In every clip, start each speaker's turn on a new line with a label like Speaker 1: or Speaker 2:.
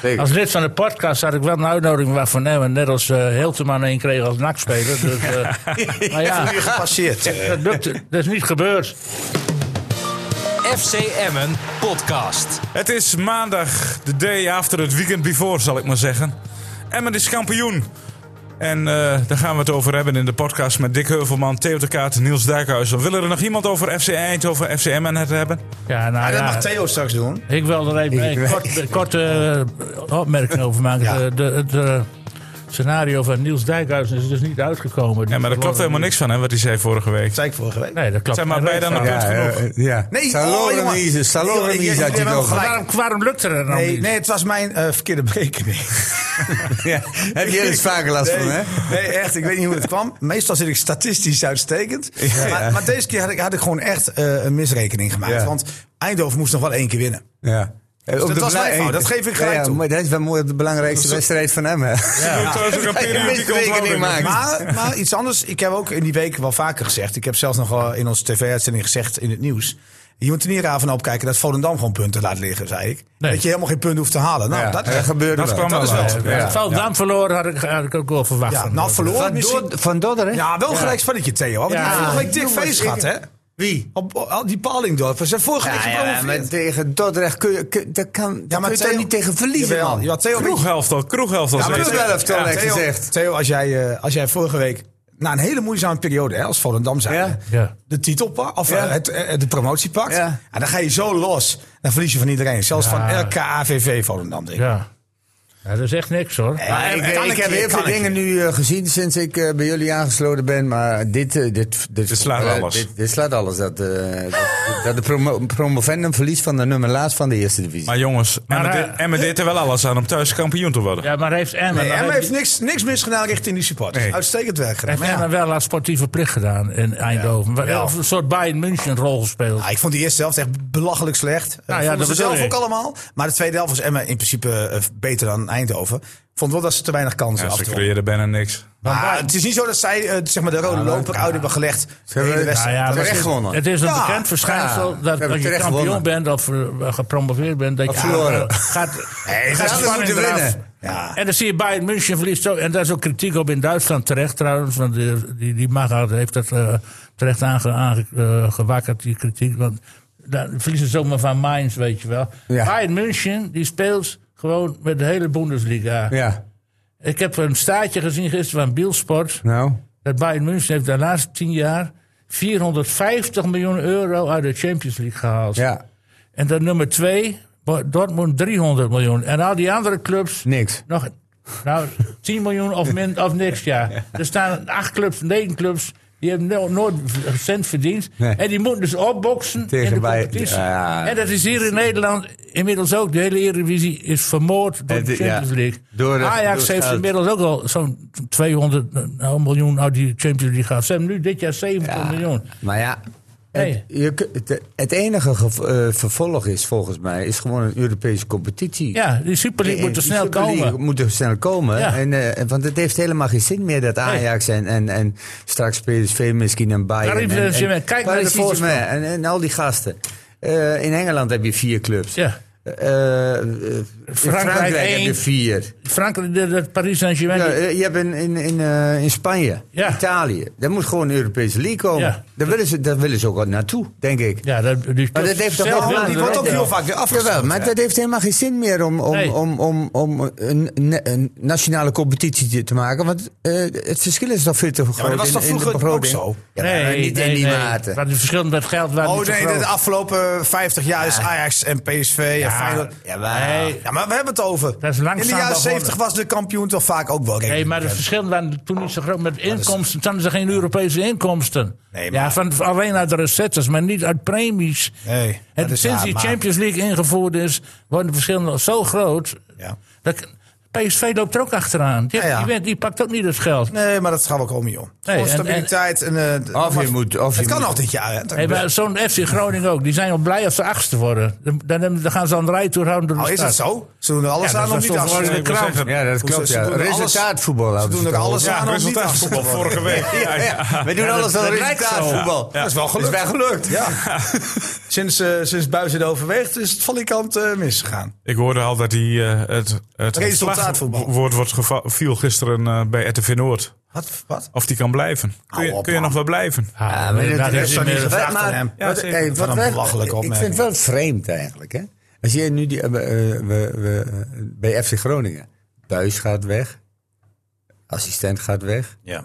Speaker 1: Zeker.
Speaker 2: Als lid van de podcast had ik wel een uitnodiging waarvan hem. Net als eh Hilteman een kreeg als nakspeler. Dus, eh, maar ja,
Speaker 3: Uur gepasseerd.
Speaker 2: dat, lukte, dat is niet gebeurd.
Speaker 4: FC Emmen podcast.
Speaker 5: Het is maandag, de day after het weekend before, zal ik maar zeggen. Emmen is kampioen. En eh, daar gaan we het over hebben in de podcast met Dick Heuvelman, Theo de Kaat, Niels Dijkhuizen. Willen er nog iemand over FC Eindhoven, FC Emmen het hebben?
Speaker 2: Ja, nou,
Speaker 3: Ah, dat
Speaker 2: ja.
Speaker 3: mag Theo straks doen.
Speaker 2: Ik wil er even
Speaker 3: Ik
Speaker 2: een
Speaker 3: weet-
Speaker 2: korte eh, opmerking over maken.
Speaker 3: Ja.
Speaker 2: De, de- het eh, scenario van Niels Dijkhuizen is dus niet uitgekomen.
Speaker 5: Ja, maar daar klopt helemaal niks van, hè, wat hij zei vorige week.
Speaker 3: Dat zei ik vorige week.
Speaker 2: Nee, dat klopt.
Speaker 5: Zijn maar bij dan een punt genoeg.
Speaker 1: eh, ja.
Speaker 3: Nee, oh, jongen.
Speaker 1: Salonise,
Speaker 3: Ik- ik-
Speaker 1: Salonise
Speaker 3: ik-
Speaker 1: had je
Speaker 3: ik-
Speaker 1: het
Speaker 3: wel
Speaker 1: over.
Speaker 3: gelijk.
Speaker 2: Waarom, waarom lukt er dan
Speaker 3: Nee,
Speaker 2: niet?
Speaker 3: nee, het was mijn eh, verkeerde berekening.
Speaker 1: Ja, Heb je er eens vaker last van, hè?
Speaker 3: Nee, echt. Ik weet niet hoe het kwam. Meestal zit ik statistisch uitstekend. Maar, maar deze keer had ik, had ik gewoon echt eh, een misrekening gemaakt.
Speaker 1: Ja.
Speaker 3: Want Eindhoven moest nog wel één keer winnen.
Speaker 1: Ja.
Speaker 3: Dus dat was mijn fout, dat geef ik gelijk toe.
Speaker 1: Maar dat is wel mooi op de belangrijkste wedstrijd van hem, hè?
Speaker 5: Ik wil trouwens ook een periodieke
Speaker 1: misrekening
Speaker 5: onthouding.
Speaker 1: maken.
Speaker 3: Maar, maar iets anders. Ik heb ook in die week wel vaker gezegd. Ik heb zelfs nog wel in onze tv-uitzending gezegd in het nieuws. Je moet er niet raar van opkijken dat Volendam gewoon punten laat liggen, zei ik.
Speaker 2: Nee.
Speaker 3: Dat je helemaal geen punten hoeft te halen. Nou,
Speaker 1: Ja,
Speaker 3: dat,
Speaker 1: dat gebeurde
Speaker 5: Dat
Speaker 1: wel.
Speaker 5: kwam wel uit.
Speaker 2: Als het Veldam verloren had ik, had ik ook wel verwacht.
Speaker 3: ja,
Speaker 2: van
Speaker 3: nou,
Speaker 2: Veldam.
Speaker 3: verloren
Speaker 1: Van,
Speaker 3: misschien.
Speaker 1: Dord- van Dorderen?
Speaker 3: Ja, wel gelijk spannetje, Theo. Want
Speaker 2: Ja.
Speaker 3: die vorige week dik
Speaker 1: Jongens,
Speaker 3: feest
Speaker 1: ik-
Speaker 3: gehad, hè?
Speaker 1: Wie?
Speaker 3: Op, op- al die Palingdorpers. Zijn vorige week
Speaker 1: Ja, ja, maar
Speaker 3: gepromoveerd.
Speaker 1: tegen Dordrecht kun je, kun, daar kan, daar kun je toch niet tegen verliezen,
Speaker 3: Jawel,
Speaker 1: man.
Speaker 3: jawel, Theo,
Speaker 5: Kroeghelftal, kroeghelftal.
Speaker 3: Ja, maar
Speaker 5: zei
Speaker 1: dat
Speaker 5: hij.
Speaker 1: wel even
Speaker 3: Theo,
Speaker 1: net gezegd.
Speaker 3: Theo, Theo, als jij, eh, als jij vorige week... Na een hele moeizame periode, hè, als Volendam zijn.
Speaker 1: Ja.
Speaker 2: Ja.
Speaker 3: De titel pakt, of
Speaker 1: Ja.
Speaker 3: eh, het, eh, de promotie pakt.
Speaker 1: Ja.
Speaker 3: En dan ga je zo los. Dan verlies je van iedereen. Zelfs van elke AVV Volendam, denk ik.
Speaker 2: Ja. ja, dat is echt niks hoor.
Speaker 3: Eh.
Speaker 1: Maar ik, ik heb heel veel dingen nu eh, gezien sinds ik eh, bij jullie aangesloten ben, maar dit, eh, dit, dit,
Speaker 5: Dit slaat
Speaker 1: eh,
Speaker 5: alles.
Speaker 1: Dit, dit slaat alles. Dat, eh, dat, dat de promo- promovendum verliest van de nummer laatst van de eerste divisie.
Speaker 5: Maar jongens,
Speaker 2: Maar,
Speaker 5: Emmen
Speaker 2: eh,
Speaker 5: deed- Emmen deed er wel alles aan om thuis kampioen te worden.
Speaker 2: Ja, maar heeft Emma,
Speaker 3: Nee, Emma heeft niks, niks misgedaan richting die supporters.
Speaker 5: Nee.
Speaker 3: Uitstekend werk gedaan. Maar ja.
Speaker 2: wel haar sportieve plicht gedaan in Eindhoven. Wel
Speaker 3: Ja.
Speaker 2: Een soort Bayern München rol gespeeld.
Speaker 3: Ja, Ah, ik vond die eerste helft echt belachelijk slecht. Eh,
Speaker 2: Nou ja,
Speaker 3: vonden
Speaker 2: dat
Speaker 3: ze
Speaker 2: bedoel
Speaker 3: zelf
Speaker 2: ik.
Speaker 3: ook allemaal. Maar de tweede helft was Emma in principe eh, beter dan Eindhoven. Vond wel dat ze te weinig kansen
Speaker 5: Ja,
Speaker 3: af
Speaker 5: ze
Speaker 3: en toe.
Speaker 5: creëerden bijna niks.
Speaker 3: Maar het is niet zo dat zij eh, zeg maar de rode loper uit hebben gelegd. de hele
Speaker 1: hebben-
Speaker 3: wedstrijd.
Speaker 2: Nou ja,
Speaker 3: Dat
Speaker 1: Ah, terecht
Speaker 3: was het.
Speaker 1: gewonnen.
Speaker 2: Het is een
Speaker 3: Ja,
Speaker 2: bekend verschijnsel
Speaker 1: ja. We
Speaker 2: dat
Speaker 1: hebben
Speaker 2: als je
Speaker 1: terecht
Speaker 2: kampioen
Speaker 1: gewonnen.
Speaker 2: bent of eh, gepromoveerd bent, dat je
Speaker 1: verloren.
Speaker 2: eh, gaat,
Speaker 1: ze
Speaker 2: gaat
Speaker 1: hadden
Speaker 2: spanning
Speaker 1: moeten
Speaker 2: eraf.
Speaker 1: winnen.
Speaker 3: Ja.
Speaker 2: En dan zie je Bayern München verliest ook. En daar is ook kritiek op in Duitsland terecht trouwens. Want die, die, die Magath heeft dat eh, terecht aangewakkerd, die kritiek. Want daar verliezen ze zomaar van Mainz, weet je wel.
Speaker 1: Ja.
Speaker 2: Bayern München, die speelt gewoon met de hele Bundesliga.
Speaker 1: ja,
Speaker 2: Ik heb een staartje gezien gisteren van Bielsport.
Speaker 1: nou.
Speaker 2: Dat Bayern München heeft de laatste tien jaar 450 miljoen euro uit de Champions League gehaald.
Speaker 1: Ja,
Speaker 2: En dan nummer twee, Bo- Dortmund 300 miljoen. En al die andere clubs
Speaker 1: niks.
Speaker 2: nog nou, 10 miljoen of, min, of niks, ja. Er staan acht clubs, negen clubs, die hebben no- nooit een cent verdiend.
Speaker 1: Nee.
Speaker 2: En die moeten dus opboksen
Speaker 1: Tegen
Speaker 2: in de
Speaker 1: Bayern,
Speaker 2: competitie.
Speaker 1: ja.
Speaker 2: En dat is hier in Nederland inmiddels ook. De hele Eredivisie is vermoord door
Speaker 1: Het-
Speaker 2: de Champions
Speaker 1: ja,
Speaker 2: League.
Speaker 1: door de-
Speaker 2: Ajax
Speaker 1: door
Speaker 2: heeft
Speaker 1: geld.
Speaker 2: inmiddels ook al zo'n 200 nou, miljoen uit die Champions League gehad. Ze hebben nu dit jaar 70
Speaker 1: Ja,
Speaker 2: miljoen.
Speaker 1: Maar ja, het,
Speaker 2: Nee.
Speaker 1: je, kun- het, het enige gev- eh, vervolg is volgens mij is gewoon een Europese competitie.
Speaker 2: Ja, die Super League moet er snel
Speaker 1: Super League
Speaker 2: komen.
Speaker 1: Moet er snel komen.
Speaker 2: Ja.
Speaker 1: En, eh, want het heeft helemaal geen zin meer dat Ajax en, en, en straks PSV misschien en Bayern.
Speaker 2: Paris
Speaker 1: en- en-
Speaker 2: Saint-Germain, kijk naar
Speaker 1: Paris
Speaker 2: de voorsprong.
Speaker 1: Saint-Germain En, en al die gasten. Eh, in Engeland heb je vier clubs.
Speaker 2: Ja.
Speaker 1: Eh, eh, in Frankrijk, heb je
Speaker 2: één.
Speaker 1: vier.
Speaker 2: Frankrijk, de, de Paris Saint-Germain.
Speaker 1: Ja,
Speaker 2: die-
Speaker 1: eh, je hebt in, in, in, eh, in Spanje,
Speaker 2: Ja.
Speaker 1: Italië. Daar moet gewoon een Europese league komen.
Speaker 2: Ja.
Speaker 1: Daar, willen ze, daar willen ze ook wat naartoe, denk ik.
Speaker 2: Ja, dat, die
Speaker 1: Maar dat
Speaker 2: speelt
Speaker 1: heeft toch
Speaker 2: zelf
Speaker 1: wel
Speaker 2: wel
Speaker 3: die
Speaker 2: de
Speaker 3: wordt ook
Speaker 2: wedstrijd.
Speaker 3: heel vaak weer afgestraft,
Speaker 1: Jawel, maar
Speaker 3: hè.
Speaker 1: dat heeft helemaal geen zin meer om, om,
Speaker 2: Nee.
Speaker 1: om, om, om een, ne- een nationale competitie te- te maken. Want eh, het verschil is toch veel te groot.
Speaker 3: dat was
Speaker 1: in-
Speaker 3: toch
Speaker 1: in de
Speaker 3: vroeger ook
Speaker 1: begroting?
Speaker 3: zo?
Speaker 1: Ja, maar niet in die mate.
Speaker 2: Maar de verschil met geld waren
Speaker 3: Oh
Speaker 2: niet zo
Speaker 3: nee,
Speaker 2: groot.
Speaker 3: de afgelopen 50 jaar is Ajax en PSV en Feyenoord.
Speaker 1: ja, maar-
Speaker 2: Nee.
Speaker 3: Ja, maar we hebben het over.
Speaker 2: Dat is
Speaker 3: In
Speaker 2: langzaam
Speaker 3: de jaren
Speaker 2: begonnen.
Speaker 3: 70 was de kampioen toch vaak ook wel
Speaker 2: Nee,
Speaker 3: redelijk
Speaker 2: maar de
Speaker 3: bekend.
Speaker 2: verschillen waren toen niet zo groot. Met inkomsten, dan zijn er geen Europese inkomsten.
Speaker 3: Nee, maar-
Speaker 2: Ja, van, van alleen uit de recettes, maar niet uit premies.
Speaker 3: Nee,
Speaker 2: en
Speaker 3: dat is
Speaker 2: sinds
Speaker 3: waar,
Speaker 2: die
Speaker 3: maar-
Speaker 2: Champions League ingevoerd is, worden de verschillen al zo groot.
Speaker 3: Ja.
Speaker 2: Dat, PSV loopt er ook achteraan. Die,
Speaker 3: Ja, ja.
Speaker 2: die went- die pakt ook niet het geld.
Speaker 3: Nee, maar dat gaat wel komen, joh. Gewoon
Speaker 2: en-
Speaker 3: stabiliteit en... eh,
Speaker 1: Of je
Speaker 3: maar-
Speaker 1: moet- of je
Speaker 3: het kan
Speaker 1: moet-
Speaker 3: nog dit jaar, hè?
Speaker 2: Hey, maar Zo'n FC Groningen ook, die zijn al blij als ze achtste worden. Dan, dan, dan gaan ze aan de rij toe houden door de
Speaker 3: Oh, is dat
Speaker 2: stad.
Speaker 3: zo? Ze doen er alles
Speaker 2: Ja, dat
Speaker 3: aan om
Speaker 2: was
Speaker 3: niet
Speaker 2: toch
Speaker 3: af te
Speaker 2: gewoon
Speaker 3: worden.
Speaker 2: de krant.
Speaker 1: Ja, dat klopt.
Speaker 3: ze
Speaker 1: Ja.
Speaker 3: doen alles-
Speaker 1: Resultaatvoetbal.
Speaker 3: Ze
Speaker 1: hebben
Speaker 3: doen er
Speaker 1: toch
Speaker 3: alles
Speaker 5: Ja,
Speaker 3: aan om niet af te
Speaker 5: resultaatvoetbal
Speaker 3: worden.
Speaker 5: vorige week. Ja, ja.
Speaker 1: We doen alles aan
Speaker 2: dat lijkt zo.
Speaker 1: resultaatvoetbal.
Speaker 3: Dat is wel gelukt.
Speaker 1: Dat is wel gelukt.
Speaker 3: Ja. Sinds, eh sinds Buijs het overweegt is het van die kant eh, misgegaan.
Speaker 5: Ik hoorde al dat die, eh, het, het
Speaker 3: Resultaatvoetbal.
Speaker 5: ontslagwoord wordt geva- viel gisteren eh, bij RTV Noord.
Speaker 3: Wat? Wat?
Speaker 5: Of die kan blijven. Kun je,
Speaker 3: Hou op,
Speaker 5: kun je
Speaker 3: man.
Speaker 5: nog wel blijven?
Speaker 2: Ja,
Speaker 1: dat-
Speaker 2: daar
Speaker 1: dat
Speaker 2: Ah, is
Speaker 1: is
Speaker 2: hij
Speaker 3: niet
Speaker 2: meer-
Speaker 3: zo- gevraagd
Speaker 1: maar-
Speaker 3: aan hem.
Speaker 1: wat-
Speaker 5: Ja,
Speaker 1: hey,
Speaker 5: zeker.
Speaker 1: wat
Speaker 3: Wat een
Speaker 1: wij-
Speaker 3: belachelijke
Speaker 1: ik- Ik vind
Speaker 3: opmerking.
Speaker 1: het wel vreemd eigenlijk. Hè? Als je nu die, eh, we- eh, we- we- eh, bij FC Groningen. Buis gaat weg. Assistent gaat weg.
Speaker 3: Ja.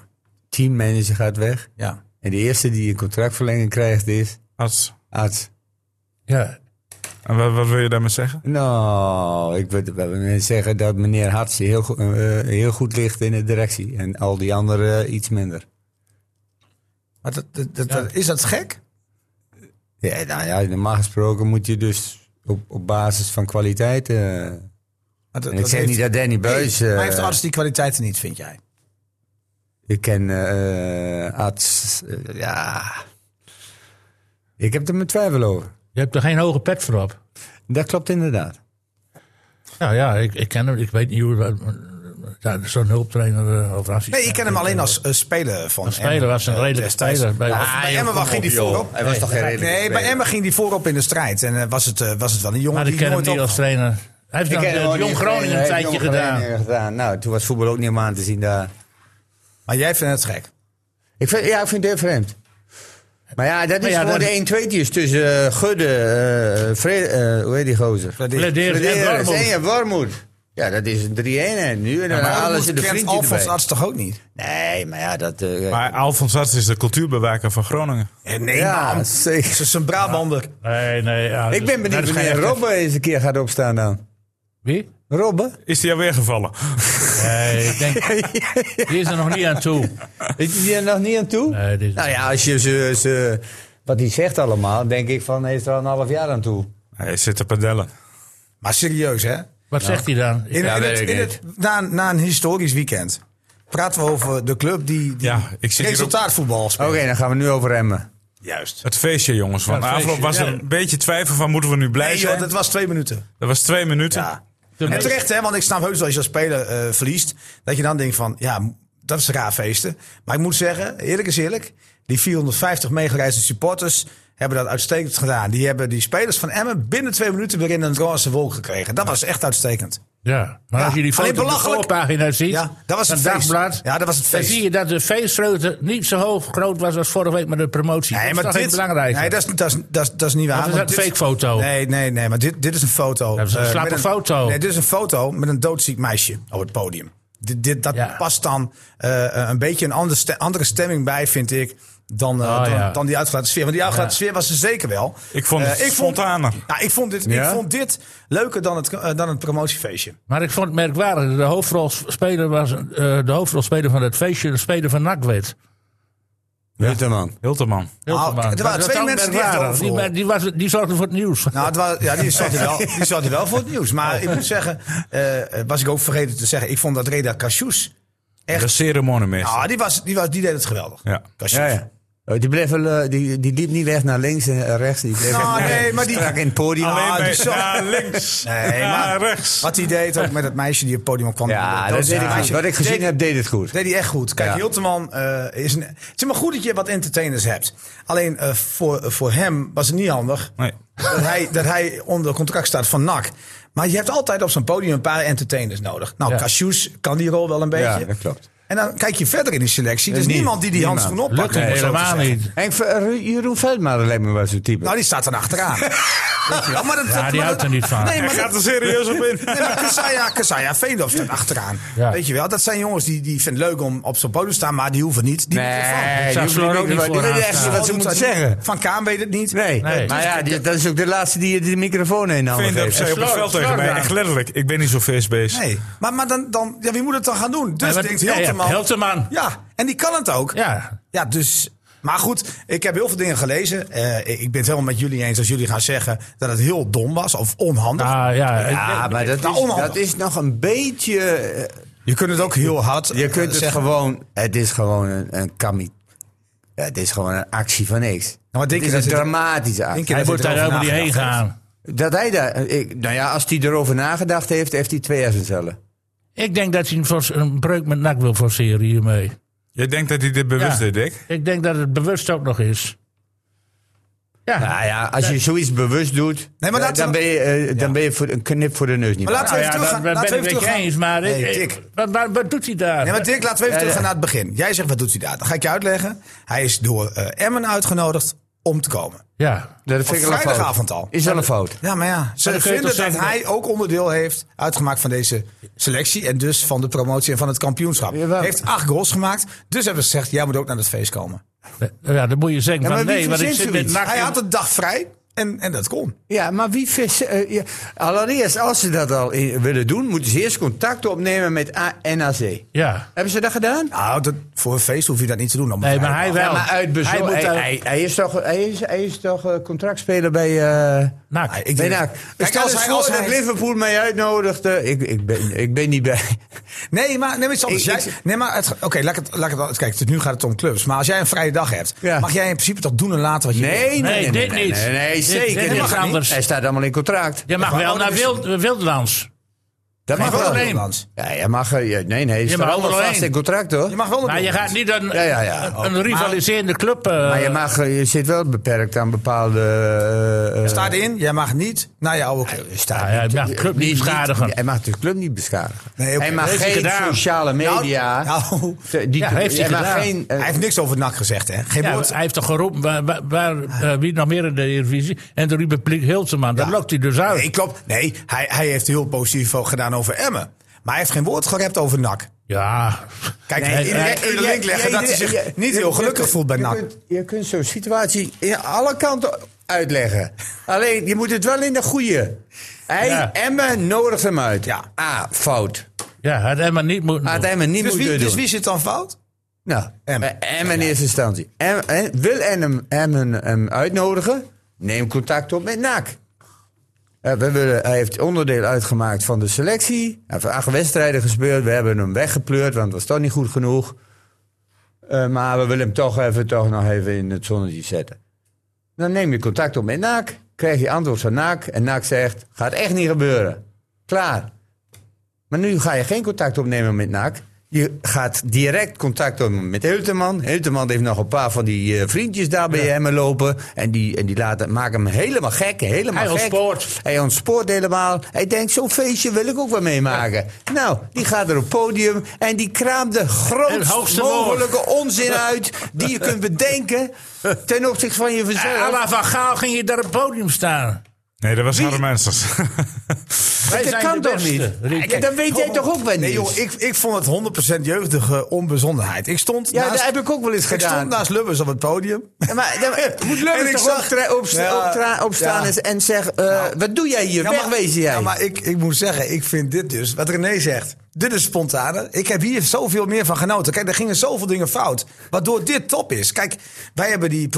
Speaker 1: Teammanager gaat weg.
Speaker 3: ja.
Speaker 1: En de eerste die een contractverlenging krijgt is
Speaker 5: Als,
Speaker 1: arts.
Speaker 2: Ja,
Speaker 5: en wat, wat wil je daarmee zeggen?
Speaker 1: Nou, ik wil wel net zeggen dat meneer Hartse heel, go- eh, heel goed ligt in de directie. En al die anderen eh, iets minder.
Speaker 3: Maar dat, dat, dat- dat- is dat gek?
Speaker 1: Ja, nou ja, normaal gesproken moet je dus op, op basis van kwaliteit. eh,
Speaker 3: Maar dat,
Speaker 1: en ik zeg niet dat Danny Buis.
Speaker 3: maar
Speaker 1: eh,
Speaker 3: heeft Arts die kwaliteiten niet, vind jij?
Speaker 1: ik ken eh arts. eh, ja. Ik heb er mijn twijfel over.
Speaker 2: je hebt er geen hoge pet voor op.
Speaker 1: Dat klopt inderdaad.
Speaker 2: Nou ja, ik, ik ken hem. Ik weet niet hoe... dat- Ja, Zo'n hulptrainer eh, of assistent.
Speaker 3: Nee, ik ken hem alleen als eh, speler van
Speaker 2: Als speler was hij een
Speaker 3: eh,
Speaker 2: redelijke
Speaker 3: destijds.
Speaker 2: speler. Bij-
Speaker 3: Ja,
Speaker 2: Ah,
Speaker 3: bij
Speaker 2: joh,
Speaker 3: Emma
Speaker 2: kom
Speaker 3: ging die voorop.
Speaker 1: Hij was toch geen redelijke
Speaker 3: Nee, bij
Speaker 1: speler?
Speaker 3: Emma ging die voorop in de strijd. En eh, was, het, eh, was het wel een jongen
Speaker 2: Maar ik
Speaker 3: die
Speaker 2: ken hem
Speaker 3: nooit
Speaker 2: niet
Speaker 3: op...
Speaker 2: als trainer. Hij heeft
Speaker 1: Ik
Speaker 2: dan
Speaker 1: ken hem ook
Speaker 2: eh, Jong
Speaker 1: niet.
Speaker 2: Groningen een
Speaker 1: Nee,
Speaker 2: tijdje
Speaker 1: Jong
Speaker 2: gedaan.
Speaker 1: Groningen gedaan. Nou, toen was voetbal ook niet om aan te zien daar.
Speaker 3: Maar jij vindt het gek.
Speaker 1: Ik vind, ja, ik vind het heel vreemd. Maar ja, dat is
Speaker 2: Maar ja,
Speaker 1: gewoon
Speaker 2: dat-
Speaker 1: de 1 2 tussen eh, Gudde, eh Fre- eh, hoe heet die gozer?
Speaker 2: Flederis en
Speaker 1: Flederis
Speaker 2: Warmoed.
Speaker 1: en Warmoed. Ja, dat is een 3-1 en nu en dan
Speaker 3: Maar
Speaker 1: halen
Speaker 3: Arnold
Speaker 1: ze de
Speaker 3: kent
Speaker 1: vriendje
Speaker 3: Alfons
Speaker 1: erbij.
Speaker 3: Arts toch ook niet?
Speaker 1: Nee, maar ja, dat... eh,
Speaker 5: Maar Alfons Arts is de cultuurbewaker van Groningen.
Speaker 3: Eh, Nee,
Speaker 1: ja,
Speaker 3: man.
Speaker 1: zeker.
Speaker 3: Ze is een Brabander.
Speaker 2: Nee, nee. ja,
Speaker 1: Ik
Speaker 2: dus-
Speaker 1: ben
Speaker 2: dat
Speaker 1: benieuwd
Speaker 2: is geen
Speaker 1: wanneer
Speaker 2: echte-
Speaker 1: Robben eens een keer gaat opstaan dan.
Speaker 2: Wie?
Speaker 1: Robben?
Speaker 5: Is die alweer gevallen?
Speaker 2: Nee, ik denk... Die is er nog niet aan toe.
Speaker 1: Is hij er nog niet aan toe?
Speaker 2: Nee, dit is-
Speaker 1: Nou ja, als je ze, ze... Wat hij zegt allemaal, denk ik van, heeft er al een half jaar aan toe.
Speaker 5: Hij zit te padellen.
Speaker 3: Maar serieus, hè?
Speaker 2: Wat zegt hij dan?
Speaker 3: In,
Speaker 1: Ja,
Speaker 3: in
Speaker 1: weet
Speaker 3: het,
Speaker 1: ik
Speaker 3: in
Speaker 1: niet.
Speaker 3: het- na, na een historisch weekend praten we over de club die, die
Speaker 5: Ja, ik zit hier ook-
Speaker 3: resultaatvoetbal
Speaker 1: Oké,
Speaker 3: speelt.
Speaker 1: dan gaan we nu over Emmen.
Speaker 3: Juist.
Speaker 5: Het feestje, jongens. Want
Speaker 2: Ja,
Speaker 5: na
Speaker 2: het
Speaker 5: afloop was
Speaker 2: feestje,
Speaker 5: er
Speaker 2: ja.
Speaker 5: een beetje twijfel van moeten we nu blij
Speaker 3: Nee, joh,
Speaker 5: zijn.
Speaker 3: dat was twee minuten.
Speaker 5: Dat was twee minuten.
Speaker 3: Ja.
Speaker 2: De
Speaker 3: En
Speaker 2: meest-
Speaker 3: terecht, hè, want ik snap heus wel als je als speler eh, verliest, dat je dan denkt van, ja, m- dat is raar feesten. Maar ik moet zeggen, eerlijk is eerlijk, die 450 meegereisde supporters hebben dat uitstekend gedaan. Die hebben die spelers van Emmen binnen twee minuten weer in een roze wolk gekregen. Dat was echt uitstekend.
Speaker 2: Ja, maar
Speaker 3: Ja,
Speaker 2: als je die foto op
Speaker 3: alleen
Speaker 2: de
Speaker 3: belachelijk.
Speaker 2: voorpagina ziet,
Speaker 3: Ja, dat was
Speaker 2: van
Speaker 3: het feest.
Speaker 2: Dagblad,
Speaker 3: Ja, dat was het
Speaker 2: dan
Speaker 3: feest.
Speaker 2: zie je dat de feestvreugde niet zo hoog groot was als vorige week met de promotie.
Speaker 3: Nee,
Speaker 2: dat
Speaker 3: maar
Speaker 2: is toch
Speaker 3: dit,
Speaker 2: niet belangrijk.
Speaker 3: Nee, dat is, dat, is, dat, is, dat is niet waar.
Speaker 2: Of is
Speaker 3: want
Speaker 2: dat een
Speaker 3: dit-
Speaker 2: fakefoto?
Speaker 3: Nee, nee, nee, maar dit, dit is een foto.
Speaker 2: Dat is een
Speaker 3: eh,
Speaker 2: slappe
Speaker 3: met
Speaker 2: foto.
Speaker 3: Nee, dit is een foto met een doodziek meisje op het podium. Dit, dit, dat
Speaker 2: Ja.
Speaker 3: past dan eh, een beetje een ander ste- andere stemming bij, vind ik, dan, eh,
Speaker 2: Oh,
Speaker 3: dan,
Speaker 2: ja.
Speaker 3: dan die uitgelaten sfeer. Want die uitgelaten
Speaker 2: Ja.
Speaker 3: sfeer was er zeker wel.
Speaker 5: Ik vond het
Speaker 3: Eh,
Speaker 5: spontaner.
Speaker 3: nou, ik, vond dit,
Speaker 1: Ja?
Speaker 3: ik vond dit leuker dan het, eh, dan het promotiefeestje.
Speaker 2: Maar ik vond het merkwaardig. De hoofdrolspeler, was, eh, de hoofdrolspeler van het feestje, de speler van NAC werd.
Speaker 1: Winterman.
Speaker 5: Hilterman.
Speaker 2: Hilterman.
Speaker 3: Ah, er waren
Speaker 2: Dat is
Speaker 3: twee
Speaker 2: ook
Speaker 3: mensen die echt
Speaker 2: merkwaardig. die,
Speaker 3: overal-
Speaker 2: die, was, die zorgden voor het nieuws.
Speaker 3: Nou, het was, ja, die zat, er wel, die zat er wel voor het nieuws. Maar ik moet zeggen, eh, was ik ook vergeten te zeggen, ik vond dat Reda Cachous Echt? Nou.
Speaker 5: De ceremoniemeester.
Speaker 3: Ja, Ah, die, was, die, was, die deed het geweldig.
Speaker 5: Ja.
Speaker 3: Kastjes.
Speaker 1: Ja, ja. Oh, die, bleef wel, eh, die, die liep niet weg naar links en eh, rechts. Die bleef
Speaker 3: Nou,
Speaker 1: echt, eh,
Speaker 3: nee, maar die-
Speaker 1: strak in het podium.
Speaker 5: Alleen
Speaker 3: Ah,
Speaker 5: bij-
Speaker 3: die zat-
Speaker 5: naar links.
Speaker 3: Nee, maar-
Speaker 5: naar rechts.
Speaker 3: Wat hij deed ook met het meisje die op het podium kwam.
Speaker 1: ja, dat deed
Speaker 3: doodzieke
Speaker 1: ik goed.
Speaker 3: meisje.
Speaker 1: Wat ik gezien
Speaker 3: deed,
Speaker 1: heb, deed het goed.
Speaker 3: Deed hij echt goed. Kijk,
Speaker 1: Ja.
Speaker 3: Hilteman eh, is een... Het is maar goed dat je wat entertainers hebt. Alleen eh, voor, voor hem was het niet handig
Speaker 5: Nee.
Speaker 3: dat, hij, dat hij onder contract staat van NAC. Maar je hebt altijd op zo'n podium een paar entertainers nodig. Nou,
Speaker 2: Ja.
Speaker 3: Casius kan die rol wel een beetje.
Speaker 1: Ja, dat klopt.
Speaker 3: En dan kijk je verder in die selectie. Er is
Speaker 1: Nee,
Speaker 3: niemand die die
Speaker 1: niemand.
Speaker 3: handschoen oppakt.
Speaker 2: Lukt
Speaker 3: om
Speaker 2: hem
Speaker 3: het zo te
Speaker 2: helemaal
Speaker 3: zeggen.
Speaker 2: niet.
Speaker 1: En voor, eh, Jeroen Veldmaat lijkt me wel zo'n type.
Speaker 3: Nou, die staat er achteraan. Weet je wel, maar dat-
Speaker 2: Ja,
Speaker 3: dat-
Speaker 2: die
Speaker 3: maar
Speaker 2: houdt
Speaker 3: dat-
Speaker 2: er niet van.
Speaker 3: Nee,
Speaker 5: Hij
Speaker 3: maar dat-
Speaker 5: gaat er serieus op in.
Speaker 3: Nee, maar Kassaya, Kassaya Veendorp staat achteraan.
Speaker 2: Ja.
Speaker 3: Weet je wel, dat zijn jongens die, die vinden het leuk om op zo'n podium te staan, maar die hoeven niet. Die moeten ervan.
Speaker 2: Ik
Speaker 1: die
Speaker 2: zou
Speaker 1: hoeven
Speaker 2: Fleur
Speaker 1: niet
Speaker 2: ook niet
Speaker 1: wat- die
Speaker 2: voor
Speaker 1: weten
Speaker 2: haar
Speaker 1: echt
Speaker 2: staan.
Speaker 1: niet wat ze
Speaker 3: Doet
Speaker 1: moeten
Speaker 3: dat niet.
Speaker 1: zeggen.
Speaker 3: Van Kaan weet het niet.
Speaker 1: Nee.
Speaker 2: Nee.
Speaker 1: maar ja, die- dat is ook de laatste die de microfoon in handen
Speaker 5: Veendorp
Speaker 1: geeft.
Speaker 5: zei op het
Speaker 2: Slor-
Speaker 5: veld tegen mij.
Speaker 2: Slordraam.
Speaker 5: Echt letterlijk. Ik ben niet zo feestbeest.
Speaker 3: Nee. Maar, maar dan, dan, ja, wie moet het dan gaan doen? Dus
Speaker 2: maar-
Speaker 3: denkt
Speaker 2: ja, ja,
Speaker 3: Hilterman.
Speaker 2: Hilterman.
Speaker 3: Ja, en die kan het ook.
Speaker 2: Ja,
Speaker 3: Ja, dus. Maar goed, ik heb heel veel dingen gelezen. Eh, ik ben het helemaal met jullie eens als jullie gaan zeggen dat het heel dom was of onhandig.
Speaker 2: ah, ja.
Speaker 1: Ja, maar dat
Speaker 3: Nou,
Speaker 1: is,
Speaker 3: onhandig.
Speaker 1: dat is nog een beetje... eh,
Speaker 3: Je kunt het ook heel hard eh,
Speaker 1: Je kunt het
Speaker 3: zeggen.
Speaker 1: gewoon... Het is gewoon een, een kami... Het is gewoon een actie van niks.
Speaker 3: maar denk
Speaker 1: het
Speaker 3: je
Speaker 1: is een
Speaker 3: dat het-
Speaker 1: dramatische actie.
Speaker 3: Denk je
Speaker 2: Hij
Speaker 3: dat
Speaker 2: moet
Speaker 3: hij
Speaker 2: daar
Speaker 3: erover
Speaker 2: helemaal niet heen
Speaker 3: nagedacht
Speaker 2: gaan.
Speaker 1: Dat hij daar, ik, nou ja, als hij erover nagedacht heeft, heeft hij twee hersencellen.
Speaker 2: Ik denk dat hij een, fors- een breuk met NAC wil forceren hiermee.
Speaker 5: Jij denkt dat hij dit bewust
Speaker 2: Ja.
Speaker 5: deed, Dick?
Speaker 2: Ik denk dat het bewust ook nog is. Ja.
Speaker 1: Nou ja, als je zoiets bewust doet,
Speaker 3: Nee, maar
Speaker 1: eh,
Speaker 3: dat-
Speaker 1: dan, ben je, eh, dan
Speaker 3: Ja.
Speaker 1: ben je voor, een knip voor de neus niet.
Speaker 3: Maar laten we
Speaker 2: Nou
Speaker 3: even
Speaker 2: ja, dat
Speaker 3: teruggaan.
Speaker 2: ben
Speaker 3: laten we
Speaker 2: ik
Speaker 3: even
Speaker 2: met je
Speaker 3: teruggaan.
Speaker 2: eens, maar ik-
Speaker 3: Nee,
Speaker 2: ik-
Speaker 3: Dick.
Speaker 2: wat, wat, wat doet hij daar?
Speaker 3: Nee, maar Dick, laten we even
Speaker 1: Ja,
Speaker 3: teruggaan
Speaker 1: ja.
Speaker 3: naar het begin. Jij zegt, wat doet hij daar? Dan ga ik je uitleggen. Hij is door eh, Emmen uitgenodigd om te komen.
Speaker 2: Ja.
Speaker 1: dat
Speaker 3: Op
Speaker 1: wel een fout.
Speaker 3: vrijdagavond al.
Speaker 1: Is wel een fout.
Speaker 3: Ja, maar ja, ze
Speaker 2: dan kun je
Speaker 3: vinden
Speaker 2: toch
Speaker 3: dat
Speaker 2: zeggen-
Speaker 3: hij ook onderdeel heeft uitgemaakt van deze selectie. En dus van de promotie en van het kampioenschap.
Speaker 1: Jawel.
Speaker 3: Hij heeft acht goals gemaakt. Dus hebben ze gezegd, jij moet ook naar het feest komen.
Speaker 2: Eh, ja, dan moet je zeggen
Speaker 1: Ja,
Speaker 2: van
Speaker 1: maar wie
Speaker 2: nee, want ik
Speaker 1: verzint
Speaker 2: zit met
Speaker 1: zoiets?
Speaker 2: NAC
Speaker 3: Hij
Speaker 2: in-
Speaker 3: had een dag vrij en, en dat kon.
Speaker 1: Ja, maar wie vis... eh, ja. Allereerst, als ze dat al in- willen doen, moeten ze eerst contact opnemen met A- NAC.
Speaker 2: Ja.
Speaker 1: Hebben ze dat gedaan?
Speaker 3: Nou, dat, voor een feest hoef je dat niet te doen. dan moet
Speaker 2: Nee, maar hij wel.
Speaker 1: Ja, maar uit bezo-
Speaker 2: Hij moet
Speaker 1: hij,
Speaker 2: daar-
Speaker 1: hij- hij is toch, hij is, hij is toch eh, contractspeler bij, eh
Speaker 2: NAC.
Speaker 3: Nee, ik-
Speaker 1: bij
Speaker 3: denk-
Speaker 1: NAC.
Speaker 3: Kijk,
Speaker 1: Stel
Speaker 3: als
Speaker 1: eens
Speaker 3: hij-
Speaker 1: voor
Speaker 3: als
Speaker 1: dat
Speaker 3: hij-
Speaker 1: Liverpool mij uitnodigt. eh, ik, ik, ben, ik ben niet bij.
Speaker 3: Nee, maar, nee, maar iets anders.
Speaker 1: Ik-
Speaker 3: Jij-
Speaker 1: ik-
Speaker 3: nee, maar het- oké, laat ik het, laat ik het, kijk, het- nu gaat het om clubs. Maar als jij een vrije dag hebt,
Speaker 1: Ja.
Speaker 3: mag jij in principe toch doen en laten wat je wil?
Speaker 1: Nee, nee,
Speaker 2: Nee,
Speaker 1: nee,
Speaker 2: dit
Speaker 1: nee,
Speaker 2: niet.
Speaker 1: Nee, nee,
Speaker 2: Dit-
Speaker 1: zeker
Speaker 2: dit
Speaker 1: niet.
Speaker 2: mag anders.
Speaker 1: Hij staat allemaal in contract.
Speaker 2: Je mag
Speaker 3: maar
Speaker 2: wel
Speaker 3: ook
Speaker 2: naar
Speaker 3: is-
Speaker 2: Wild, eh, Wildlands.
Speaker 1: dat
Speaker 3: Maar
Speaker 1: mag
Speaker 3: wel
Speaker 1: wel.
Speaker 3: alleen. Nederlands.
Speaker 1: Ja, je mag. eh, je- Nee, nee, hij
Speaker 2: Je
Speaker 1: staat
Speaker 2: mag
Speaker 1: allemaal
Speaker 2: er wel
Speaker 1: vast
Speaker 2: heen.
Speaker 1: in contract hoor.
Speaker 3: Je mag wel
Speaker 2: Maar je gaat niet een,
Speaker 1: Ja, ja, ja.
Speaker 2: een- een rivaliserende club... eh,
Speaker 1: Maar je, mag, eh, je zit wel beperkt aan bepaalde. eh, eh,
Speaker 3: Staat erin, jij mag niet naar je oude club. Staat
Speaker 2: ja, je mag de club niet beschadigen.
Speaker 1: eh, Hij mag de club niet beschadigen.
Speaker 3: Nee, oké.
Speaker 1: Hij mag
Speaker 2: Heeft hij
Speaker 1: geen
Speaker 2: gedaan.
Speaker 1: sociale media.
Speaker 3: Nou, nou,
Speaker 1: die,
Speaker 2: Ja, heeft hij
Speaker 1: mag
Speaker 2: gedaan.
Speaker 1: geen, eh,
Speaker 3: hij heeft niks over het nak gezegd, hè? Geen
Speaker 2: Ja,
Speaker 3: woord.
Speaker 2: hij heeft toch geroepen, waar, waar, waar, eh, wie nog meer in de Eredivisie? En de Republiek Hilsema, dat
Speaker 3: Ja.
Speaker 2: lokt hij dus uit.
Speaker 3: Nee, klopt. Nee, hij, hij heeft heel positief gedaan over Emmen. Maar hij heeft geen woord gerept over NAC.
Speaker 2: Ja,
Speaker 3: Kijk,
Speaker 2: Nee,
Speaker 3: iedereen
Speaker 2: nee,
Speaker 3: kun je de
Speaker 1: eh, jij-
Speaker 3: link leggen
Speaker 1: jij-
Speaker 3: dat hij zich
Speaker 1: jij- Dus
Speaker 3: niet
Speaker 1: je-
Speaker 3: heel
Speaker 1: je
Speaker 3: gelukkig
Speaker 1: kunt-
Speaker 3: voelt bij
Speaker 1: je
Speaker 3: NAC.
Speaker 1: kunt- Je kunt zo'n situatie in alle kanten uitleggen. Alleen, je moet het wel in de goede. Hij,
Speaker 2: Ja.
Speaker 1: Emmen, nodigt hem uit.
Speaker 3: Ja.
Speaker 1: A, fout.
Speaker 2: ja, had Emma niet moeten
Speaker 1: Had
Speaker 2: doen.
Speaker 1: Emmen niet
Speaker 3: Dus
Speaker 1: moeten
Speaker 3: wie,
Speaker 1: doen.
Speaker 3: dus wie zit dan fout?
Speaker 1: Nou,
Speaker 3: Emmen.
Speaker 1: Emmen. in eerste instantie. Emmen- eh, wil Emmen Emmen hem uitnodigen? Neem contact op met NAC. Eh, we willen, hij heeft onderdeel uitgemaakt van de selectie. Hij heeft acht wedstrijden gespeeld. We hebben hem weggepleurd, want het was toch niet goed genoeg. Eh, maar we willen hem toch, even, toch nog even in het zonnetje zetten. Dan neem je contact op met NAC. Krijg je antwoord van NAC. En NAC zegt, gaat echt niet gebeuren. Klaar. Maar nu ga je geen contact opnemen met NAC. Je gaat direct contact opnemen met Hilteman. Hilteman heeft nog een paar van die eh, vriendjes daar bij hem lopen. En die, en die laten, maken hem helemaal gek. Helemaal
Speaker 2: Hij
Speaker 1: gek.
Speaker 2: ontspoort.
Speaker 1: Hij ontspoort helemaal. Hij denkt, zo'n feestje wil ik ook wel meemaken. Nou, die gaat er op het podium en die kraamt de
Speaker 2: Het
Speaker 1: grootst
Speaker 2: hoogste woord.
Speaker 1: mogelijke onzin uit... die je kunt bedenken ten opzichte van je
Speaker 2: Eh,
Speaker 1: verzorging.
Speaker 2: Alla van Gaal ging je daar op het podium staan.
Speaker 5: Nee, dat was Harry Mensers.
Speaker 2: Wij
Speaker 1: dat
Speaker 2: zijn
Speaker 1: kan
Speaker 2: de
Speaker 1: toch
Speaker 2: beste,
Speaker 1: niet?
Speaker 2: Rick.
Speaker 1: Ja, dat weet jij
Speaker 3: Oh,
Speaker 1: toch ook wel niet?
Speaker 3: Nee, joh, ik, ik vond het 100% jeugdige onbezonnenheid. Ik stond
Speaker 1: ja,
Speaker 3: naast,
Speaker 1: dat heb ik ook wel eens
Speaker 3: ik
Speaker 1: gedaan.
Speaker 3: stond naast Lubbers op het podium.
Speaker 1: Ja, maar dan- het moet
Speaker 3: En
Speaker 1: Lubbers
Speaker 3: ik
Speaker 1: toch
Speaker 3: zag-
Speaker 1: optra- opsta-
Speaker 3: Ja,
Speaker 1: optra- opstaan
Speaker 3: ja.
Speaker 1: en- en zeggen... eh, wat doe jij hier?
Speaker 3: Ja, maar-
Speaker 1: Wegwezen jij.
Speaker 3: Ja, maar ik, ik moet zeggen, ik vind dit dus, wat René zegt, dit is spontaner. Ik heb hier zoveel meer van genoten. Kijk, er gingen zoveel dingen fout, waardoor dit top is. Kijk, wij hebben die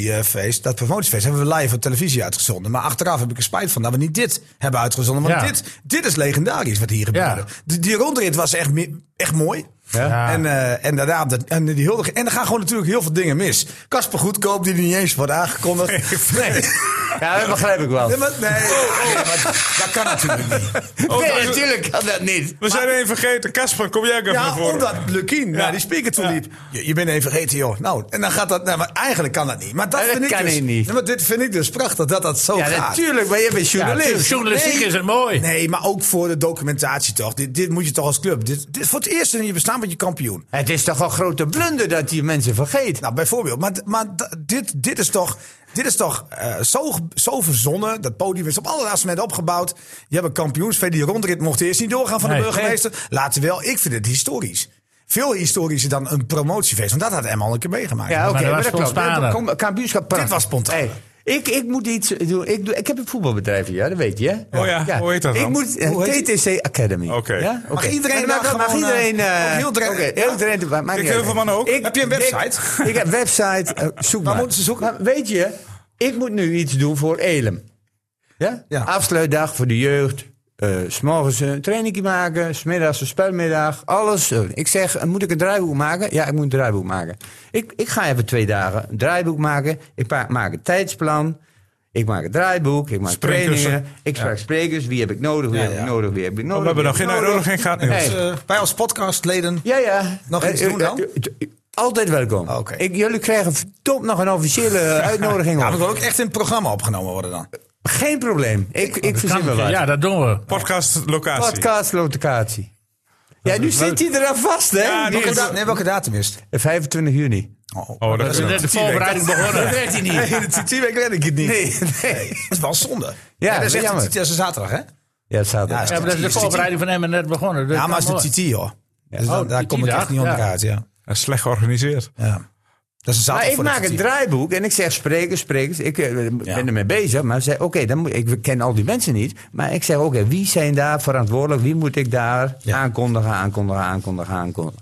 Speaker 3: promotiefeest, dat promotiefeest, hebben we live op televisie uitgezonden. Maar achteraf heb ik er spijt van dat we niet dit hebben uitgezonden. Want
Speaker 2: Ja.
Speaker 3: dit, dit is legendarisch wat hier
Speaker 2: Ja.
Speaker 3: gebeurde. Die, die rondrit was echt, me- echt mooi.
Speaker 2: Ja.
Speaker 3: En, eh, en daarna op de- en die huldiging. En er gaan gewoon natuurlijk heel veel dingen mis. Kasper Goedkoop, die niet eens wordt aangekondigd. nee.
Speaker 1: Ja, dat begrijp ik wel.
Speaker 3: Nee, maar, nee. Nee, maar dat kan natuurlijk niet.
Speaker 1: Nee, natuurlijk kan dat niet.
Speaker 5: We zijn één vergeten. Kasper, kom jij ook even naar
Speaker 3: Ja,
Speaker 5: voren.
Speaker 3: omdat Lukien naar die speaker toe liep. Je, je bent even vergeten, joh. Nou, en dan gaat dat... Nou, maar eigenlijk kan dat niet. Maar dat,
Speaker 1: Ja, dat
Speaker 3: vind ik
Speaker 1: kan
Speaker 3: dus,
Speaker 1: hij niet.
Speaker 3: Nee, maar dit vind ik dus prachtig, dat dat zo
Speaker 1: Ja,
Speaker 3: gaat.
Speaker 1: natuurlijk, maar jij bent
Speaker 2: Ja,
Speaker 1: journalist.
Speaker 2: journalistiek
Speaker 1: Nee.
Speaker 2: is het mooi.
Speaker 3: Nee, maar ook voor de documentatie toch. Dit, dit moet je toch als club. Dit, dit is voor het eerst in je bestaan met je kampioen.
Speaker 1: Het is toch wel een grote blunder dat die mensen vergeet.
Speaker 3: Nou, bijvoorbeeld. Maar, maar d- dit, dit is toch, dit is toch eh, zo, zo verzonnen. Dat podium is op allerlaatste momenten opgebouwd. Je hebt een kampioensfeest. Die rondrit mocht eerst niet doorgaan van de
Speaker 2: Nee.
Speaker 3: burgemeester. Later wel. Ik vind het historisch. Veel historischer dan een promotiefeest. Want dat had Emma al een keer meegemaakt.
Speaker 1: Ja, oké,
Speaker 2: dat
Speaker 1: maar
Speaker 2: was
Speaker 1: dat klopt.
Speaker 2: spontaner.
Speaker 1: Dat- kom- Kampioenschap prachtig.
Speaker 3: Dit was spontaan.
Speaker 1: Hey, ik, ik moet iets doen. Ik, doe, ik heb een voetbalbedrijf hier, ja, dat weet je. hè?
Speaker 5: Oh ja, hoe heet dat
Speaker 1: ik
Speaker 5: dan?
Speaker 1: Moet, eh,
Speaker 3: Hoe heet
Speaker 1: TTC Academy.
Speaker 5: Oké.
Speaker 1: Ja?
Speaker 3: Mag
Speaker 1: Oké.
Speaker 3: iedereen
Speaker 1: En
Speaker 3: daar
Speaker 1: mag
Speaker 3: gewoon, eh,
Speaker 1: iedereen... eh,
Speaker 3: ook heel Drenthe-
Speaker 1: oké,
Speaker 3: ja.
Speaker 1: heel Drenthe, maar maakt
Speaker 5: Ik
Speaker 1: niet uit.
Speaker 5: Heuvelman ook.
Speaker 3: Heb je een
Speaker 1: Dick,
Speaker 3: website?
Speaker 1: ik heb website. eh, zoek maar.
Speaker 3: moeten ze zoeken?
Speaker 1: Maar weet je, ik moet nu iets doen voor Elem. Ja?
Speaker 3: Ja.
Speaker 1: Afsluitdag voor de jeugd. eh, s S'morgens een trainingje maken, smiddags een spelmiddag, alles. Eh, ik zeg, eh, moet ik een draaiboek maken? Ja, ik moet een draaiboek maken. Ik, ik ga even twee dagen een draaiboek maken. Ik pa- maak een tijdsplan. Ik maak een draaiboek, ik maak
Speaker 5: Sprekers,
Speaker 1: trainingen. Ik sprak sprekers, wie heb ik nodig, wie
Speaker 3: Ja,
Speaker 1: heb ik
Speaker 3: ja.
Speaker 1: nodig, wie heb ik nodig.
Speaker 5: Oh, we hebben nog
Speaker 1: wie
Speaker 5: geen
Speaker 1: heb ik nodig?
Speaker 5: uitnodiging gehad, Niels.
Speaker 1: Nee.
Speaker 3: Dus, eh, wij als podcastleden.
Speaker 1: Ja, ja.
Speaker 3: Nog iets
Speaker 1: Eh,
Speaker 3: doen dan? Oh,
Speaker 1: eh, eh, Altijd welkom.
Speaker 3: Oké.
Speaker 1: Ik, jullie krijgen verdomd nog een officiële eh, uitnodiging.
Speaker 3: Ja,
Speaker 1: hoor.
Speaker 3: maar wil ook echt in het programma opgenomen worden dan.
Speaker 1: Geen probleem. Ik, ik verzin me wat.
Speaker 2: Ja, dat doen we.
Speaker 5: Podcast
Speaker 1: Ah,
Speaker 5: locatie.
Speaker 1: Podcast locatie. Ja, nu zit hij eraan vast, hè?
Speaker 5: Ja,
Speaker 1: Die
Speaker 5: die
Speaker 1: is-
Speaker 5: is-
Speaker 3: Nee, welke datum is het?
Speaker 1: 25 juni.
Speaker 5: Oh, dat
Speaker 2: Dat
Speaker 5: is
Speaker 2: is net de voorbereiding begonnen.
Speaker 1: Dat weet hij niet.
Speaker 3: Nee, dat- die week red ik het niet.
Speaker 1: Nee, nee.
Speaker 3: Dat is wel zonde. Ja, dat, is
Speaker 1: dat is
Speaker 3: echt
Speaker 1: jammer.
Speaker 3: een TT dat is een zaterdag, hè?
Speaker 1: Ja, het staat er.
Speaker 3: Ja,
Speaker 2: Ja, maar dat is de voorbereiding van hem en net begonnen. dus Dat
Speaker 3: Ja, maar
Speaker 2: kan
Speaker 3: het is de
Speaker 2: mooi.
Speaker 3: TT, hoor. Dus dan-
Speaker 2: Oh,
Speaker 3: daar
Speaker 2: TT
Speaker 3: kom ik echt
Speaker 2: dag,
Speaker 3: niet onder
Speaker 2: ja.
Speaker 3: uit, ja.
Speaker 5: Dat is slecht georganiseerd.
Speaker 3: ja. Dat is een zaterdag
Speaker 1: Maar ik
Speaker 3: voor de
Speaker 1: maak een
Speaker 3: TT.
Speaker 1: draaiboek en ik zeg sprekers, sprekers. Ik eh, ben ermee bezig, maar zeg, oké, dan moet- ik ken al die mensen niet. Maar ik zeg, oké, wie zijn daar verantwoordelijk? Wie moet ik daar
Speaker 3: Ja.
Speaker 1: aankondigen, aankondigen, aankondigen, aankondigen?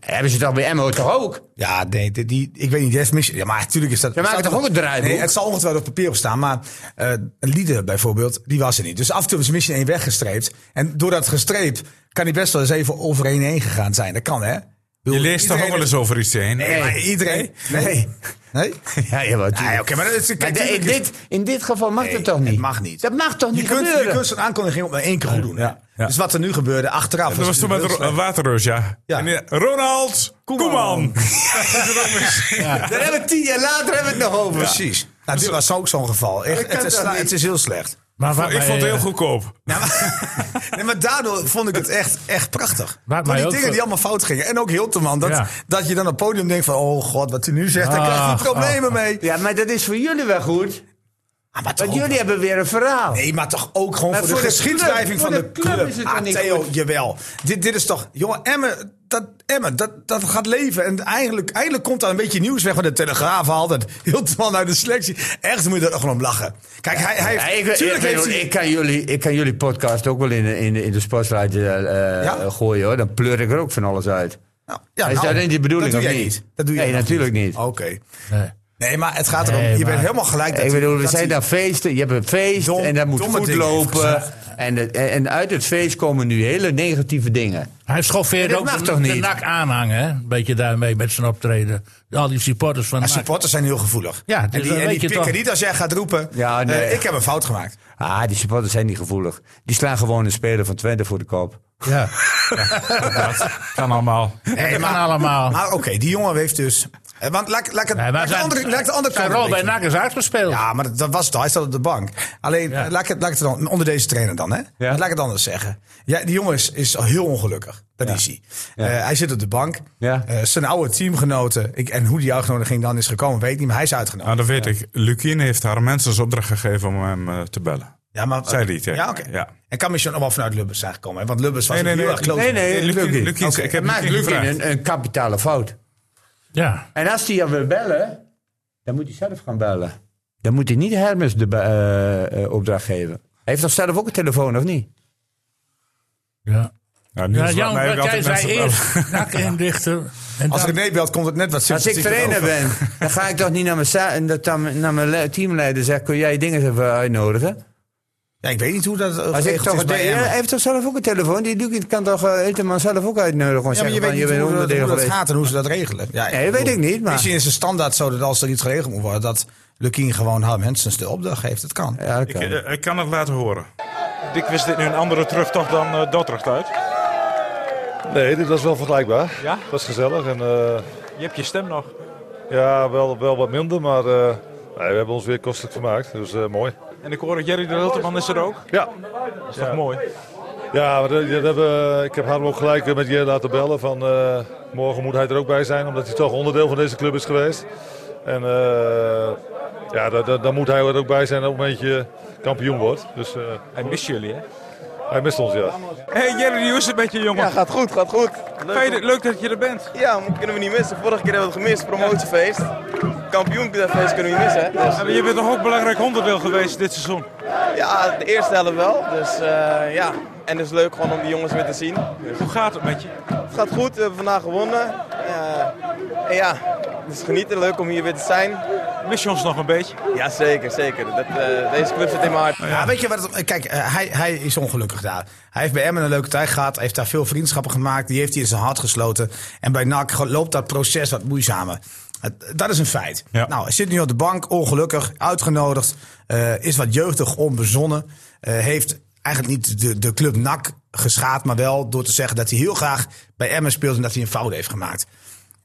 Speaker 1: Hebben ze dat bij Emmo toch ook?
Speaker 3: Ja, nee, die, die- ik weet niet. die Heeft mis, ja, maar natuurlijk is dat.
Speaker 1: Ze maken
Speaker 3: staat
Speaker 1: toch ook een draaiboek?
Speaker 3: Nee, het zal ongetwijfeld op papier staan. Maar eh, een lieder bijvoorbeeld, die was er niet. Dus af en toe is Mission 1 weggestreept. En door dat gestreept kan die best wel eens even over 1 heen gegaan zijn. Dat kan, hè?
Speaker 5: Je leest toch ook wel eens over iets heen?
Speaker 3: Nee, maar iedereen. Nee. Nee?
Speaker 1: Ja, ja, wat.
Speaker 3: Nee, oké, maar dat is- kijk,
Speaker 1: Maar de- in,
Speaker 3: tuurlijk is-
Speaker 1: dit, in dit geval mag
Speaker 3: Nee,
Speaker 1: dat toch niet?
Speaker 3: het mag niet.
Speaker 1: Dat mag toch
Speaker 3: Je
Speaker 1: niet
Speaker 3: kunt, je
Speaker 1: gebeuren?
Speaker 3: kunt zo'n aankondiging op maar één keer goed doen. hè?
Speaker 5: Ja, ja.
Speaker 3: Dus wat er nu gebeurde, achteraf.
Speaker 5: Dat was toen met Ro- eh, Waterreus, ja.
Speaker 3: dus- Ja.
Speaker 5: En, eh, Ronald Koeman.
Speaker 1: Daar hebben we tien jaar later hebben we het nog over.
Speaker 3: Precies. Nou, dit was ook zo'n geval. Echt,
Speaker 1: kan
Speaker 3: het, is,
Speaker 1: toch niet?
Speaker 3: het is heel slecht.
Speaker 2: Maar wat
Speaker 5: ik
Speaker 2: mij,
Speaker 5: vond het heel
Speaker 2: eh,
Speaker 5: goedkoop.
Speaker 3: Ja, maar, nee, maar daardoor vond ik het echt, echt prachtig.
Speaker 2: mij
Speaker 3: Door die
Speaker 2: ook
Speaker 3: dingen
Speaker 2: zo-
Speaker 3: die allemaal fout gingen. En ook Hilteman. Dat,
Speaker 2: Ja.
Speaker 3: dat je dan op het podium denkt van... Oh god, wat hij nu zegt, daar krijgt hij
Speaker 2: Ah,
Speaker 3: problemen mee.
Speaker 1: Ja, maar dat is voor jullie wel goed.
Speaker 3: Ah, maar toch
Speaker 1: Want
Speaker 3: ook-
Speaker 1: jullie hebben weer een verhaal.
Speaker 3: Nee, maar toch ook gewoon
Speaker 1: Maar
Speaker 3: voor, de
Speaker 1: voor de
Speaker 3: geschiedschrijving van
Speaker 1: club- voor
Speaker 3: de
Speaker 1: de club
Speaker 3: club.
Speaker 1: is het
Speaker 3: ah,
Speaker 1: dan niet
Speaker 3: Theo,
Speaker 1: goed?
Speaker 3: jawel. Dit, dit is toch... Jongen, Emmen, dat, Emmen dat, dat gaat leven. En eigenlijk, eigenlijk komt daar een beetje nieuws weg. van de Telegraaf haalt het. Hilteman uit de selectie. Echt, moet je er gewoon om lachen. Kijk, hij, hij
Speaker 1: Ja,
Speaker 3: heeft...
Speaker 1: ik,
Speaker 3: tuurlijk
Speaker 1: ik-
Speaker 3: heeft
Speaker 1: ik-
Speaker 3: hij...
Speaker 1: ik kan jullie, ik kan jullie podcast ook wel in de, in de, in de sportslide eh,
Speaker 3: Ja?
Speaker 1: gooien hoor. Dan pleur ik er ook van alles uit.
Speaker 3: Nou, ja,
Speaker 1: is
Speaker 3: nou,
Speaker 1: dat niet de bedoeling
Speaker 3: dat doe
Speaker 1: of
Speaker 3: jij
Speaker 1: niet?
Speaker 3: Dat doe jij
Speaker 1: Nee,
Speaker 3: nog
Speaker 1: natuurlijk niet.
Speaker 3: Oké.
Speaker 2: nee.
Speaker 3: Nee, maar het gaat erom.
Speaker 2: Nee,
Speaker 3: je
Speaker 2: maar-
Speaker 3: bent helemaal gelijk.
Speaker 1: ik bedoel, we
Speaker 3: dat
Speaker 1: zijn
Speaker 3: die-
Speaker 1: daar feesten. Je hebt een feest
Speaker 3: Dom-
Speaker 1: en daar moet
Speaker 3: domme
Speaker 1: goed
Speaker 3: dingen heeft
Speaker 1: lopen. En, het- en en uit het feest komen nu hele negatieve dingen.
Speaker 2: Hij schoffeerde
Speaker 1: Dat
Speaker 2: ook
Speaker 1: mag
Speaker 2: de,
Speaker 1: toch niet?
Speaker 2: de nak aanhangen, hè? Een beetje daarmee met zijn optreden. Al die supporters van
Speaker 3: Maar
Speaker 2: NAC.
Speaker 3: supporters zijn heel gevoelig.
Speaker 2: Ja,
Speaker 3: en
Speaker 2: dus
Speaker 3: die,
Speaker 2: dan weet
Speaker 3: en die
Speaker 2: je
Speaker 3: pikken
Speaker 2: toch.
Speaker 3: niet als jij gaat roepen.
Speaker 1: Ja,
Speaker 3: eh,
Speaker 1: nee.
Speaker 3: ik heb een fout gemaakt.
Speaker 1: Ah, die supporters zijn niet gevoelig. Die slaan gewoon een speler van Twente voor de kop.
Speaker 3: Oh,
Speaker 2: Ja,
Speaker 5: Kan allemaal.
Speaker 2: dat kan allemaal.
Speaker 3: Maar oké, die jongen heeft dus. eh, Want laat, laat, ik het-
Speaker 2: Nee,
Speaker 3: laat
Speaker 2: maar
Speaker 3: ik de
Speaker 2: zijn-
Speaker 3: andere, laat ik de andere
Speaker 2: zijn
Speaker 3: kant
Speaker 2: rol
Speaker 3: een
Speaker 2: bij
Speaker 3: beetje-
Speaker 2: NAC is uitgespeeld.
Speaker 3: Ja, maar dat, dat was het al. Hij staat op de bank. Alleen,
Speaker 2: Ja.
Speaker 3: eh, laat, ik het, laat ik het dan onder deze trainer dan, hè? Laat ik het anders zeggen. Ja, die jongen is, is heel ongelukkig. Dat is hij. Eh, hij zit op de bank.
Speaker 1: Ja.
Speaker 3: Eh, zijn oude teamgenoten. Ik, en hoe die uitgenodiging dan is gekomen, weet ik niet. Maar hij is uitgenodigd.
Speaker 5: Nou, dat weet ik. Lukien heeft haar mensen als opdracht gegeven om hem eh, te bellen.
Speaker 3: Ja, maar,
Speaker 5: Zei die tegen
Speaker 3: Ja, oké.
Speaker 5: mij, ja.
Speaker 3: En kan misschien nog wel vanuit Lubbers zijn gekomen. Hè? Want Lubbers was
Speaker 5: Nee, nee,
Speaker 3: heel
Speaker 5: nee.
Speaker 3: erg close.
Speaker 1: Nee, nee,
Speaker 5: Lukien-
Speaker 1: Lukien.
Speaker 5: Lukien-
Speaker 3: Oké.
Speaker 5: ik heb
Speaker 1: Maakt
Speaker 5: Lukien
Speaker 1: Lukin
Speaker 5: gevraagd.
Speaker 1: een, een kapitale fout.
Speaker 2: Ja.
Speaker 1: En als hij jou wil bellen, dan moet hij zelf gaan bellen. Dan moet hij niet Hermes de be- eh, eh, opdracht geven. Hij heeft toch zelf ook een telefoon, of niet?
Speaker 2: ja.
Speaker 5: Ja, Niels
Speaker 2: Ja,
Speaker 5: laat
Speaker 2: Jan,
Speaker 5: mij ook
Speaker 2: wat jij
Speaker 5: altijd
Speaker 2: zei
Speaker 5: mensen
Speaker 2: eerst, NAC inrichten. En
Speaker 3: Als
Speaker 2: dan-
Speaker 3: René belt, komt het net wat
Speaker 1: Als ik
Speaker 3: sympathieker
Speaker 1: trainer
Speaker 3: over.
Speaker 1: ben, dan ga ik toch niet naar mijn, za- en dat dan, naar mijn le- teamleider zeggen: kun jij je dingen even uitnodigen?
Speaker 3: Ja, ik weet niet hoe dat eh,
Speaker 1: Als ik
Speaker 3: geregeld
Speaker 1: toch
Speaker 3: is
Speaker 1: een
Speaker 3: bij
Speaker 1: de-
Speaker 3: Emmen.
Speaker 1: hij heeft toch zelf ook een telefoon? Die Dukin kan toch eh Eteman zelf ook uitnodigen? Gewoon
Speaker 3: Ja, maar
Speaker 1: zeggen
Speaker 3: je weet
Speaker 1: van,
Speaker 3: niet
Speaker 1: bent
Speaker 3: hoe, dat,
Speaker 1: onderdeel
Speaker 3: hoe dat
Speaker 1: geweest.
Speaker 3: gaat en hoe ze dat regelen. Ja,
Speaker 1: Nee, dat weet
Speaker 3: bedoel,
Speaker 1: ik niet, maar-
Speaker 3: Misschien is het standaard zo dat als er iets geregeld moet worden... dat Lukien gewoon haar mensen de opdracht geeft. Dat kan.
Speaker 1: Ja, dat
Speaker 5: Ik,
Speaker 1: kan.
Speaker 5: eh, ik kan het laten horen.
Speaker 6: Dik wist dit nu een andere terugtocht dan uh, Dordrecht uit.
Speaker 7: Nee, dit was wel vergelijkbaar.
Speaker 6: Ja?
Speaker 7: Het was gezellig en eh,
Speaker 6: Je hebt je stem nog.
Speaker 7: ja, wel, wel wat minder, maar eh, nee, we hebben ons weer kostelijk vermaakt. Dus eh, mooi.
Speaker 6: En ik hoor dat Jerry de Hilteman is er ook.
Speaker 7: Ja,
Speaker 6: Dat is toch mooi?
Speaker 7: ja maar, eh, dat hebben, ik heb Harm ook gelijk eh, met je laten bellen. Van, eh, morgen moet hij er ook bij zijn, omdat hij toch onderdeel van deze club is geweest. En eh, ja, da- da- dan moet hij er ook bij zijn op het moment je kampioen wordt. Dus eh,
Speaker 6: Hij mist jullie, hè?
Speaker 7: hij mist ons, ja.
Speaker 6: Hey Jerry, hoe is het met je, jongen?
Speaker 8: Ja, gaat goed, gaat goed.
Speaker 6: Fijn, dat- leuk dat je er bent.
Speaker 8: Ja, maar kunnen we niet missen. Vorige keer hebben we het gemist, promotiefeest. Kampioenfeest kunnen we niet missen. hè. Dus,
Speaker 6: Ja, maar je bent toch ook belangrijk onderdeel geweest dit seizoen?
Speaker 8: ja, de eerste helft wel. Dus eh, ja, en het is leuk gewoon om die jongens weer te zien.
Speaker 6: Hoe gaat het met je?
Speaker 8: Het gaat goed, we hebben vandaag gewonnen. Eh, en ja, het is genieten, leuk om hier weer te zijn.
Speaker 6: Mis je ons nog een beetje?
Speaker 8: Ja, zeker, zeker. Dat, eh, deze club zit in mijn hart.
Speaker 3: Ja, weet je wat? het- Kijk, eh, hij, hij is ongelukkig daar. Hij heeft bij Emmen een leuke tijd gehad. Heeft daar veel vriendschappen gemaakt. Die heeft hij in zijn hart gesloten. En bij NAC ge- loopt dat proces wat moeizamer. Het- Dat is een feit.
Speaker 5: Ja.
Speaker 3: Nou, hij zit nu op de bank, ongelukkig, uitgenodigd. eh, is wat jeugdig, onbezonnen. eh, heeft eigenlijk niet de, de club NAC geschaad, maar wel door te zeggen dat hij heel graag bij Emmen speelt en dat hij een fout heeft gemaakt.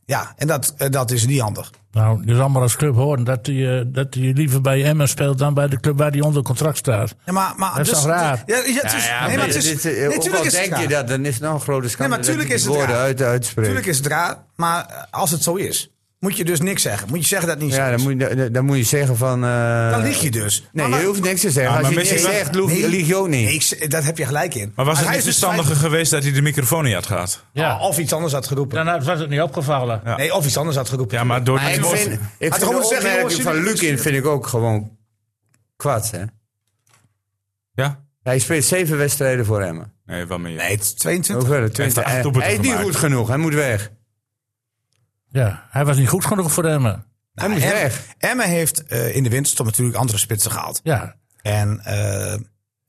Speaker 3: Ja, en dat, eh, dat is niet handig.
Speaker 2: Nou, je zal maar als club horen dat hij, eh, dat hij liever bij Emmen speelt dan bij de club waar hij onder contract staat.
Speaker 3: Ja, maar, maar, dus-
Speaker 2: Dat is toch raar?
Speaker 3: Ja, ja, het is, nee, maar het is,
Speaker 1: dit,
Speaker 3: nee,
Speaker 1: eh, ook
Speaker 3: tuurlijk
Speaker 1: al
Speaker 3: is het
Speaker 1: denk je
Speaker 3: raar.
Speaker 1: dat, dan is het nou een grote schande
Speaker 3: Nee, maar
Speaker 1: dat je
Speaker 3: tuurlijk is
Speaker 1: die
Speaker 3: het
Speaker 1: woorden
Speaker 3: raar.
Speaker 1: uit, uitspreekt.
Speaker 3: Tuurlijk is het raar, maar eh, als het zo is, moet je dus niks zeggen. Moet je zeggen dat het niet zo
Speaker 1: ja, dan
Speaker 3: is.
Speaker 1: moet, je, dan moet je zeggen van... eh,
Speaker 3: Dan lieg je dus.
Speaker 1: Nee,
Speaker 3: Maar-
Speaker 1: je hoeft niks te zeggen.
Speaker 5: Ah,
Speaker 1: Als
Speaker 5: maar
Speaker 1: je niks
Speaker 5: Messi was-
Speaker 1: zegt, lieg lieg je ook niet.
Speaker 3: Nee, ik z- dat heb je gelijk in.
Speaker 5: Maar was het
Speaker 3: hij
Speaker 5: niet
Speaker 3: is dus
Speaker 5: verstandiger geweest dat hij de microfoon niet had gehad?
Speaker 3: vijf-
Speaker 2: Ja.
Speaker 3: Of iets anders had geroepen.
Speaker 2: Oh, Dan had- was het niet opgevallen.
Speaker 5: Ja.
Speaker 3: Nee, of iets anders had geroepen.
Speaker 5: Ja, maar door
Speaker 1: Maar
Speaker 5: die
Speaker 1: ik
Speaker 5: woord-
Speaker 1: vind, ik
Speaker 3: Had
Speaker 1: vind
Speaker 3: gewoon
Speaker 1: de
Speaker 3: moeten zeggen,
Speaker 1: opmerking
Speaker 3: jongens,
Speaker 1: van
Speaker 3: jullie-
Speaker 1: Lukin vind ik ook gewoon kwaad, hè?
Speaker 5: Ja?
Speaker 1: Hij speelt zeven wedstrijden voor Emmen.
Speaker 5: Nee, wat meer.
Speaker 3: Nee, het is 22.
Speaker 1: Hoeveel? Twintig.
Speaker 5: heeft er acht
Speaker 1: Hij-
Speaker 5: doelpunten
Speaker 1: Hij is niet
Speaker 5: gemaakt.
Speaker 1: goed genoeg. Hij moet weg.
Speaker 2: Ja, hij was niet goed genoeg voor Emmen.
Speaker 1: Hij
Speaker 3: Nou,
Speaker 1: moet
Speaker 3: Emmen-
Speaker 1: weg.
Speaker 3: Emmen heeft eh, in de winterstop natuurlijk andere spitsen gehaald.
Speaker 2: Ja,
Speaker 3: En eh,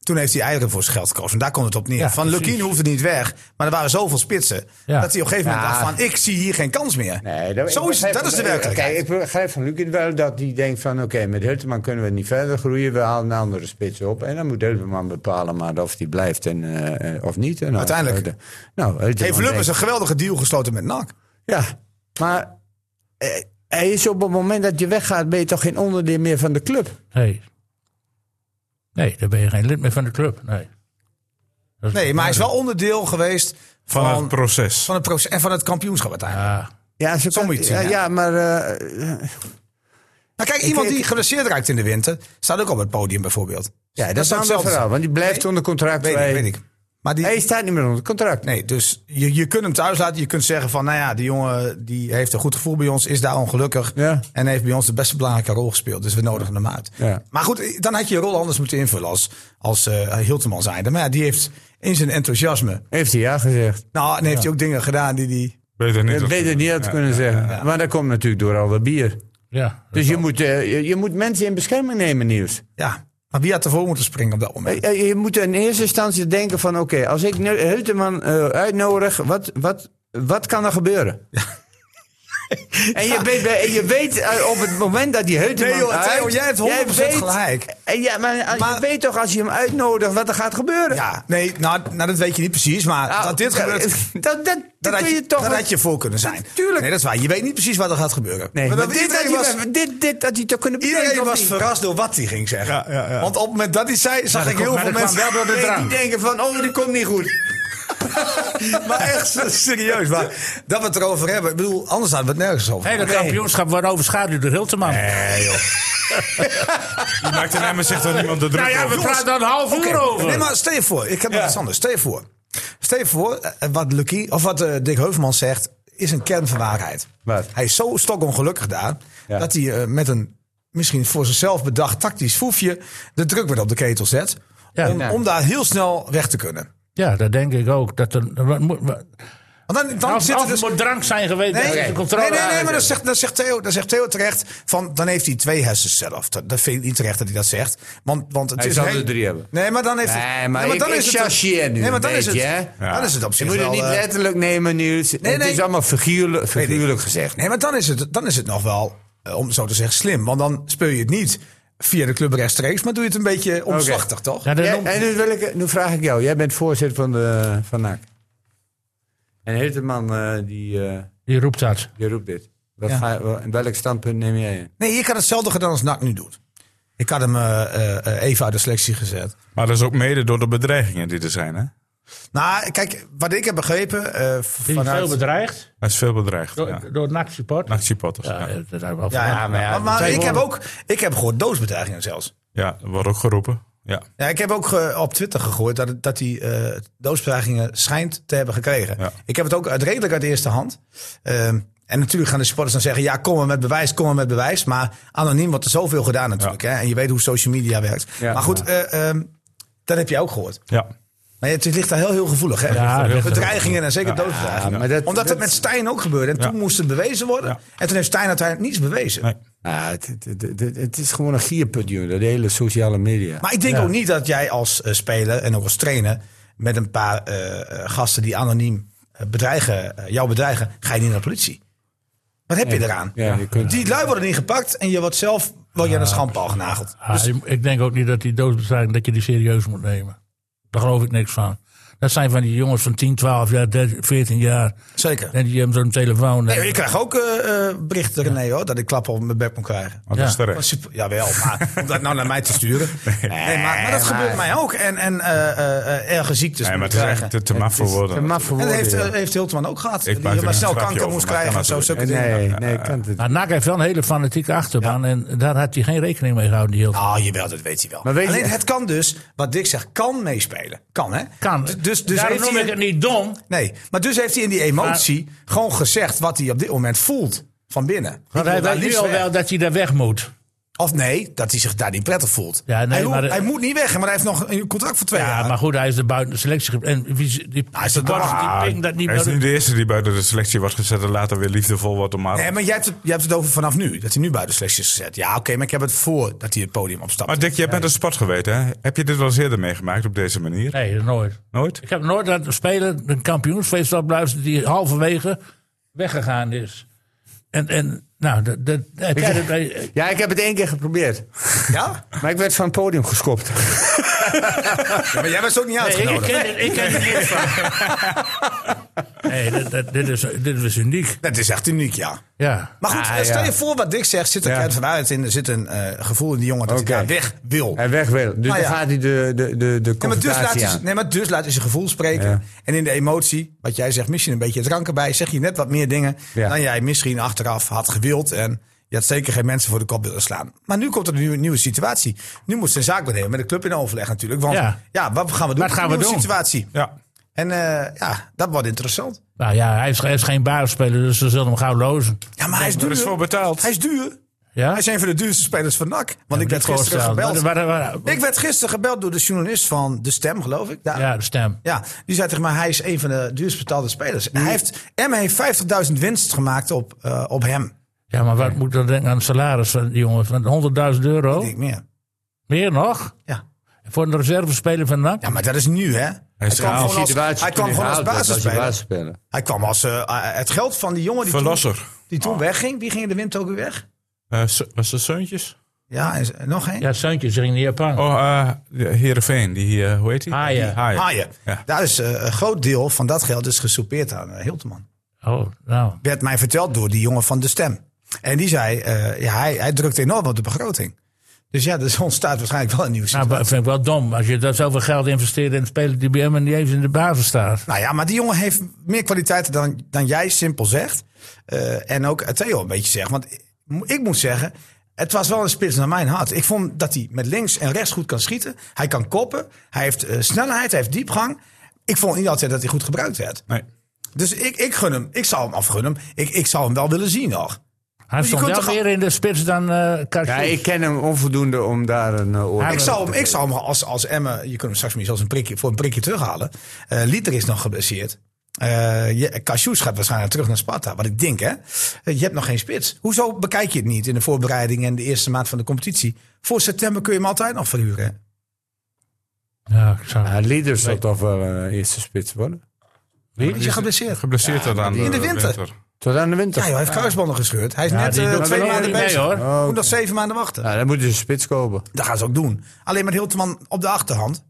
Speaker 3: toen heeft hij eieren voor zijn geld gekozen. En daar komt het op neer.
Speaker 2: Ja,
Speaker 3: van
Speaker 2: precies.
Speaker 3: Lukien hoefde niet weg. Maar er waren zoveel spitsen.
Speaker 2: Ja.
Speaker 3: Dat hij op een gegeven moment
Speaker 1: Ja.
Speaker 3: dacht van... ik zie hier geen kans meer.
Speaker 1: Nee, dat,
Speaker 3: Zo
Speaker 1: ik
Speaker 3: is, het,
Speaker 1: begrijp-
Speaker 3: dat is de
Speaker 1: Kijk,
Speaker 3: werkelijkheid.
Speaker 1: ik begrijp van Lukin wel dat hij denkt van... oké, met Hulteman kunnen we niet verder groeien. We halen een andere spits op. En dan moet Hulteman bepalen maar of die blijft en, eh, eh, of niet. En nou,
Speaker 3: Uiteindelijk.
Speaker 1: eh, nou, Hulteman
Speaker 3: Heeft Lubbers
Speaker 1: denkt-
Speaker 3: een geweldige deal gesloten met NAC.
Speaker 1: Ja, maar eh, hij is op het moment dat je weggaat... ben je toch geen onderdeel meer van de club?
Speaker 2: nee. Nee, dan ben je geen lid meer van de club. Nee, Dat
Speaker 3: Nee, maar hij is wel onderdeel geweest van,
Speaker 5: Van het proces.
Speaker 3: van het proces en van het kampioenschap uiteindelijk.
Speaker 2: Ja,
Speaker 1: Ja, ze
Speaker 3: Zo
Speaker 1: kan-
Speaker 3: moet je het
Speaker 1: ja,
Speaker 3: zien, hè?
Speaker 1: ja, maar eh,
Speaker 3: Maar Nou, kijk, iemand
Speaker 1: ik-
Speaker 3: die geblesseerd raakt in de winter... staat ook op het podium bijvoorbeeld.
Speaker 1: ja, dat is een ander
Speaker 3: hetzelfde
Speaker 1: verhaal.
Speaker 3: zijn.
Speaker 1: Want die blijft onder contract.
Speaker 3: Weet
Speaker 1: bij-
Speaker 3: ik, weet ik. Maar die,
Speaker 1: Hij staat niet meer onder contract.
Speaker 3: Nee, dus je, je kunt hem thuis laten. Je kunt zeggen van, nou ja, die jongen die heeft een goed gevoel bij ons, is daar ongelukkig.
Speaker 1: Ja.
Speaker 3: En heeft bij ons de beste belangrijke rol gespeeld. Dus we nodigen hem uit.
Speaker 1: Ja.
Speaker 3: Maar goed, dan had je je rol anders moeten invullen als, als eh Hilteman zijnde. Maar ja, die heeft in zijn enthousiasme.
Speaker 1: Heeft hij ja gezegd.
Speaker 3: Nou, en heeft hij ook dingen gedaan die die.
Speaker 5: Beter niet.
Speaker 1: Ik weet het niet had kunnen zeggen. Maar dat komt natuurlijk door al dat bier.
Speaker 2: ja.
Speaker 1: Dus je moet, eh, je, je moet mensen in bescherming nemen, Niels.
Speaker 3: Ja, maar wie had ervoor moeten springen op dat moment?
Speaker 1: Eh, eh, Je moet in eerste instantie denken van... oké, als ik nu Heuteman eh, uitnodig, wat, wat, wat kan er gebeuren? En je weet, bij- en je weet eh, op het moment dat die Heuteman
Speaker 3: Nee, joh, Theo,
Speaker 1: uit...
Speaker 3: jij hebt 100%
Speaker 1: weet-
Speaker 3: gelijk.
Speaker 1: eh, Ja, maar, eh,
Speaker 3: Maar-
Speaker 1: je weet toch als je hem uitnodigt wat er gaat gebeuren?
Speaker 3: Ja, nee, nou, nou dat weet je niet precies. Maar
Speaker 1: Nou,
Speaker 3: dat dit gebeurt,
Speaker 1: Dat, dat, dat
Speaker 3: dat had
Speaker 1: kun
Speaker 3: je,
Speaker 1: je toch...
Speaker 3: dat had je voor kunnen zijn.
Speaker 1: Tuurlijk.
Speaker 3: Nee, dat is waar. Je weet niet precies wat er gaat gebeuren.
Speaker 1: Nee,
Speaker 3: Maar
Speaker 1: maar
Speaker 3: dat-
Speaker 1: dit, had
Speaker 3: iedereen
Speaker 1: je,
Speaker 3: was-
Speaker 1: dit, dit had hij toch kunnen bedenken.
Speaker 3: Iedereen
Speaker 1: of
Speaker 3: was
Speaker 1: niet?
Speaker 3: verrast door wat hij ging zeggen. Want op het moment dat hij zei, zag ik heel
Speaker 2: komt-
Speaker 3: veel
Speaker 2: maar dat
Speaker 3: mensen wel door de
Speaker 1: Nee,
Speaker 3: drang.
Speaker 1: Die denken van, oh, die komt niet goed.
Speaker 3: Maar echt serieus. Maar dat we het erover hebben. Ik bedoel, anders hadden we het nergens over.
Speaker 2: Hey, dat kampioenschap wordt overschaduwd door Hilteman.
Speaker 5: Je maakt in Emmen zich toch niemand de druk
Speaker 2: Nou ja, we
Speaker 5: over?
Speaker 2: praten daar een half
Speaker 3: Oké,
Speaker 2: uur over.
Speaker 3: Nee, maar stel je voor. Ik heb nog iets anders. Stel je voor. Stel je voor, eh, wat Lucky, of wat eh, Dick Heuvelman zegt, is een kern van waarheid.
Speaker 1: Wat?
Speaker 3: Hij is zo stokongelukkig daar,
Speaker 1: Ja.
Speaker 3: dat hij eh, met een misschien voor zichzelf bedacht tactisch foefje de druk weer op de ketel zet.
Speaker 2: Ja.
Speaker 3: om, om daar heel snel weg te kunnen.
Speaker 2: Ja, dat denk ik ook. Dat er, wat moet- wat-
Speaker 3: Want dan, dan
Speaker 2: als
Speaker 3: zit Oh, er
Speaker 2: als
Speaker 3: dus
Speaker 2: het moet drank zijn geweest, dan is
Speaker 3: Nee,
Speaker 2: de controle
Speaker 3: nee, nee, nee,
Speaker 2: aan.
Speaker 3: maar dat zegt, dat, zegt Theo, dat zegt Theo terecht. Van, dan heeft hij twee hersens zelf. Dat, dat vind ik niet terecht dat hij dat zegt. Want, want het
Speaker 1: Hij
Speaker 3: is
Speaker 1: zal
Speaker 3: een-
Speaker 1: er drie hebben.
Speaker 3: Nee, maar dan heeft het-
Speaker 1: Nee, maar ik-
Speaker 3: dan
Speaker 1: ik
Speaker 3: is het-
Speaker 1: chargeer nu
Speaker 3: Nee, maar
Speaker 1: een
Speaker 3: dan is het.
Speaker 1: beetje, hè?
Speaker 3: Dan is het op
Speaker 1: Je
Speaker 3: zich
Speaker 1: moet het
Speaker 3: wel,
Speaker 1: niet
Speaker 3: eh,
Speaker 1: letterlijk nemen, Niels. Het
Speaker 3: nee.
Speaker 1: is allemaal figuurlijk, figuurlijk gezegd.
Speaker 3: Nee, maar dan is het, dan is het nog wel, eh, om het zo te zeggen, slim. Want dan speel je het niet via de club rechtstreeks, maar doe je het een beetje omslachtig, toch?
Speaker 2: Ja, dat
Speaker 1: Jij-
Speaker 2: noemt-
Speaker 1: en nu, wil ik, nu vraag ik jou. Jij bent voorzitter van, de, van NAC. En heeft de man eh, die, eh,
Speaker 2: Die roept dat.
Speaker 1: die roept dit. Wat
Speaker 3: Ja.
Speaker 1: ga, wel- welk standpunt neem jij in?
Speaker 3: Nee, je kan hetzelfde gedaan als NAC nu doet. Ik had hem eh, eh, eh, even uit de selectie gezet.
Speaker 5: Maar dat is ook mede door de bedreigingen die er zijn. Hè?
Speaker 3: Nou, kijk, wat ik heb begrepen eh,
Speaker 2: Die is veel
Speaker 3: vanuit...
Speaker 2: bedreigd
Speaker 5: Hij is veel bedreigd.
Speaker 2: door,
Speaker 5: Ja.
Speaker 2: door NAC support.
Speaker 5: Nachtsupport,
Speaker 2: Ja,
Speaker 5: ja.
Speaker 2: dat hebben we al
Speaker 3: Ja,
Speaker 2: verwacht.
Speaker 3: ja, maar, ja, maar,
Speaker 2: Twee
Speaker 3: ik heb
Speaker 2: woorden.
Speaker 3: ook ik heb gehoord doodsbedreigingen zelfs.
Speaker 5: ja, wordt ook geroepen. Ja.
Speaker 3: Ja, ik heb ook ge- op Twitter gegooid dat, het- dat hij eh doodsbedreigingen schijnt te hebben gekregen.
Speaker 5: Ja.
Speaker 3: Ik heb het ook uit, redelijk uit de eerste hand. Ehm, en natuurlijk gaan de supporters dan zeggen, ja, kom maar met bewijs, kom maar met bewijs. Maar anoniem wordt er zoveel gedaan natuurlijk. Hè? En je weet hoe social media werkt.
Speaker 1: Ja.
Speaker 3: maar goed, eh, ehm, dat heb je ook gehoord.
Speaker 5: ja.
Speaker 3: Maar het ligt daar heel, heel gevoelig. Hè?
Speaker 2: Ja, het ligt er
Speaker 3: Bedreigingen en zeker
Speaker 1: Ja,
Speaker 3: doodsbedreigingen.
Speaker 1: maar dat-
Speaker 3: Omdat het
Speaker 1: dat-
Speaker 3: met Stijn ook gebeurde. En
Speaker 5: Ja.
Speaker 3: toen moest het bewezen worden.
Speaker 5: Ja.
Speaker 3: En toen heeft Stijn uiteindelijk niets bewezen.
Speaker 5: Nee.
Speaker 1: Ah, het, het, het- het- het is gewoon een gierput, jongen. Dat hele sociale media.
Speaker 3: Maar ik denk ook niet dat jij als eh, speler en ook als trainer met een paar eh, eh, gasten die anoniem eh, bedreigen, eh, jou bedreigen, ga je niet naar de politie. Wat heb je eraan?
Speaker 1: ja, je kunt,
Speaker 3: Die lui worden niet gepakt en je wordt zelf wel je aan de schandpaal genageld.
Speaker 2: Ah, ik- ik denk ook niet dat die doodsbedreiging dat je die serieus moet nemen. Daar geloof ik niks van. Dat zijn van die jongens van 10, 12 jaar, 13, 14 jaar.
Speaker 3: Zeker.
Speaker 2: En die hebben zo'n telefoon.
Speaker 3: Nee, ik krijg ook eh, eh, berichten, René, hoor, dat ik klappen op mijn bek moet krijgen.
Speaker 5: Dat is terecht.
Speaker 3: Ja Super, jawel, maar om dat nou naar mij te sturen. Nee, maar, maar dat gebeurt mij ook. En, en eh, eh, eh, erge ziektes
Speaker 5: Nee, maar het is
Speaker 3: krijgen.
Speaker 5: echt te, te maf voor
Speaker 1: Te
Speaker 5: woorden.
Speaker 1: maf voor
Speaker 3: En dat
Speaker 1: woorden,
Speaker 3: heeft,
Speaker 1: ja.
Speaker 3: eh, heeft Hiltman ook gehad. Die
Speaker 5: maak er
Speaker 3: maar
Speaker 5: een
Speaker 3: snel
Speaker 5: grapje
Speaker 3: kanker
Speaker 5: over,
Speaker 3: moest
Speaker 5: maar
Speaker 3: krijgen
Speaker 5: kan
Speaker 3: en zo.
Speaker 5: natuurlijk.
Speaker 3: Zulke dingen.
Speaker 1: Nee, nee, kan het.
Speaker 2: Maar Nou, NAC heeft wel een hele fanatieke achterban. En daar had hij geen rekening mee gehouden. Die heel
Speaker 3: Ah, jawel, dat weet hij wel.
Speaker 1: Maar weet je-
Speaker 3: Alleen het kan dus, wat Dick zegt, kan meespelen. Kan, hè?
Speaker 2: kan.
Speaker 3: D- Dus, dus
Speaker 2: Daarom
Speaker 3: heeft
Speaker 2: noem
Speaker 3: hij,
Speaker 2: ik het niet dom.
Speaker 3: Nee, maar dus heeft hij in die emotie gewoon gezegd wat hij op dit moment voelt van binnen.
Speaker 2: Want hij
Speaker 3: Ik wil
Speaker 2: weet
Speaker 3: daar
Speaker 2: nu
Speaker 3: liefst
Speaker 2: al
Speaker 3: weg.
Speaker 2: wel dat hij daar weg moet.
Speaker 3: Of nee, dat hij zich daar niet prettig voelt.
Speaker 2: Ja, nee,
Speaker 3: hij, hoeft-
Speaker 2: maar de-
Speaker 3: hij moet niet weg, maar hij heeft nog een contract voor twee
Speaker 2: Ja,
Speaker 3: jaar.
Speaker 2: maar goed, hij is de buiten de selectie. ge- En wie, z- die,
Speaker 3: Hij is de
Speaker 2: die Bart-
Speaker 3: baas.
Speaker 2: die ping dat niet
Speaker 5: Ah, Hij is
Speaker 2: meer.
Speaker 5: niet de eerste die buiten de selectie wordt gezet en later weer liefdevol wordt om
Speaker 3: Nee,
Speaker 5: maar.
Speaker 3: maar jij hebt, het, jij hebt het over vanaf nu. Dat hij nu buiten selectie is gezet. Ja, oké, maar ik heb het voor dat hij het podium opstapt.
Speaker 5: Maar Dick, jij bent een sport geweest, hè? Heb je dit wel eens eerder meegemaakt op deze manier?
Speaker 2: Nee, nooit.
Speaker 5: Nooit?
Speaker 2: Ik heb nooit dat een speler een kampioensfeest op luisteren die halverwege weggegaan is. En, en nou, dat, dat, heb jij dat- eh,
Speaker 1: Ja, ik heb het één keer geprobeerd.
Speaker 3: Ja?
Speaker 1: Maar ik werd van het podium geschopt.
Speaker 3: Ja, maar jij was ook niet
Speaker 2: Nee, ik
Speaker 3: uitgenodigd.
Speaker 2: ken, ik ken er niks van. Nee, dit, dit- dit, is, dit is uniek.
Speaker 3: Dat is echt uniek, ja.
Speaker 2: Ja.
Speaker 3: Maar goed, eh, stel je voor wat Dick zegt, zit er
Speaker 1: Ja.
Speaker 3: kern vanuit in. Er zit een eh, gevoel in die jongen dat
Speaker 1: Oké.
Speaker 3: hij daar weg wil.
Speaker 1: Hij weg wil. Dus
Speaker 3: Ah, ja.
Speaker 1: dan gaat hij de, de, de, de
Speaker 3: Ja, maar dus laat
Speaker 1: confrontatie
Speaker 3: hij,
Speaker 1: aan.
Speaker 3: nee, maar dus laat hij zijn gevoel spreken.
Speaker 1: Ja.
Speaker 3: En in de emotie, wat jij zegt, misschien een beetje drank erbij. Zeg je net wat meer dingen
Speaker 1: Ja.
Speaker 3: dan jij misschien achteraf had gewild. En je had zeker geen mensen voor de kop willen slaan. Maar nu komt er een nieuwe, nieuwe situatie. Nu moet zijn zaak benemen met de club in overleg natuurlijk. Want ja,
Speaker 2: Ja.
Speaker 3: wat gaan we doen?
Speaker 2: Wat gaan we
Speaker 3: Nieuwe
Speaker 2: doen?
Speaker 3: situatie.
Speaker 5: Ja.
Speaker 3: En eh, ja, dat wordt interessant.
Speaker 2: Nou ja, hij is, hij is geen basisspeler, dus ze zullen hem gauw lozen.
Speaker 3: Ja, maar hij is
Speaker 5: Er is voor
Speaker 3: duur.
Speaker 5: betaald.
Speaker 3: Hij is duur.
Speaker 2: Ja?
Speaker 3: Hij is een van de duurste spelers van NAC. Want ik werd gisteren gebeld.
Speaker 2: Waar- waar- waar-
Speaker 3: Ik werd gisteren gebeld door de journalist van De Stem, geloof ik. Ja.
Speaker 2: Ja, de stem.
Speaker 3: Ja, die zei tegen mij, hij is een van de duurst betaalde spelers. Hij heeft, Emma heeft 50.000 winst gemaakt op, eh, op hem.
Speaker 2: Ja, maar wat moet ik dan denken aan het salaris van die jongen? Van 100.000 euro?
Speaker 3: Ik denk meer.
Speaker 2: Meer nog?
Speaker 3: Ja.
Speaker 2: Voor een reservespeler van NAC?
Speaker 3: ja, maar dat is nu, hè? Hij,
Speaker 5: is
Speaker 3: kwam
Speaker 5: een
Speaker 3: gewoon als,
Speaker 1: Situatie
Speaker 3: hij
Speaker 1: toen
Speaker 3: kwam gewoon als
Speaker 1: gehaald werd,
Speaker 3: basisspeler.
Speaker 1: Als je basisspeler.
Speaker 3: Hij kwam als eh, eh, het geld van die jongen die toen,
Speaker 5: Verlosser.
Speaker 3: die toen wegging. Wie ging in de wind ook weer weg?
Speaker 5: Eh, Su- was dat Seuntjes?
Speaker 3: Ja, en, eh, nog één.
Speaker 2: Ja, Suntje ging naar Japan.
Speaker 5: Oh, eh Heerenveen. Die, eh, hoe heet hij?
Speaker 2: Haaien.
Speaker 3: Haaien.
Speaker 5: Ja.
Speaker 3: Daar is eh, een groot deel van dat geld is gesoupeerd aan eh, Hilteman.
Speaker 2: Oh, nou.
Speaker 3: werd mij verteld door die jongen van de stem. En die zei, eh, ja, hij, hij drukt enorm op de begroting. Dus ja, er ontstaat waarschijnlijk wel een nieuwe
Speaker 2: Nou,
Speaker 3: situatie.
Speaker 2: dat vind ik wel dom. Als je daar zoveel geld investeert in een speler die bij hem niet eens in de basis staat.
Speaker 3: Nou ja, maar die jongen heeft meer kwaliteiten dan, dan jij simpel zegt. Eh, en ook Theo een beetje zegt. Want ik mo- ik moet zeggen, het was wel een spits naar mijn hart. Ik vond dat hij met links en rechts goed kan schieten. Hij kan koppen. Hij heeft eh, snelheid. Hij heeft diepgang. Ik vond niet altijd dat hij goed gebruikt werd.
Speaker 5: Nee.
Speaker 3: Dus ik, ik gun hem. Ik zou hem afgunnen. Ik, ik zou hem wel willen zien nog.
Speaker 2: Hij
Speaker 3: je
Speaker 2: stond
Speaker 3: kunt
Speaker 2: wel
Speaker 3: toch-
Speaker 2: meer in de spits dan eh
Speaker 1: Ja,
Speaker 2: Karstjoe.
Speaker 1: ik ken hem onvoldoende om daar een eh, oordeel
Speaker 2: Hij
Speaker 3: Ik
Speaker 2: Ja,
Speaker 3: zou hem, ik zou hem als, als Emme, je kunt hem straks misschien zelfs een prikje, voor een prikje terughalen. Eh Liter is nog geblesseerd. Eh je- Cassius gaat waarschijnlijk terug naar Sparta. Wat ik denk, hè? Eh, Je hebt nog geen spits. Hoezo bekijk je het niet in de voorbereiding en de eerste maand van de competitie? Voor september kun je hem altijd nog verhuren. hè?
Speaker 2: Ja, ik zou...
Speaker 1: Ja, Leader Ah, zal toch wel een eerste spits worden.
Speaker 3: Die is geblesseerd.
Speaker 5: Geblesseerd tot aan
Speaker 3: in de winter.
Speaker 1: Tot aan de winter.
Speaker 3: Ja, joh, hij heeft kruisbanden gescheurd. Hij is net
Speaker 2: die
Speaker 3: eh,
Speaker 2: doet
Speaker 3: twee
Speaker 2: wel
Speaker 3: maanden
Speaker 2: niet mee,
Speaker 3: bezig.
Speaker 2: hoor.
Speaker 3: Moet nog zeven maanden wachten.
Speaker 1: Nou, dan moet je een spits kopen.
Speaker 3: Dat gaan ze ook doen. Alleen met Hilteman op de achterhand.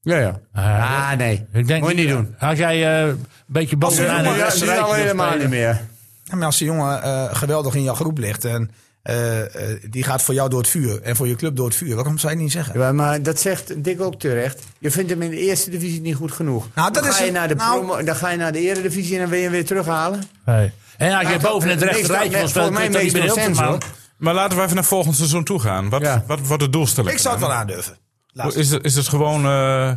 Speaker 1: Ja, ja.
Speaker 2: Ah,
Speaker 1: Ah, nee.
Speaker 2: Ik denk
Speaker 1: moet je niet
Speaker 2: ja.
Speaker 1: doen.
Speaker 2: Als jij eh, een beetje bovenaan
Speaker 1: Nu
Speaker 2: de rest
Speaker 1: nu
Speaker 2: rijdt,
Speaker 1: al
Speaker 2: wil
Speaker 1: helemaal
Speaker 2: spelen.
Speaker 1: niet meer.
Speaker 3: Ja, maar als die jongen eh, geweldig in jouw groep ligt en eh, eh, die gaat voor jou door het vuur en voor je club door het vuur, waarom zou je het niet zeggen?
Speaker 1: Ja, maar dat zegt Dick ook terecht. Je vindt hem in de eerste divisie niet goed genoeg.
Speaker 3: Nou, dat
Speaker 1: dan,
Speaker 3: is
Speaker 1: ga je
Speaker 3: een-
Speaker 1: naar de
Speaker 3: nou-
Speaker 1: promo, dan ga je naar de eredivisie en dan wil je hem weer terughalen.
Speaker 2: Nee. En als je
Speaker 1: dat-
Speaker 2: boven het
Speaker 1: dat
Speaker 2: rechte
Speaker 1: meestal-
Speaker 2: rijtje wil
Speaker 1: nee,
Speaker 2: spelen, kun je
Speaker 1: volgens
Speaker 2: toch
Speaker 1: mij
Speaker 2: niet meer heel
Speaker 1: meestal sens,
Speaker 2: man.
Speaker 5: Maar laten we even naar volgend seizoen toe gaan. Wat,
Speaker 1: Ja.
Speaker 5: wat wordt de doelstelling?
Speaker 3: Ik zou het wel aandurven.
Speaker 5: Hoe-
Speaker 3: Laatste.
Speaker 5: Is het, is het gewoon... eh,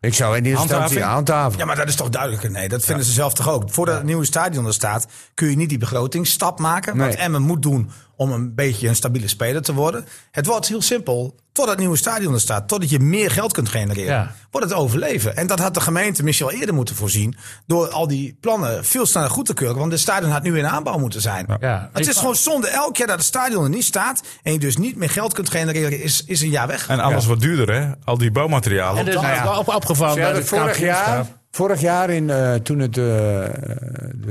Speaker 1: Ik zou in die instantie
Speaker 5: Handhaving?
Speaker 1: handhaven.
Speaker 3: Ja, maar dat is toch duidelijker? Nee, dat vinden ze zelf toch ook. Voordat het nieuwe stadion er staat, kun je niet die begrotingsstap maken. Wat
Speaker 1: Nee.
Speaker 3: Emmen moet doen om een beetje een stabiele speler te worden. Het wordt heel simpel. Totdat het nieuwe stadion er staat, totdat je meer geld kunt genereren,
Speaker 2: Ja.
Speaker 3: wordt het overleven. En dat had de gemeente misschien al eerder moeten voorzien. Door al die plannen veel sneller goed te keuren. Want het stadion had nu in aanbouw moeten zijn.
Speaker 2: Ja.
Speaker 3: Het is gewoon zonde. Elk jaar dat het stadion er niet staat en je dus niet meer geld kunt genereren, is, is een jaar weg.
Speaker 5: En alles wat duurder, hè? Al die bouwmaterialen.
Speaker 2: En dat is
Speaker 1: Nou ja.
Speaker 2: wel op, opgevallen
Speaker 1: Ze
Speaker 2: bij
Speaker 1: hadden
Speaker 2: het
Speaker 1: vorig jaar,
Speaker 2: kampioenschap.
Speaker 1: vorig jaar in, eh, toen het eh,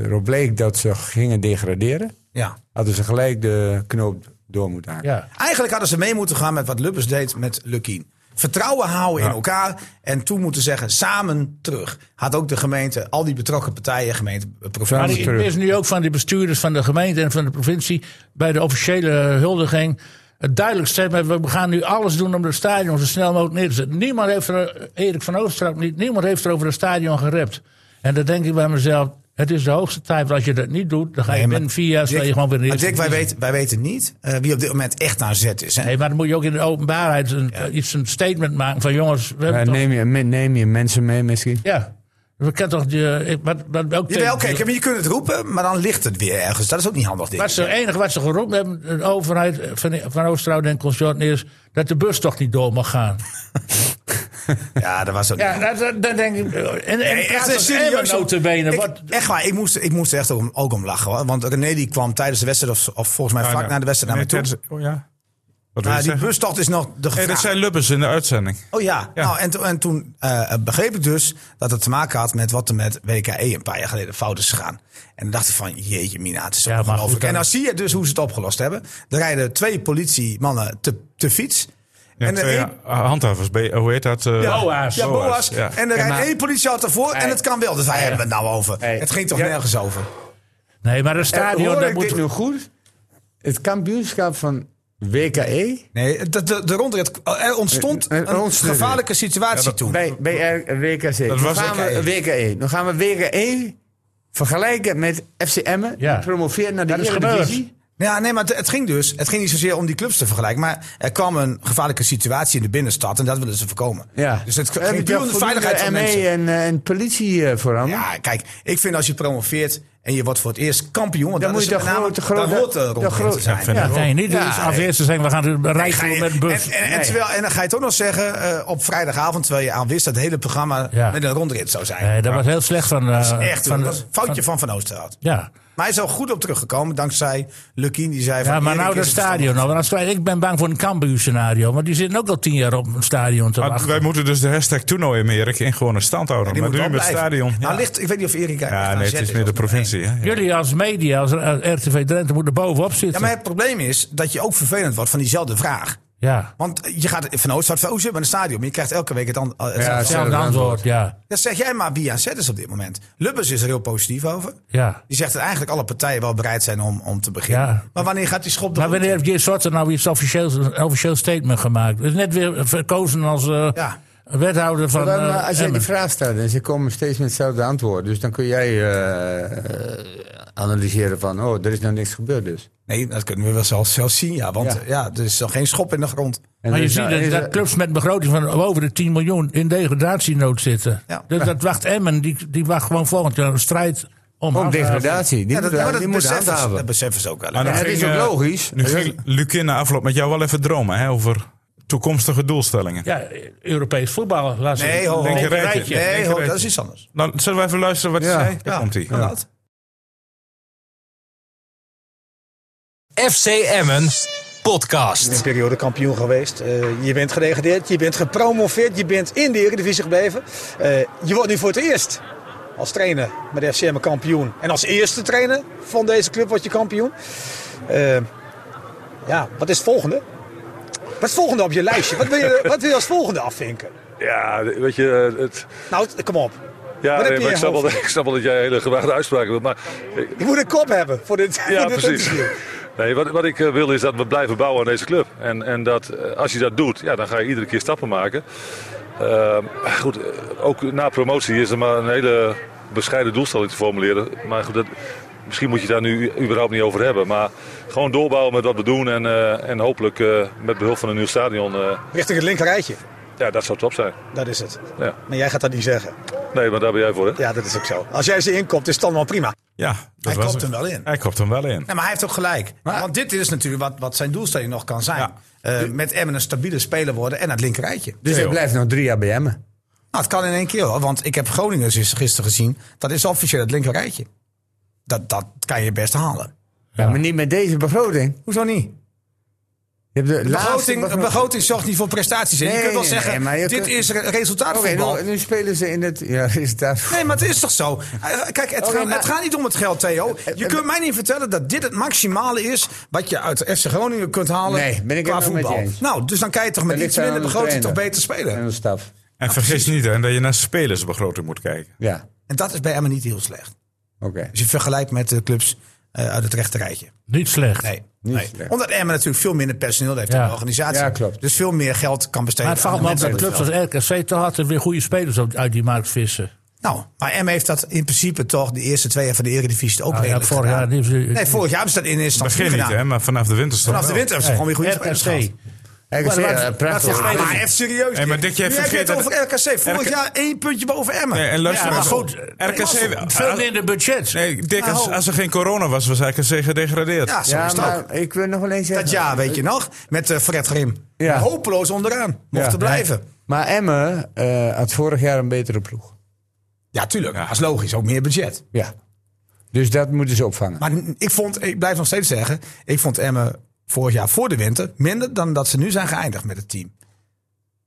Speaker 1: erop bleek dat ze gingen degraderen,
Speaker 3: Ja.
Speaker 1: hadden ze gelijk de knoop door moeten haken.
Speaker 2: Ja.
Speaker 3: Eigenlijk hadden ze mee moeten gaan met wat Lubbers deed met Lukien. vertrouwen houden in elkaar. En toen moeten zeggen, samen terug. Had ook de gemeente, al die betrokken partijen, gemeente, eh,
Speaker 2: Maar
Speaker 3: provincie.
Speaker 2: ik mis nu ook van de bestuurders van de gemeente en van de provincie bij de officiële huldiging het duidelijk stemmen. We gaan nu alles doen om het stadion zo snel mogelijk neer te zetten. Niemand heeft er, Erik van Oosterhout niet, niemand heeft er over het stadion gerept. En dan denk ik bij mezelf, het is de hoogste tijd. want Als je dat niet doet, dan ga je
Speaker 3: Nee, maar
Speaker 2: binnen vier jaar sta je
Speaker 3: Dick,
Speaker 2: gewoon weer neer.
Speaker 3: maar Dick, wij, weten, wij weten niet eh, wie op dit moment echt naar zet is. Hè?
Speaker 2: Nee, maar dan moet je ook in de openbaarheid een, eh, iets een statement maken van jongens, we hebben
Speaker 1: Ja,
Speaker 2: toch-
Speaker 1: neem, je, me- neem je mensen mee misschien?
Speaker 2: ja, we kennen toch die, eh, ik- wat, wat, ook
Speaker 3: Jawel,
Speaker 2: tegen-
Speaker 3: kijk, maar je kunt het roepen, maar dan ligt het weer ergens. Dat is ook niet handig, Dick.
Speaker 2: Wat ze, het enige wat ze geroepen hebben, de overheid van, van Oosterhout en consorten, is dat de bus toch niet door mag gaan.
Speaker 3: Ja, dat was ook
Speaker 2: Ja, dat, dat- dat denk ik. En, en
Speaker 3: Nee,
Speaker 2: praat
Speaker 3: een
Speaker 2: als
Speaker 3: serieus-
Speaker 2: Emmen notabene.
Speaker 3: Ik-
Speaker 2: Wat-
Speaker 3: Echt waar, ik moest, ik moest er echt ook om, ook om lachen. Hoor. Want René die kwam tijdens de wedstrijd, of, of volgens mij vlak na de wedstrijd, naar me toe.
Speaker 5: Ted- Oh ja. Wat wil
Speaker 3: Maar
Speaker 5: je
Speaker 3: die
Speaker 5: zeggen?
Speaker 3: bustocht is nog de
Speaker 5: Hey,
Speaker 3: gevraagd.
Speaker 5: dat zijn Lubbers in de uitzending.
Speaker 3: Oh ja,
Speaker 5: Ja.
Speaker 3: Nou, en, to- en toen eh, begreep ik dus dat het te maken had met wat er met WKE een paar jaar geleden fout is gegaan. En dan dacht ik van, jeetje mina, het is
Speaker 2: maar goed,
Speaker 3: ongelooflijk.
Speaker 2: dan-
Speaker 3: En dan zie je dus hoe ze het opgelost hebben. Er rijden twee politiemannen te, te fiets.
Speaker 5: eh, Ja,
Speaker 3: en de
Speaker 5: twee
Speaker 3: een-
Speaker 5: ha- handhavers, bij- hoe heet dat? eh,
Speaker 2: Ja, BOA's.
Speaker 3: Ja, Boas.
Speaker 5: ja.
Speaker 3: En er rijdt
Speaker 1: maar-
Speaker 3: één politieauto voor en
Speaker 1: Hey.
Speaker 3: het kan wel. Dus waar hebben we het nou over?
Speaker 1: Hey.
Speaker 3: Het ging toch
Speaker 1: Ja.
Speaker 3: nergens over?
Speaker 2: nee, maar een
Speaker 1: Stadion,
Speaker 2: stadion,
Speaker 1: Eh, Hoor
Speaker 2: dat
Speaker 1: ik dit
Speaker 2: moet.
Speaker 1: nu goed? Het kampioenschap van E? WKE
Speaker 3: Nee, de, de, de rondrit, er ontstond
Speaker 1: Eh, eh,
Speaker 3: een
Speaker 1: ontstond-
Speaker 3: gevaarlijke situatie toen.
Speaker 1: bij, bij R- WKC.
Speaker 5: Dat
Speaker 1: Dan
Speaker 5: was
Speaker 1: gaan we
Speaker 2: E.
Speaker 1: WKE. Dan gaan we WKE vergelijken met FC Emmen.
Speaker 2: Ja.
Speaker 1: Die promoveert naar de
Speaker 2: Dat is
Speaker 1: Eredivisie.
Speaker 3: Ja, nee, maar het, het ging dus. Het ging niet zozeer om die clubs te vergelijken. Maar er kwam een gevaarlijke situatie in de binnenstad. En dat willen ze voorkomen.
Speaker 1: Ja.
Speaker 3: Dus het
Speaker 1: Dan heb
Speaker 3: ging
Speaker 1: je
Speaker 3: puur om
Speaker 1: toch
Speaker 3: de veiligheid van
Speaker 1: voldoende
Speaker 3: mensen.
Speaker 1: ME en, eh, en politie eh, vooraan.
Speaker 3: Ja, kijk, ik vind als je promoveert en je wordt voor het eerst kampioen. Want
Speaker 1: Dan
Speaker 3: dat
Speaker 1: moet
Speaker 3: is
Speaker 1: je
Speaker 3: met
Speaker 1: de
Speaker 3: name,
Speaker 1: grote- grote-
Speaker 3: dan hoort er
Speaker 1: de
Speaker 3: rondrit
Speaker 1: grote-
Speaker 3: te zijn.
Speaker 5: Ja, vind
Speaker 2: Ja, nee, niet
Speaker 1: Ja,
Speaker 2: dus
Speaker 1: nee.
Speaker 2: afweer te zeggen, we gaan het bereik
Speaker 3: Ga
Speaker 2: doen
Speaker 3: je-
Speaker 2: met een bus.
Speaker 3: En, en, en terwijl, en dan ga je het ook nog zeggen eh, op vrijdagavond, terwijl je aan wist dat het hele programma
Speaker 2: Ja.
Speaker 3: met een rondrit zou zijn.
Speaker 2: nee, dat was heel slecht van. eh,
Speaker 3: Echt,
Speaker 2: van
Speaker 3: dat was een foutje van Van Oosterhout.
Speaker 2: ja.
Speaker 3: Maar hij is al goed op teruggekomen dankzij Lukien. Die zei van,
Speaker 2: ja, maar
Speaker 3: Erik
Speaker 2: nou
Speaker 3: is
Speaker 2: dat
Speaker 3: het
Speaker 2: stadion. Nou, want als wij- ik ben bang voor een Cambuur-scenario. Want die zitten ook al tien jaar op een stadion te
Speaker 5: Maar
Speaker 2: wachten.
Speaker 5: wij moeten dus de hashtag toernooi in Erik in gewone stand houden.
Speaker 3: Die
Speaker 5: maar
Speaker 3: moet
Speaker 5: nu
Speaker 3: wel
Speaker 5: met het
Speaker 3: blijven.
Speaker 5: stadion.
Speaker 3: Nou,
Speaker 5: ja,
Speaker 3: ligt, ik weet niet of Erik daar echt
Speaker 5: ja
Speaker 3: aan
Speaker 5: nee, het
Speaker 3: zet
Speaker 5: is meer de
Speaker 3: of niet.
Speaker 5: provincie. hè. Ja.
Speaker 2: Jullie als media, als eh, RTV Drenthe, moeten bovenop
Speaker 3: Ja,
Speaker 2: zitten.
Speaker 3: maar het probleem is dat je ook vervelend wordt van diezelfde vraag.
Speaker 2: Ja,
Speaker 3: Want je gaat van Oostvaart van Oostvaart naar het stadion. Maar je krijgt elke week het antwoord.
Speaker 1: Ja,
Speaker 2: hetzelfde
Speaker 1: hetzelfde
Speaker 2: antwoord. Ja,
Speaker 3: dat zeg jij maar wie aan zet is op dit moment. Lubbers is er heel positief over.
Speaker 2: ja.
Speaker 3: Die zegt dat eigenlijk alle partijen wel bereid zijn om, om te beginnen.
Speaker 2: Ja.
Speaker 3: Maar wanneer gaat die schop de
Speaker 2: Maar
Speaker 3: grond
Speaker 2: wanneer heeft Jay Sotter nou iets officieels, een officieel statement gemaakt? Hij is net weer verkozen als eh,
Speaker 3: Ja.
Speaker 2: wethouder van.
Speaker 1: Maar dan,
Speaker 2: eh,
Speaker 1: eh, als jij die
Speaker 2: Emmen.
Speaker 1: vraag stelt en ze komen steeds met hetzelfde antwoord. Dus dan kun jij eh, eh, analyseren van, oh, er is nou niks gebeurd dus.
Speaker 3: in? Nee, dat kunnen we wel zelfs, zelfs zien. Ja, want
Speaker 1: Ja.
Speaker 3: ja. er is nog geen schop in de grond.
Speaker 1: En
Speaker 2: maar je
Speaker 1: dus,
Speaker 2: ziet
Speaker 1: nou,
Speaker 2: dat,
Speaker 1: is
Speaker 2: dat
Speaker 1: er-
Speaker 2: clubs met begroting van over de 10 miljoen in degradatienood zitten.
Speaker 3: Ja.
Speaker 2: Dus dat wacht Emmen, die, die wacht gewoon volgend jaar een strijd om.
Speaker 1: Om
Speaker 2: handhaven.
Speaker 1: degradatie. Die
Speaker 3: Ja, dat,
Speaker 1: moet,
Speaker 3: maar
Speaker 1: die
Speaker 3: dat,
Speaker 1: moet
Speaker 3: beseffen ze,
Speaker 1: handhaven.
Speaker 3: dat beseffen ze ook wel.
Speaker 5: Maar dan
Speaker 1: Ja, dat
Speaker 5: ging,
Speaker 1: is ook
Speaker 5: eh,
Speaker 1: logisch.
Speaker 5: Nu ging Lucin na afloop met jou wel even dromen hè, over toekomstige doelstellingen.
Speaker 2: Ja, Europees voetbal. Laat ze-
Speaker 3: Nee, ho, ho.
Speaker 5: Linker rijtje.
Speaker 3: Nee,
Speaker 5: Linker
Speaker 3: hoor, dat
Speaker 5: rijtje.
Speaker 3: is iets anders.
Speaker 5: Nou, zullen we even luisteren wat hij
Speaker 1: Ja.
Speaker 5: zei? Daar komt hij.
Speaker 3: kan dat?
Speaker 4: FC Emmen podcast.
Speaker 9: een periode kampioen geweest. Eh, je bent gedegradeerd, je bent gepromoveerd, je bent in de Eredivisie gebleven. Eh, je wordt nu voor het eerst als trainer met de FCM kampioen. En als eerste trainer van deze club word je kampioen. Eh, ja, wat is het volgende? Wat is het volgende op je lijstje? Wat wil je, wat wil je als volgende afvinken?
Speaker 7: Ja, weet je, eh, het,
Speaker 9: Nou, t- kom op.
Speaker 7: ja,
Speaker 9: heb
Speaker 7: nee,
Speaker 9: je in
Speaker 7: maar
Speaker 9: je
Speaker 7: ik, snap wel,
Speaker 9: hoofd?
Speaker 7: ik snap wel dat jij hele gewaagde uitspraken wilt. Maar eh,
Speaker 9: Je moet een kop hebben voor dit,
Speaker 7: ja,
Speaker 9: voor dit
Speaker 7: precies.
Speaker 9: interview.
Speaker 7: Nee, wat, wat ik eh, wil is dat we blijven bouwen aan deze club. En, en dat eh, als je dat doet, ja, dan ga je iedere keer stappen maken. Ehm, goed, eh, ook na promotie is er maar een hele bescheiden doelstelling te formuleren. Maar goed, dat, misschien moet je daar nu überhaupt niet over hebben. Maar gewoon doorbouwen met wat we doen. En, eh, en hopelijk eh, met behulp van een nieuw stadion, eh,
Speaker 9: Richting het linkerrijtje.
Speaker 7: ja, dat zou top zijn.
Speaker 9: Dat is het.
Speaker 7: Ja.
Speaker 9: Maar jij gaat dat niet zeggen.
Speaker 7: Nee, maar daar ben jij voor, hè?
Speaker 9: Ja, dat is ook zo. Als jij ze inkomt, is het allemaal prima.
Speaker 5: Ja, dat
Speaker 3: Hij
Speaker 5: was
Speaker 3: kopt
Speaker 5: het.
Speaker 3: hem wel in.
Speaker 5: Hij kopt hem wel in.
Speaker 3: Nee, maar hij heeft ook gelijk. Want dit is natuurlijk wat, wat zijn doelstelling nog kan zijn.
Speaker 5: Ja.
Speaker 3: Eh, met Emmen een stabiele speler worden en het linkerrijtje.
Speaker 1: dus hij blijft nog drie jaar bij Emmen.
Speaker 3: Nou, het kan in één keer hoor. Want ik heb Groningen gis- gisteren gezien. Dat is officieel het linkerrijtje. Dat, dat kan je best halen.
Speaker 1: Ja, maar niet met deze begroting.
Speaker 3: Hoezo niet?
Speaker 1: Je hebt de laatste
Speaker 3: Begroting, een
Speaker 1: begroting-
Speaker 3: begroting zorgt niet voor prestaties. En je
Speaker 1: Nee,
Speaker 3: kunt wel
Speaker 1: nee,
Speaker 3: zeggen,
Speaker 1: nee, maar je
Speaker 3: dit
Speaker 1: kunt-
Speaker 3: is re-
Speaker 1: Oké,
Speaker 3: resultaatvoetbal.
Speaker 1: nu, nu spelen ze in het... Ja, is het daar...
Speaker 3: Nee, maar het is toch zo? Eh, Kijk, het,
Speaker 1: Oké,
Speaker 3: gaat,
Speaker 1: maar-
Speaker 3: het gaat niet om het geld, Theo. Je
Speaker 1: eh,
Speaker 3: kunt mij niet vertellen dat dit het maximale is... wat je uit FC Groningen kunt halen
Speaker 1: Nee, ben ik
Speaker 3: qua
Speaker 1: het helemaal met
Speaker 3: voetbal.
Speaker 1: je eens.
Speaker 3: Nou, dus dan kan je toch
Speaker 1: Dat
Speaker 3: met
Speaker 1: ligt
Speaker 3: iets
Speaker 1: aan
Speaker 3: minder
Speaker 1: de
Speaker 3: begroting toch
Speaker 1: trainer.
Speaker 3: beter spelen.
Speaker 1: En de staf.
Speaker 5: En vergis niet hè, dat je naar spelersbegroting moet kijken.
Speaker 1: Ja,
Speaker 3: En dat is bij Emmen niet heel slecht.
Speaker 1: oké.
Speaker 3: Als je vergelijkt met de clubs eh, uit het rechterrijtje.
Speaker 2: Niet slecht.
Speaker 3: Nee.
Speaker 1: Niet
Speaker 3: nee.
Speaker 1: slecht.
Speaker 3: Omdat Emmen natuurlijk veel minder personeel heeft
Speaker 2: Ja.
Speaker 3: dan de organisatie.
Speaker 1: Ja, klopt.
Speaker 3: Dus veel meer geld kan besteden.
Speaker 2: Maar het valt
Speaker 3: aan
Speaker 2: me
Speaker 3: de
Speaker 2: op dat
Speaker 3: mensen op
Speaker 2: clubs
Speaker 3: het
Speaker 2: als RKC toch altijd weer goede spelers op- uit die markt vissen.
Speaker 3: veld. Nou, maar Emmen heeft dat in principe toch de eerste twee jaar van de Eredivisie ook
Speaker 2: Nou, ja,
Speaker 3: redelijk
Speaker 2: vorig jaar
Speaker 3: gedaan.
Speaker 2: die hebben ze-
Speaker 3: Nee, vorig jaar hebben ze dat in eerste instantie
Speaker 5: Begin
Speaker 3: niet
Speaker 5: niet,
Speaker 3: gedaan.
Speaker 5: hè, maar vanaf de winterstop.
Speaker 3: Vanaf de winter hebben ze gewoon weer goede spelers gehad.
Speaker 2: RKC.
Speaker 1: Hey, ik
Speaker 2: Maar
Speaker 1: zie,
Speaker 2: wat-
Speaker 1: eh,
Speaker 2: wat
Speaker 1: prachtig.
Speaker 2: voor spelers-
Speaker 3: Maar even serieus.
Speaker 5: Hey, maar
Speaker 3: Dick.
Speaker 5: Dick, jij
Speaker 3: Nu heb je het
Speaker 5: vergeet
Speaker 3: over RKC. Vorig
Speaker 5: RK
Speaker 3: jaar één puntje boven Emmen.
Speaker 5: Nee, en luister
Speaker 2: Ja, maar
Speaker 5: maar
Speaker 2: goed.
Speaker 5: RKC.
Speaker 2: Veel minder budget.
Speaker 5: Nee, Dick, als,
Speaker 3: Nou.
Speaker 5: als er geen corona was, was RKC gedegradeerd.
Speaker 3: ja, zo is
Speaker 1: Ja,
Speaker 3: het ook.
Speaker 1: maar ik wil nog wel eens zeggen...
Speaker 3: Dat jaar, weet je nog, met eh, Fred Grim.
Speaker 1: Ja.
Speaker 3: Hopeloos onderaan. Mocht
Speaker 1: Ja.
Speaker 3: er blijven.
Speaker 1: Maar Emmen eh, had vorig jaar een betere ploeg.
Speaker 3: Ja, tuurlijk. Dat is logisch. Ook meer budget.
Speaker 1: Ja. Dus dat moeten ze opvangen.
Speaker 3: Maar n- ik vond, ik blijf nog steeds zeggen, ik vond Emmen vorig jaar voor de winter minder dan dat ze nu zijn geëindigd met het team.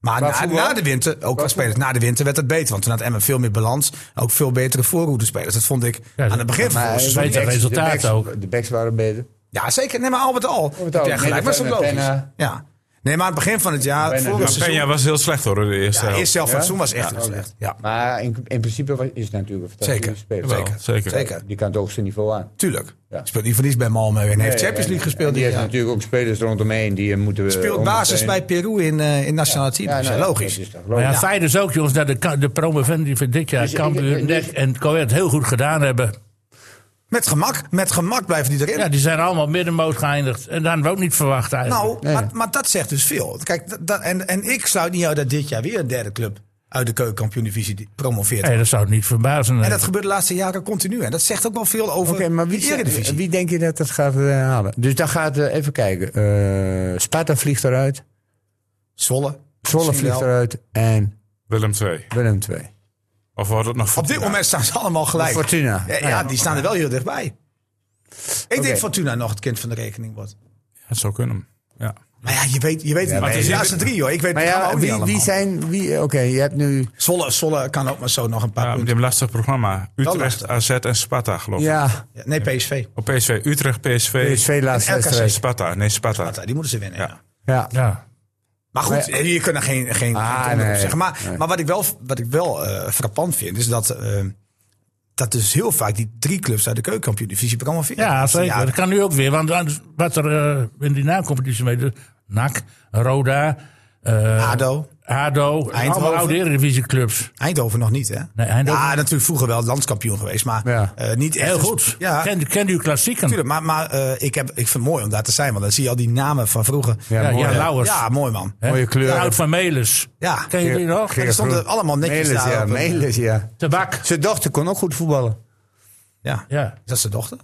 Speaker 3: Maar
Speaker 1: Qua
Speaker 3: na,
Speaker 1: voetbal?
Speaker 3: na de winter, ook qua spelers, na de winter werd het beter. Want toen had Emmen veel meer balans. Ook veel betere voorroutespelers. Dat vond ik
Speaker 2: Ja,
Speaker 3: aan het begin van
Speaker 1: Maar
Speaker 3: het seizoen.
Speaker 2: betere
Speaker 1: de backs-
Speaker 2: resultaten
Speaker 1: de backs-
Speaker 2: ook.
Speaker 1: De backs waren beter.
Speaker 3: Ja, zeker. Nee, maar Albert al.
Speaker 1: het
Speaker 3: Heb
Speaker 1: al.
Speaker 3: jij gelijk. Maar dat is ook
Speaker 1: Middenveld
Speaker 3: logisch.
Speaker 1: met
Speaker 3: Ja. Nee, maar aan het begin van het jaar,
Speaker 1: Penna
Speaker 3: vorig
Speaker 1: doet-
Speaker 3: seizoen,
Speaker 5: Penja was heel slecht hoor, de eerste
Speaker 3: ja,
Speaker 5: helft.
Speaker 3: eerst zelf van het
Speaker 1: Oh, Ja?
Speaker 3: seizoen was echt heel slecht. Ja,
Speaker 1: Maar in, in principe was- is het natuurlijk een fantastische
Speaker 3: Zeker.
Speaker 1: speler.
Speaker 5: Jawel,
Speaker 3: zeker.
Speaker 5: zeker.
Speaker 3: Zeker.
Speaker 1: Die kan het hoogste niveau aan.
Speaker 3: Tuurlijk.
Speaker 1: Ja.
Speaker 3: Speelt niet voor niets bij Malmö en heeft
Speaker 1: Ja,
Speaker 3: Champions
Speaker 1: en-
Speaker 3: League
Speaker 1: en
Speaker 3: gespeeld.
Speaker 1: Die
Speaker 3: dit
Speaker 1: heeft
Speaker 3: jaar.
Speaker 1: natuurlijk ook spelers rondomheen die hem moeten... eh,
Speaker 3: Speelt basis bij
Speaker 1: ondersteunen.
Speaker 3: Peru in, eh in nationale team.
Speaker 1: Ja,
Speaker 3: Dat is
Speaker 1: nou,
Speaker 3: ja, eh,
Speaker 1: dat is
Speaker 3: logisch.
Speaker 1: toch
Speaker 2: Maar ja,
Speaker 1: logisch.
Speaker 2: feit is ook, jongens, dat de, ka- de promovendi van dit jaar,
Speaker 1: Dus ik-
Speaker 2: Cambuur,
Speaker 1: ik-
Speaker 2: NEC en Coët heel goed gedaan hebben.
Speaker 3: Met gemak, met gemak blijven die erin.
Speaker 2: Ja, die zijn allemaal middenmoot geëindigd. En daar hadden we ook niet verwacht eigenlijk.
Speaker 3: nou, maar, maar dat zegt dus veel. Kijk, dat, dat- en, en ik sluit niet uit dat dit jaar weer een derde club uit de keukenkampioen-divisie die promoveert.
Speaker 2: nee, dat zou het niet verbazen.
Speaker 3: En
Speaker 2: nee.
Speaker 3: dat gebeurt de laatste jaren continu. En dat zegt ook wel veel over
Speaker 1: Oké, maar
Speaker 3: de
Speaker 1: wie,
Speaker 3: Eredivisie.
Speaker 1: eh, wie denk je dat dat gaat eh, halen? Dus dan gaat, eh, even kijken, Eh, Sparta vliegt eruit,
Speaker 3: Zwolle.
Speaker 1: Zwolle
Speaker 3: Misschien
Speaker 1: vliegt
Speaker 3: wel.
Speaker 1: eruit en
Speaker 5: Willem 2.
Speaker 1: Willem 2.
Speaker 5: Of wordt het nog
Speaker 3: Op dit
Speaker 5: Fortuna?
Speaker 3: moment staan ze allemaal gelijk.
Speaker 1: Fortuna.
Speaker 3: Ja, ja, die staan er wel heel dichtbij. Ik denk
Speaker 1: Oké.
Speaker 3: Fortuna nog het kind van de rekening wordt.
Speaker 5: Het zou kunnen. Ja.
Speaker 3: Maar ja, je weet, je weet het niet.
Speaker 5: maar
Speaker 3: De
Speaker 5: je-
Speaker 3: laatste drie, hoor. Ik weet
Speaker 1: Maar
Speaker 3: het
Speaker 1: ja,
Speaker 3: allemaal niet
Speaker 1: wie,
Speaker 3: allemaal.
Speaker 1: wie zijn... Wie, Oké, je hebt nu...
Speaker 3: Zwolle, Zwolle kan ook maar zo nog een paar
Speaker 5: Ja, met
Speaker 3: punten.
Speaker 5: een lastig programma. Utrecht,
Speaker 3: lastig.
Speaker 5: AZ en Sparta, geloof ik.
Speaker 1: Ja,
Speaker 3: Ja, Nee, PSV.
Speaker 5: Op PSV, Utrecht, PSV.
Speaker 1: PSV laatste
Speaker 3: En RKC.
Speaker 1: wedstrijd.
Speaker 5: Sparta, nee, Sparta.
Speaker 3: Die moeten ze winnen, ja.
Speaker 1: Ja.
Speaker 2: ja.
Speaker 3: Maar goed,
Speaker 1: Maar-
Speaker 3: je kunt er geen, geen
Speaker 1: Ah,
Speaker 3: geen donder op
Speaker 1: nee,
Speaker 3: zeggen. Maar,
Speaker 1: nee.
Speaker 3: maar wat ik wel, wat ik wel eh, frappant vind, is dat, eh, dat dus heel vaak die drie clubs uit de keukenkampioen-divisie promoveren.
Speaker 2: Ja, zeker.
Speaker 3: Ja,
Speaker 2: Dat kan nu ook weer. Want anders- wat er eh, in die naamcompetitie mee doet. NAC, Roda, eh,
Speaker 3: ADO,
Speaker 2: ADO. Allemaal
Speaker 3: Eindhoven.
Speaker 2: oude Eredivisieclubs.
Speaker 3: Eindhoven nog niet, hè?
Speaker 2: Nee, Eindhoven-
Speaker 3: Ja, natuurlijk vroeger wel landskampioen geweest, maar
Speaker 1: Ja.
Speaker 3: eh, niet echt.
Speaker 2: Heel
Speaker 3: als-
Speaker 2: goed.
Speaker 3: Ja,
Speaker 2: Ken, kent u klassieken?
Speaker 3: natuurlijk. Maar, maar eh, ik, heb, ik vind het mooi om daar te zijn, want dan zie je al die namen van vroeger.
Speaker 2: Ja,
Speaker 1: mooi,
Speaker 2: ja,
Speaker 1: hè.
Speaker 2: Lauwers.
Speaker 3: Ja, mooi man.
Speaker 2: Hè?
Speaker 1: mooie kleuren.
Speaker 2: Oud van Melis.
Speaker 3: Ja.
Speaker 2: Ken je die nog?
Speaker 1: Geert
Speaker 3: Er stonden
Speaker 1: Groen.
Speaker 3: allemaal netjes
Speaker 1: Melis,
Speaker 3: daar
Speaker 1: ja,
Speaker 3: op een-
Speaker 1: Melis, ja.
Speaker 2: Tabak.
Speaker 1: Zijn dochter kon ook goed voetballen.
Speaker 3: Ja.
Speaker 2: Ja.
Speaker 3: Is dat zijn dochter?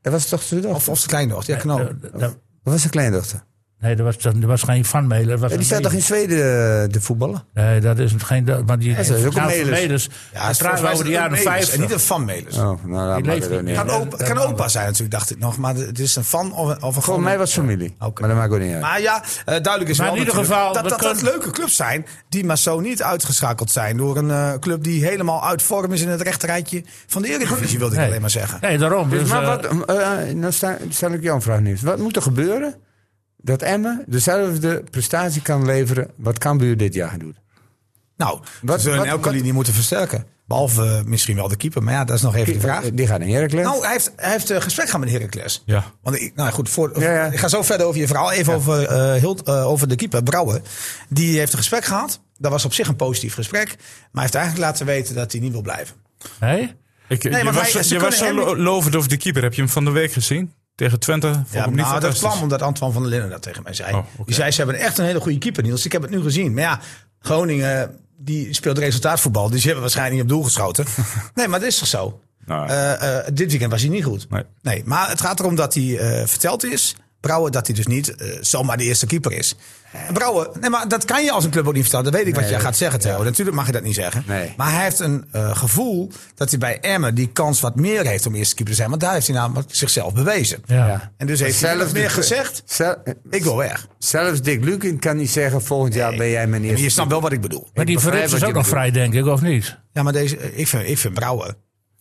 Speaker 1: Dat was toch zijn dochter?
Speaker 3: Of, of zijn kleindochter? Ja, knal.
Speaker 2: Eh, dat-
Speaker 1: Dat was zijn kleindochter.
Speaker 2: Nee, dat was, dat was geen Van Melen. dat was
Speaker 1: Ja, die
Speaker 2: een
Speaker 1: staat toch in
Speaker 2: Melis.
Speaker 1: Zweden eh, te voetballen?
Speaker 2: Nee, dat is geen... dat- Want die
Speaker 1: dat is ook een
Speaker 2: Oud van
Speaker 1: Melis.
Speaker 2: Melis.
Speaker 3: Ja,
Speaker 2: Ja,
Speaker 3: is volgens
Speaker 2: praten
Speaker 3: mij
Speaker 2: we
Speaker 3: is
Speaker 2: over de
Speaker 3: het
Speaker 2: jaren
Speaker 3: een Melis en
Speaker 2: 50.
Speaker 3: niet een van Melis.
Speaker 1: Oh, nou, laat
Speaker 2: Die
Speaker 1: maar
Speaker 2: leeft
Speaker 1: dat
Speaker 2: niet.
Speaker 1: ook niet.
Speaker 3: Kan,
Speaker 1: uit.
Speaker 2: Ja,
Speaker 3: opa,
Speaker 2: dat-
Speaker 3: kan
Speaker 2: dat-
Speaker 3: opa zijn natuurlijk, dacht ik nog. Maar het is een fan of een, of een
Speaker 1: Volgens mij was het familie.
Speaker 3: Oké.
Speaker 1: Maar dat maakt ook niet uit.
Speaker 3: Maar ja, eh, duidelijk is
Speaker 2: Maar
Speaker 3: wel
Speaker 2: in ieder
Speaker 3: natuurlijk
Speaker 2: geval,
Speaker 3: dat
Speaker 2: we
Speaker 3: dat, dat
Speaker 2: kunnen-
Speaker 3: leuke clubs zijn... die maar zo niet uitgeschakeld zijn door een eh, club... die helemaal uit vorm is in het rechterrijtje van de Eredivisie, wilde ik alleen maar zeggen.
Speaker 2: Nee, daarom.
Speaker 1: Dus,
Speaker 2: Dus,
Speaker 1: maar
Speaker 2: eh,
Speaker 1: wat, eh, eh, nou sta- stel ik jou een vraag nu. Wat moet er gebeuren dat Emmen dezelfde prestatie kan leveren wat Cambuur dit jaar doet?
Speaker 3: Nou,
Speaker 1: Wat-
Speaker 3: ze zullen
Speaker 1: wat-
Speaker 3: elke
Speaker 1: wat-
Speaker 3: linie moeten versterken. Behalve eh, misschien wel de keeper, maar ja, dat is nog even de vraag.
Speaker 1: Die gaat naar Heracles.
Speaker 3: Nou, hij heeft, hij heeft eh, gesprek gehad met Heracles.
Speaker 5: Ja.
Speaker 3: Want ik, nou goed, voor,
Speaker 1: Ja, ja.
Speaker 3: ik ga zo verder over je verhaal. Even over, eh, Hild- eh, over de keeper, Brouwer. Die heeft een gesprek gehad. Dat was op zich een positief gesprek. Maar hij heeft eigenlijk laten weten dat hij niet wil blijven.
Speaker 2: nee?
Speaker 5: Ik, je
Speaker 3: want
Speaker 5: was,
Speaker 3: hij- ze
Speaker 5: je was zo
Speaker 3: kunnen hem
Speaker 5: lo- lovend over de keeper. Heb je hem van de week gezien? Tegen Twente? Vond ik
Speaker 3: Ja,
Speaker 5: hem niet
Speaker 3: nou, dat
Speaker 5: fantastisch.
Speaker 3: kwam omdat Antoine van der Linden dat tegen mij zei.
Speaker 5: Oh, oké.
Speaker 3: Die zei, ze hebben echt een hele goede keeper, Niels. Ik heb het nu gezien. Maar ja, Groningen die speelt resultaatvoetbal. Dus die hebben waarschijnlijk niet op doel geschoten. nee, maar dat is toch zo?
Speaker 5: Nou,
Speaker 3: Eh, eh, dit eh, weekend was hij niet goed.
Speaker 5: Nee.
Speaker 3: maar het gaat erom dat hij eh, verteld is Brouwer dat hij dus niet eh, zomaar de eerste keeper is. En Brouwer, nee, maar dat kan je als een club ook niet vertellen. Dat weet ik wat jij gaat zeggen, Theo. Natuurlijk mag je dat niet zeggen.
Speaker 1: Nee.
Speaker 3: Maar hij heeft een eh, gevoel dat hij bij Emmen die kans wat meer heeft om eerste keeper te zijn. Want daar heeft hij namelijk zichzelf bewezen.
Speaker 2: Ja.
Speaker 3: En dus heeft hij zelf meer gezegd,
Speaker 1: Zel-
Speaker 3: ik wil weg.
Speaker 1: zelfs Dick Lukin kan niet zeggen, volgend jaar ben jij mijn
Speaker 3: Je
Speaker 1: eerste.
Speaker 3: snapt wel wat ik bedoel.
Speaker 2: Maar die
Speaker 1: begrijp
Speaker 2: Verrips
Speaker 1: wat
Speaker 2: is
Speaker 1: je
Speaker 2: ook nog
Speaker 1: bedoelt.
Speaker 2: vrij, denk ik, of niet?
Speaker 3: Ja, maar deze, eh, ik, vind, ik vind Brouwer.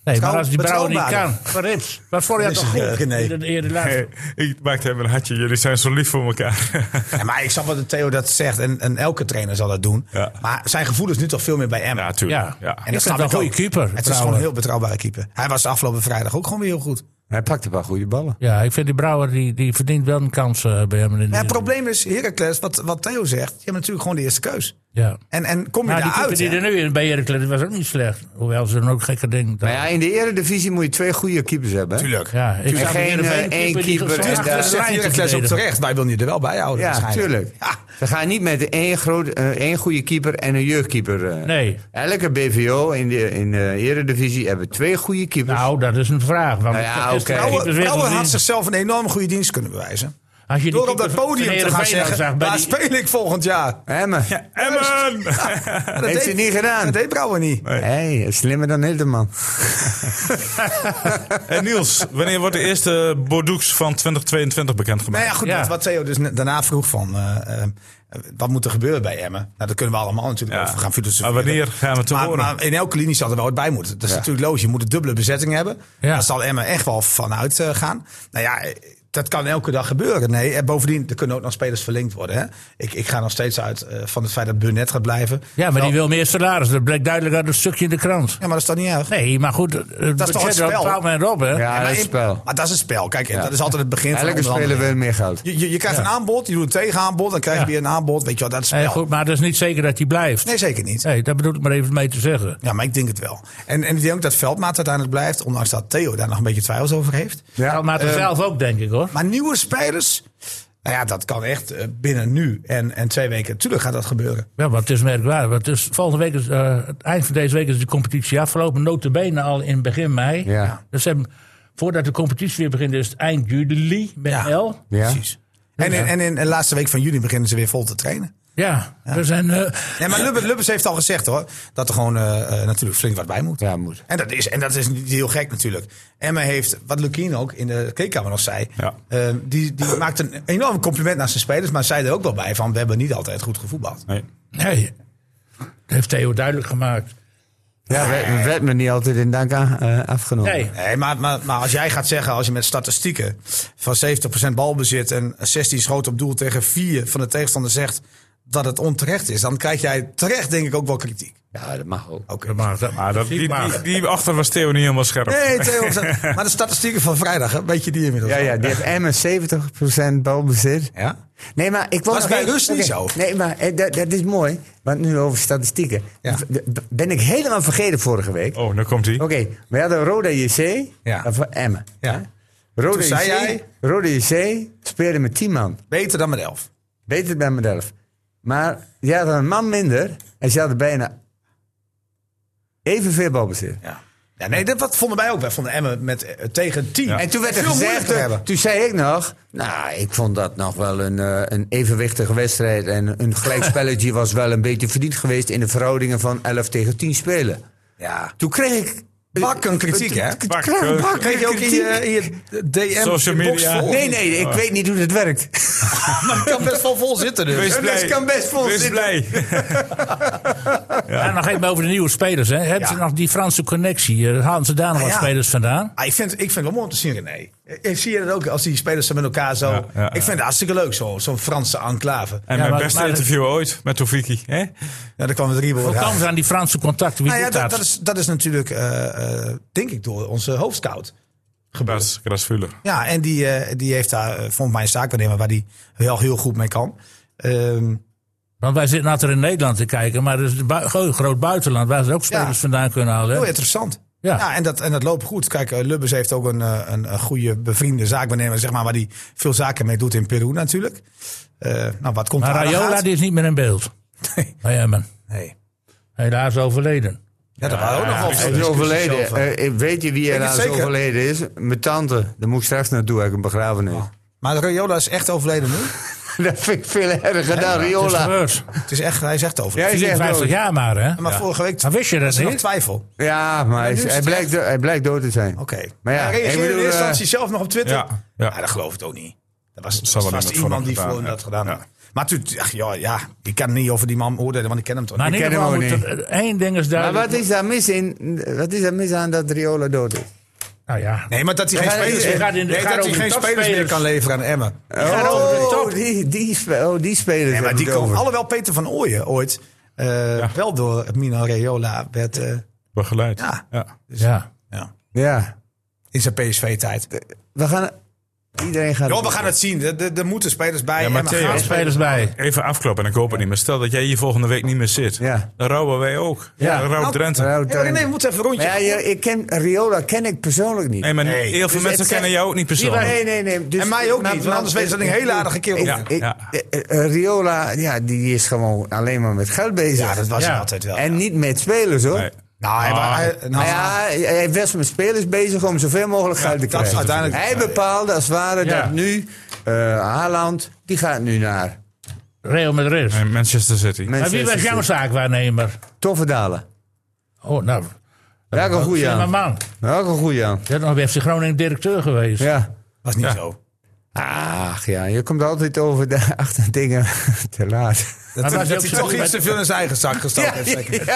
Speaker 2: Nee, maar
Speaker 3: Trouw-
Speaker 2: als die Brouwer niet kan.
Speaker 3: betrouwbaarder.
Speaker 2: Verrips. Wat voor jou
Speaker 3: Dat
Speaker 2: toch
Speaker 3: is,
Speaker 2: goed?
Speaker 3: eh, nee.
Speaker 2: In de- in de laatste-
Speaker 5: Ik maakte hem een hartje. Jullie zijn zo lief voor elkaar.
Speaker 3: Ja, maar ik snap wat de Theo dat zegt. En, en elke trainer zal dat doen.
Speaker 5: Ja.
Speaker 3: Maar zijn gevoel is nu toch veel meer bij Emmen.
Speaker 5: Ja,
Speaker 2: Ja.
Speaker 5: tuurlijk. Ja.
Speaker 2: Ik vind
Speaker 3: snap
Speaker 2: het een
Speaker 3: ik
Speaker 2: goede
Speaker 3: ook.
Speaker 2: keeper,
Speaker 3: Het is
Speaker 2: Brouwer.
Speaker 3: gewoon een heel betrouwbare keeper. Hij was afgelopen vrijdag ook gewoon weer heel goed.
Speaker 1: Hij pakt een paar goede ballen.
Speaker 2: Ja, ik vind die Brouwer, die, die verdient wel een kans eh, bij hem. In de-
Speaker 3: Ja, het probleem is, Heracles, wat, wat Theo zegt, je hebt natuurlijk gewoon de eerste keus.
Speaker 2: Ja.
Speaker 3: En, en kom je
Speaker 2: Maar Nou, die keeper
Speaker 3: daaruit?
Speaker 2: die er nu in bij Heracles was ook niet slecht. Hoewel ze dan ook gekke dingen...
Speaker 1: Maar ja, in de eredivisie moet je twee goede keepers hebben. hè?
Speaker 3: Tuurlijk.
Speaker 2: Ja, ik
Speaker 1: geen, eh, één keeper en
Speaker 3: Dus
Speaker 1: daar-
Speaker 3: dat zegt Heracles ook terecht. Wij willen je er wel bij houden
Speaker 1: Ja,
Speaker 3: waarschijnlijk.
Speaker 1: tuurlijk.
Speaker 3: Ja.
Speaker 1: Ze gaan niet met één, groot, eh, één goede keeper en een jeugdkeeper. eh.
Speaker 2: Nee.
Speaker 1: Elke BVO in de, in de eredivisie hebben twee goede
Speaker 3: Dus-
Speaker 1: keepers.
Speaker 2: Nou, dat is een vraag. Want
Speaker 1: Nou
Speaker 2: is
Speaker 1: ja,
Speaker 2: de
Speaker 1: oké.
Speaker 2: keeper
Speaker 3: Brouwer,
Speaker 2: weer
Speaker 3: Brouwer
Speaker 2: gezien?
Speaker 3: had zichzelf een enorm goede dienst kunnen bewijzen.
Speaker 2: Als je die
Speaker 3: Door op dat
Speaker 2: keeper van
Speaker 3: podium te gaan
Speaker 2: Heerenveen al
Speaker 3: zeggen,
Speaker 2: zag bij
Speaker 3: daar
Speaker 2: die-
Speaker 3: speel ik volgend jaar.
Speaker 1: Emmen.
Speaker 5: Emmen!
Speaker 3: Dat
Speaker 1: Heeft hij niet gedaan.
Speaker 3: Dat deed Brouwer niet.
Speaker 1: Hé, hey, slimmer dan Hildeman.
Speaker 5: En Niels, wanneer wordt de eerste Bordeaux van 2022 bekendgemaakt?
Speaker 3: Nou ja, goed,
Speaker 2: Ja.
Speaker 3: wat- wat Theo dus ne- daarna vroeg van... eh, eh, wat moet er gebeuren bij Emmen? Nou, daar kunnen we allemaal natuurlijk
Speaker 5: Ja.
Speaker 3: over gaan filosoferen.
Speaker 5: Maar wanneer gaan we het
Speaker 3: maar,
Speaker 5: horen?
Speaker 3: maar in elke linie zal er wel wat bij moeten. Dat is natuurlijk logisch. Je moet een dubbele bezetting hebben.
Speaker 2: Ja.
Speaker 3: Daar zal Emmen echt wel vanuit eh, gaan. Nou ja, eh, dat kan elke dag gebeuren. Nee, en bovendien, er kunnen ook nog spelers verlinkt worden. Hè? Ik, ik ga nog steeds uit eh, van het feit dat Burnett gaat blijven.
Speaker 2: Ja, maar
Speaker 3: Terwijl-
Speaker 2: die wil meer salaris. Dat bleek duidelijk uit een stukje in de krant.
Speaker 3: Ja, maar dat is dan niet erg.
Speaker 2: Nee, maar goed, het
Speaker 3: toch het
Speaker 2: budget
Speaker 3: spel?
Speaker 2: wel men op, hè?
Speaker 1: Ja,
Speaker 3: Ja,
Speaker 1: dat
Speaker 3: maar
Speaker 1: is
Speaker 3: in-
Speaker 1: spel.
Speaker 3: Maar dat is een spel. Kijk, en dat is altijd het begin van
Speaker 1: Elke speler
Speaker 3: onderhandeling.
Speaker 1: wil meer geld.
Speaker 3: Je, je, je krijgt een aanbod, je doet een tegenaanbod, dan krijg je
Speaker 2: Ja.
Speaker 3: weer een aanbod. Weet je wel, dat is
Speaker 2: Eh,
Speaker 3: spel.
Speaker 2: goed, maar dat is niet zeker dat hij blijft.
Speaker 3: Nee, zeker niet.
Speaker 2: Nee, daar bedoel ik maar even mee te zeggen.
Speaker 3: Ja, maar ik denk het wel. En, en ik denk ook dat Veldmaat uiteindelijk blijft, ondanks dat Theo daar nog een beetje twijfels over heeft.
Speaker 2: Ja, maar
Speaker 3: eh,
Speaker 2: het zelf ook, denk ik, hoor.
Speaker 3: Maar nieuwe spelers, nou ja, dat kan echt eh, binnen nu en, en twee weken. Tuurlijk gaat dat gebeuren.
Speaker 2: Ja, want het is merkwaardig. Want het is, volgende week is, eh, het eind van deze week is de competitie afgelopen. Notabene al in begin mei.
Speaker 1: Ja.
Speaker 2: Dus ze hebben, voordat de competitie weer begint, is het eind juli met
Speaker 3: Ja.
Speaker 2: L.
Speaker 1: Ja?
Speaker 3: Precies. En in, en in de laatste week van juni beginnen ze weer vol te trainen.
Speaker 2: Ja, er zijn... eh,
Speaker 3: Nee, maar Lubbers, Lubbers heeft al gezegd hoor, dat er gewoon eh, eh, natuurlijk flink wat bij moet.
Speaker 1: Ja, moet.
Speaker 3: En dat is, en dat is niet heel gek natuurlijk. Emma heeft, wat Lukien ook in de kleedkamer nog zei,
Speaker 5: Ja.
Speaker 3: eh, die, die maakt een enorm compliment naar zijn spelers, maar zei er ook wel bij van, we hebben niet altijd goed gevoetbald.
Speaker 5: Nee.
Speaker 2: nee, dat heeft Theo duidelijk gemaakt.
Speaker 1: Ja, werd, werd me niet altijd in dank aan, eh, afgenomen.
Speaker 2: Nee,
Speaker 3: Nee, maar, maar, maar als jij gaat zeggen, als je met statistieken van 70% balbezit en 16 schoten op doel tegen 4 van de tegenstander zegt dat het onterecht is, dan krijg jij terecht denk ik ook wel kritiek.
Speaker 1: Ja, dat mag ook.
Speaker 3: Oké.
Speaker 2: dat mag. Dat,
Speaker 5: Ah, dat, die, die, die achter was Theo niet helemaal scherp.
Speaker 3: Nee, Theo, maar de statistieken van vrijdag, hè, weet je die inmiddels?
Speaker 1: Ja,
Speaker 3: al?
Speaker 1: ja, die heeft Emmen 70% balbezit.
Speaker 3: Ja?
Speaker 1: Nee, maar ik was
Speaker 3: Was bij Rus niet zo.
Speaker 1: Nee, maar eh, dat, dat is mooi. Want nu over statistieken.
Speaker 3: Ja.
Speaker 1: V- d- Ben ik helemaal vergeten vorige week.
Speaker 5: Oh, daar komt hij.
Speaker 1: Oké, we hadden Roda JC
Speaker 3: Ja.
Speaker 1: en van Emmen.
Speaker 3: Ja.
Speaker 1: hè? Roda
Speaker 3: Toen zei
Speaker 1: JC,
Speaker 3: jij-
Speaker 1: Roda JC speelde met 10 man.
Speaker 3: Beter dan met 11.
Speaker 1: Beter dan met 11. Maar ze hadden een man minder en ze hadden bijna evenveel balbezit.
Speaker 3: Ja. Ja, nee, dat wat vonden wij ook. Wij vonden Emmen met, eh, tegen 10.
Speaker 1: En toen werd er
Speaker 3: Veel
Speaker 1: gezegd,
Speaker 3: moeilijker te hebben.
Speaker 1: toen zei ik nog, nou, ik vond dat nog wel een, eh, een evenwichtige wedstrijd. En een gelijkspelletje was wel een beetje verdiend geweest in de verhoudingen van 11 tegen 10 spelen.
Speaker 3: Ja.
Speaker 1: Toen kreeg ik...
Speaker 3: Bakken kritiek, hè?
Speaker 1: Ik
Speaker 5: Bak,
Speaker 1: kreeg
Speaker 5: eh,
Speaker 1: bakken
Speaker 3: Kreeg je ook in je, in je DM
Speaker 5: Social
Speaker 3: inbox
Speaker 5: media.
Speaker 3: vol?
Speaker 1: Nee, nee, ik weet niet hoe dit werkt.
Speaker 3: maar het kan best wel vol zitten dus.
Speaker 5: Wees
Speaker 1: Dat
Speaker 5: blij.
Speaker 1: kan best vol
Speaker 5: Wees
Speaker 1: zitten.
Speaker 5: blij.
Speaker 2: Ja, nog even over de nieuwe spelers. Hè. Hebben
Speaker 3: Ja.
Speaker 2: ze nog die Franse connectie? Eh, Halen ze daar nog
Speaker 3: Ah,
Speaker 2: wat
Speaker 3: ja.
Speaker 2: spelers vandaan?
Speaker 3: Ah, ik, vind, ik vind het wel mooi om te zien, René. Ik zie je dat ook als die spelers zo met elkaar zo.
Speaker 5: Ja, ja, ja.
Speaker 3: ik vind het hartstikke leuk, zo- zo'n Franse enclave.
Speaker 5: En
Speaker 2: Ja,
Speaker 5: mijn
Speaker 2: maar-
Speaker 5: beste
Speaker 2: maar-
Speaker 5: interview ooit met Tofiki. hè?
Speaker 3: Ja, daar kwam het Riebo
Speaker 2: Hoe
Speaker 3: uit.
Speaker 2: komen ze aan die Franse contacten? Wie
Speaker 3: Nou ja,
Speaker 2: doet
Speaker 3: dat,
Speaker 2: dat?
Speaker 3: dat, is, dat is natuurlijk, eh, eh, denk ik, door onze hoofdscout.
Speaker 5: Gras, Grasvuller.
Speaker 3: Ja, en die, eh, die heeft daar, eh, volgens mij, een zaakwaarnemer waar die wel heel goed mee kan. Ehm,
Speaker 2: Want wij zitten later in Nederland te kijken, maar het is een bui- gro- groot buitenland waar ze ook spelers
Speaker 3: Ja.
Speaker 2: vandaan kunnen halen.
Speaker 3: heel
Speaker 2: hè.
Speaker 3: interessant.
Speaker 2: Ja.
Speaker 3: Ja, en, dat, en dat loopt goed. Kijk, eh, Lubbers heeft ook een, eh, een, een goede bevriende zaakwaarnemer, zeg maar, waar die veel zaken mee doet in Peru natuurlijk. Eh, nou, wat komt
Speaker 2: Maar
Speaker 3: daar aan de
Speaker 2: Rayola
Speaker 3: gaten?
Speaker 2: die is niet meer in beeld.
Speaker 3: Nee.
Speaker 2: Bij Emmen.
Speaker 3: Nee.
Speaker 2: Helaas overleden.
Speaker 3: Ja, dat waren ook nog wel
Speaker 1: Hij
Speaker 3: veel
Speaker 1: is overleden.
Speaker 3: discussies over.
Speaker 1: Eh, weet je wie
Speaker 3: Weet
Speaker 1: er
Speaker 3: je
Speaker 1: aan
Speaker 3: het zeker? Oh.
Speaker 1: overleden is? Mijn tante. Daar moet ik straks naartoe, ik een begrafenis.
Speaker 3: Maar Rayola is echt overleden nu.
Speaker 1: Dat vind ik veel erger dan
Speaker 2: Het is
Speaker 1: Riola.
Speaker 2: gebeurd.
Speaker 3: Het is echt, hij is echt overleden.
Speaker 1: Jij zegt
Speaker 2: 54
Speaker 1: dood.
Speaker 2: jaar maar, hè?
Speaker 3: Maar vorige week
Speaker 2: Maar wist je dat
Speaker 3: was er nog
Speaker 2: niet?
Speaker 3: twijfel.
Speaker 1: Ja, maar hij,
Speaker 3: nu
Speaker 1: is-
Speaker 3: is
Speaker 1: hij,
Speaker 3: het
Speaker 1: blijkt, do- hij blijkt dood te zijn.
Speaker 3: Oké.
Speaker 1: Maar ja,
Speaker 3: hij reageerde
Speaker 1: ik bedoel,
Speaker 3: in eerste
Speaker 1: eh,
Speaker 3: instantie zelf nog op Twitter.
Speaker 5: Ja, ja.
Speaker 3: dat geloof ik ook niet. Dat was, dat
Speaker 5: zal
Speaker 3: was
Speaker 5: wel
Speaker 3: vast
Speaker 5: iemand voor
Speaker 3: iemand
Speaker 5: hem
Speaker 3: die voor
Speaker 5: gedaan
Speaker 3: hem dat
Speaker 5: hebben.
Speaker 3: gedaan had. Maar toen, ach, ja, ja, ik kan niet over die man oordelen, want ik ken hem toch
Speaker 2: Maar in
Speaker 1: Ik
Speaker 2: ieder
Speaker 1: ken
Speaker 2: geval
Speaker 1: hem
Speaker 2: moet
Speaker 1: ook
Speaker 2: er- één ding is
Speaker 1: maar
Speaker 2: duidelijk.
Speaker 1: wat is, daar mis in, wat is daar mis aan dat Riola dood is?
Speaker 2: Nou ja.
Speaker 3: Nee, maar dat hij geen
Speaker 1: Hij-
Speaker 3: spelers,
Speaker 1: hij
Speaker 3: meer-
Speaker 2: gaat in-
Speaker 3: nee,
Speaker 2: gaat
Speaker 3: dat hij
Speaker 2: over de
Speaker 3: geen spelers meer
Speaker 2: topspelers.
Speaker 3: kan leveren aan Emmen.
Speaker 1: Oh, die, die, spe- oh, die spelers
Speaker 3: Nee, maar
Speaker 1: hebben
Speaker 3: die
Speaker 1: het
Speaker 3: komen,
Speaker 1: over.
Speaker 3: alhoewel Peter van Ooyen ooit eh, wel door Mino Raiola werd... eh,
Speaker 5: Begeleid.
Speaker 3: ja,
Speaker 5: Ja.
Speaker 2: Ja.
Speaker 3: ja,
Speaker 1: Ja,
Speaker 3: in zijn PSV-tijd.
Speaker 1: we gaan... Iedereen gaat...
Speaker 3: Joh, we gaan het zien. Er- Er er moeten spelers bij.
Speaker 5: Ja, maar
Speaker 3: Emmen
Speaker 5: Theo-
Speaker 3: gaat
Speaker 2: Er spelers bij.
Speaker 5: Even afkloppen en ik hoop het niet. Maar stel dat jij hier volgende week niet meer zit.
Speaker 1: Ja.
Speaker 5: Dan rouwen wij ook. Ja. Dan rouwt
Speaker 3: Nou,
Speaker 5: Drenthe.
Speaker 1: Nou,
Speaker 3: Hey, maar nee, we moeten even een
Speaker 1: Maar
Speaker 3: rondje.
Speaker 1: ja, je- ik ken, Riola ken ik persoonlijk niet.
Speaker 5: Nee, maar
Speaker 3: Nee.
Speaker 5: heel veel
Speaker 3: Dus
Speaker 5: mensen
Speaker 3: het
Speaker 5: kennen jou ook niet persoonlijk.
Speaker 1: Nee, nee, nee. dus-
Speaker 3: En mij ook
Speaker 1: maar-
Speaker 3: niet, want
Speaker 1: maar-
Speaker 3: anders weet je dat ik een hele aardige kerel
Speaker 1: Ik-
Speaker 5: ben.
Speaker 1: ik-
Speaker 5: Ja.
Speaker 1: eh, eh, Riola, ja, die is gewoon alleen maar met geld bezig.
Speaker 3: ja, dat was hij
Speaker 2: Ja.
Speaker 3: altijd wel.
Speaker 1: En niet met spelers, hoor.
Speaker 5: Nee.
Speaker 3: nou, hij, wa- hij, nou,
Speaker 1: Nou ja, hij- hij was met spelers bezig om zoveel mogelijk geld te
Speaker 3: dat is
Speaker 1: krijgen.
Speaker 3: uiteindelijk-
Speaker 1: hij bepaalde als het ware
Speaker 2: Ja.
Speaker 1: dat nu eh Haaland, die gaat nu naar
Speaker 2: Real Madrid.
Speaker 5: Nee, Manchester City.
Speaker 2: Maar wie was jouw zaakwaarnemer?
Speaker 1: Tofferdalen.
Speaker 2: Oh, nou.
Speaker 1: Welke goeie
Speaker 2: Mijn
Speaker 1: aan.
Speaker 2: man.
Speaker 1: Welke goeie aan.
Speaker 2: Je bent nog bij FC Groningen directeur geweest.
Speaker 1: Ja.
Speaker 3: was niet zo.
Speaker 1: Ach ja, je komt altijd over de achter dingen te laat.
Speaker 3: Dat,
Speaker 2: was
Speaker 3: dat,
Speaker 2: hij ook
Speaker 3: hij
Speaker 2: zo
Speaker 3: toch
Speaker 2: met-
Speaker 3: iets te veel in zijn eigen zak gestoken heeft. zeker.
Speaker 2: Van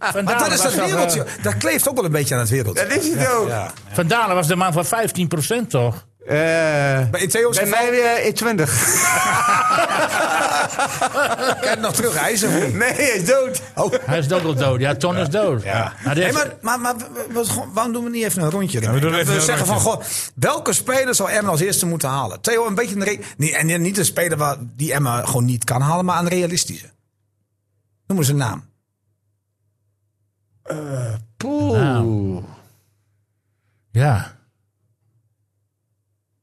Speaker 3: Maar
Speaker 2: Dalen
Speaker 3: dat is dat
Speaker 2: was toch,
Speaker 3: wereldje.
Speaker 2: eh,
Speaker 3: Dat kleeft ook wel een beetje aan het wereldje.
Speaker 1: Dat is het ook.
Speaker 3: Ja.
Speaker 2: Van Dalen was de man van 15% toch?
Speaker 1: Eh,
Speaker 3: Maar in Theo's
Speaker 1: bij
Speaker 3: geval
Speaker 1: mij weer in 20.
Speaker 3: kan het nog terugreizen.
Speaker 1: Nee, hij is dood.
Speaker 3: Oh.
Speaker 2: Hij is dood al dood. Ja, Ton is dood.
Speaker 3: Ja.
Speaker 5: Nou,
Speaker 2: Maar, die
Speaker 3: Nee,
Speaker 2: heeft-
Speaker 3: maar, maar, maar we- we- gewoon- waarom doen we niet even een rondje?
Speaker 5: we doen
Speaker 3: Dat
Speaker 5: even
Speaker 3: we
Speaker 5: een
Speaker 3: zeggen van,
Speaker 5: rondje.
Speaker 3: goh, welke speler zou Emmen als eerste moeten halen? Theo, een beetje een... re- niet- en niet een speler waar, die Emmen gewoon niet kan halen, maar een realistische. Noem eens een naam.
Speaker 1: Poeh.
Speaker 2: Nou. Ja.